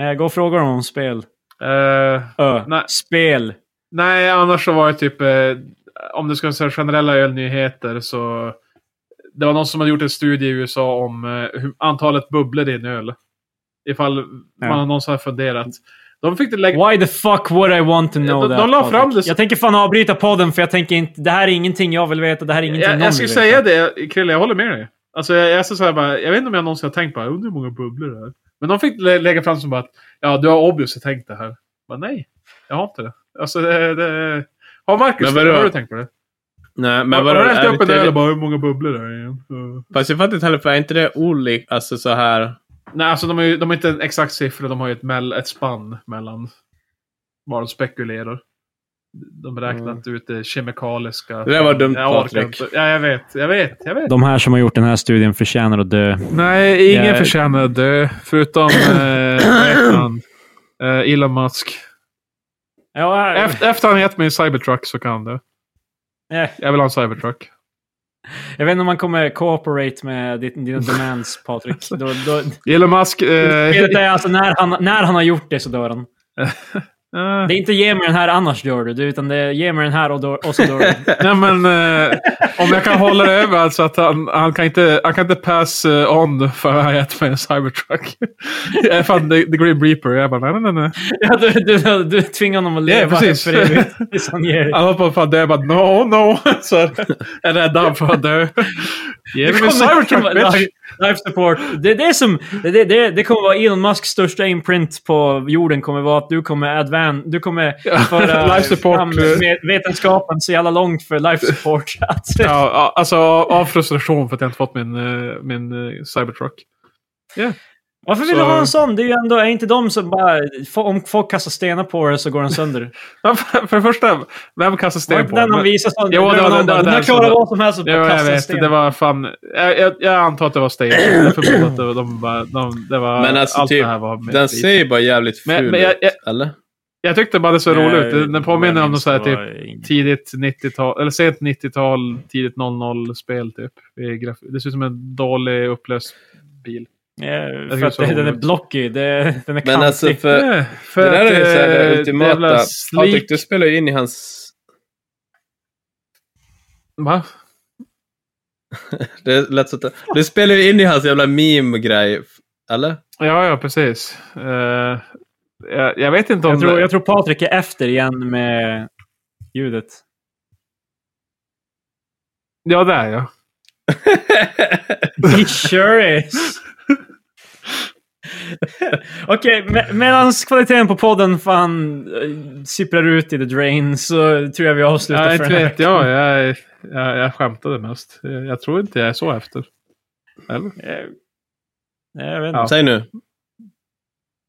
S2: Eh, Gå och fråga dem om spel.
S3: Eh,
S2: Ö.
S3: Nej.
S2: Spel.
S3: nej, annars så var det typ... Eh, om du ska säga generella ölnyheter så... Det var någon som hade gjort en studie i USA om eh, hur, antalet bubblor i en öl. Ifall
S2: Ja.
S3: man har någon så här funderat. De fick det lägga...
S2: Why the fuck would I want to know
S3: Ja, de-
S2: that?
S3: de la fram
S2: Patrik?
S3: det-
S2: Jag tänker fan avbryta podden för jag tänker inte... Det här är ingenting jag vill veta. Det här är ingenting
S3: Jag,
S2: någon
S3: jag skulle
S2: vill
S3: säga
S2: veta.
S3: det, Krille, jag håller med dig. Alltså, jag, jag, ska säga bara, jag vet inte om jag någonsin har tänkt bara, undrar hur många bubblor det är. Men de fick lä- lägga fram som bara att, ja, du har obviously tänkt det här. Men nej, jag har inte det. Alltså, det, det... Har Marcus,
S1: Men vadå?
S3: har du tänkt på det?
S1: Nej,
S3: Men
S1: men
S3: har
S1: vadå?
S3: du räknat upp en öl
S1: Är
S3: och
S1: det,
S3: bara, hur många bubblor det är igen? Mm.
S1: fast jag fattar inte heller, för är inte det olikt, alltså så här...
S3: Nej, alltså de har ju de har inte en exakt siffra, de har ju ett, mell, ett spann mellan vad de spekulerar. De räknat ut det kemikaliska.
S1: Mm. Det där var dumt,
S3: jag orkar
S1: Patrik.
S3: inte. Ja, jag vet. Jag vet. Jag vet.
S2: De här som har gjort den här studien förtjänar att dö.
S3: Nej, ingen
S2: Jag-
S3: förtjänar att dö. Förutom eh,
S2: <clears throat>
S3: vad heter han? eh, Elon Musk.
S2: Ja, eh, här-
S3: Efter, efter han gett mig en Cybertruck så kan han det.
S2: eh,
S3: Jag vill ha en Cybertruck.
S2: jag vet inte om man kommer cooperate med ditt-
S3: <laughs>
S2: dina demands, Patrik.
S3: Alltså-
S2: Då, då,
S3: Elon
S2: <laughs>
S3: Musk. Eh,
S2: det är alltså när han, när han har gjort det så dör han.
S3: eh,
S2: Det är inte ge mig den här annars dör du, det- utan det är ge mig den här och, då, och så dör
S3: <laughs>
S2: du.
S3: nej, men eh, om jag kan hålla det över alltså att han, han, kan inte, han kan inte pass eh, on för att han har gett mig en Cybertruck. Jag är fan the, the Grim Reaper. Jag bara nej, nej, nej. nej.
S2: Ja, du, du, du tvingar honom att
S3: Ja,
S2: leva
S3: precis.
S2: för evigt. tills
S3: <laughs>
S2: han ger dig.
S3: Han håller på att fan dö. Jag bara no, no. <laughs> Så här, jag räddar honom för att dö. Ge mig
S2: kommer-
S3: en Cybertruck bitch.
S2: life, life support. Det, det, är som, det, det, det kommer vara Elon Musks största imprint på jorden kommer vara att du kommer advan, du kommer
S3: Ja,
S2: föra
S3: <laughs> life support.
S2: fram med- vetenskapen så jävla långt för life support. <laughs> Att,
S1: <laughs>
S3: Ja, a- alltså av av frustration för att jag inte fått min, eh, min eh, Cybertruck.
S2: Varför vill
S3: Så-
S2: du ha en sån? Det är ju ändå, är inte de som bara, få- om folk kastar stenar på det så går den
S3: <laughs>
S2: sönder.
S3: Ja, För för det första, vem kastar
S2: Det var
S3: sten
S2: inte
S3: på
S2: den
S3: den?
S2: han
S3: Men-
S2: visade sån.
S3: Jo, det var den- det var
S2: den
S3: den
S2: här
S3: som-
S2: klarar vad som helst och
S3: Jo,
S2: bara
S3: jag
S2: kastar en
S3: vet.
S2: sten.
S3: Det var fan... Jag, jag, jag antar att det var sten. Jag förmodar att det var, de, bara- de, det var...
S1: Men alltså
S3: allt
S1: typ,
S3: det här var med
S1: Den
S3: flit.
S1: ser ju bara jävligt ful
S3: Men- men jag- jag-
S1: ut, eller?
S3: Jag tyckte bara det såg roligt ut.
S2: Nej,
S3: Den- Den påminner om något så här
S2: Eh, det
S3: typ
S2: var inget.
S3: tidigt 90-tal, eller sent 90-tal, tidigt 00-spel typ. I graf- Det ser ut som en dålig upplöst bil.
S2: Eh, För
S3: tycker
S2: att
S3: det är så
S2: den är
S3: roligt.
S2: blockig. Det, den är
S1: Men
S2: kantig.
S1: alltså för,
S3: Eh,
S1: det
S3: för
S1: där
S3: att,
S1: är ju så här
S3: eh,
S1: det
S3: det jävla
S1: ultimata. Patrik,
S3: slik-
S1: du spelar ju in i hans...
S3: Va?
S1: Det lät så att, du spelar ju in i hans jävla meme-grej. Eller?
S3: Ja, ja, precis. Eh, jag, jag vet inte om...
S2: jag, tror,
S3: det-
S2: jag tror Patrik är efter igen med <laughs> ljudet.
S3: Ja, det är jag.
S2: He sure is. Okej, me- medan kvaliteten på podden fan eh, sipprar ut i the drain så tror jag vi avslutar
S3: Ja,
S2: för
S3: inte
S2: den här
S3: vet jag. Jag, jag. jag skämtade mest. Jag, jag tror inte jag är så efter. Eller?
S2: Eh, Nej, jag vet inte.
S3: <laughs> Ja.
S1: Säg nu.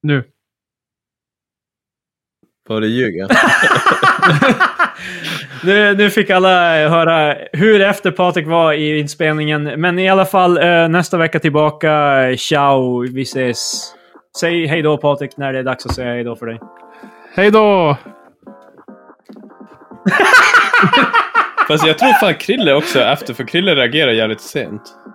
S3: Nu.
S1: Får du ljuga?
S2: Nu, nu fick alla höra hur efter Patrik var i inspelningen. Men i alla fall, eh, nästa vecka tillbaka. Ciao, vi ses. Säg hej då Patrik när det är dags att säga hej då för dig.
S3: Hej då!
S1: Fast jag tror fan Krille också är efter, för Krille reagerar jävligt sent.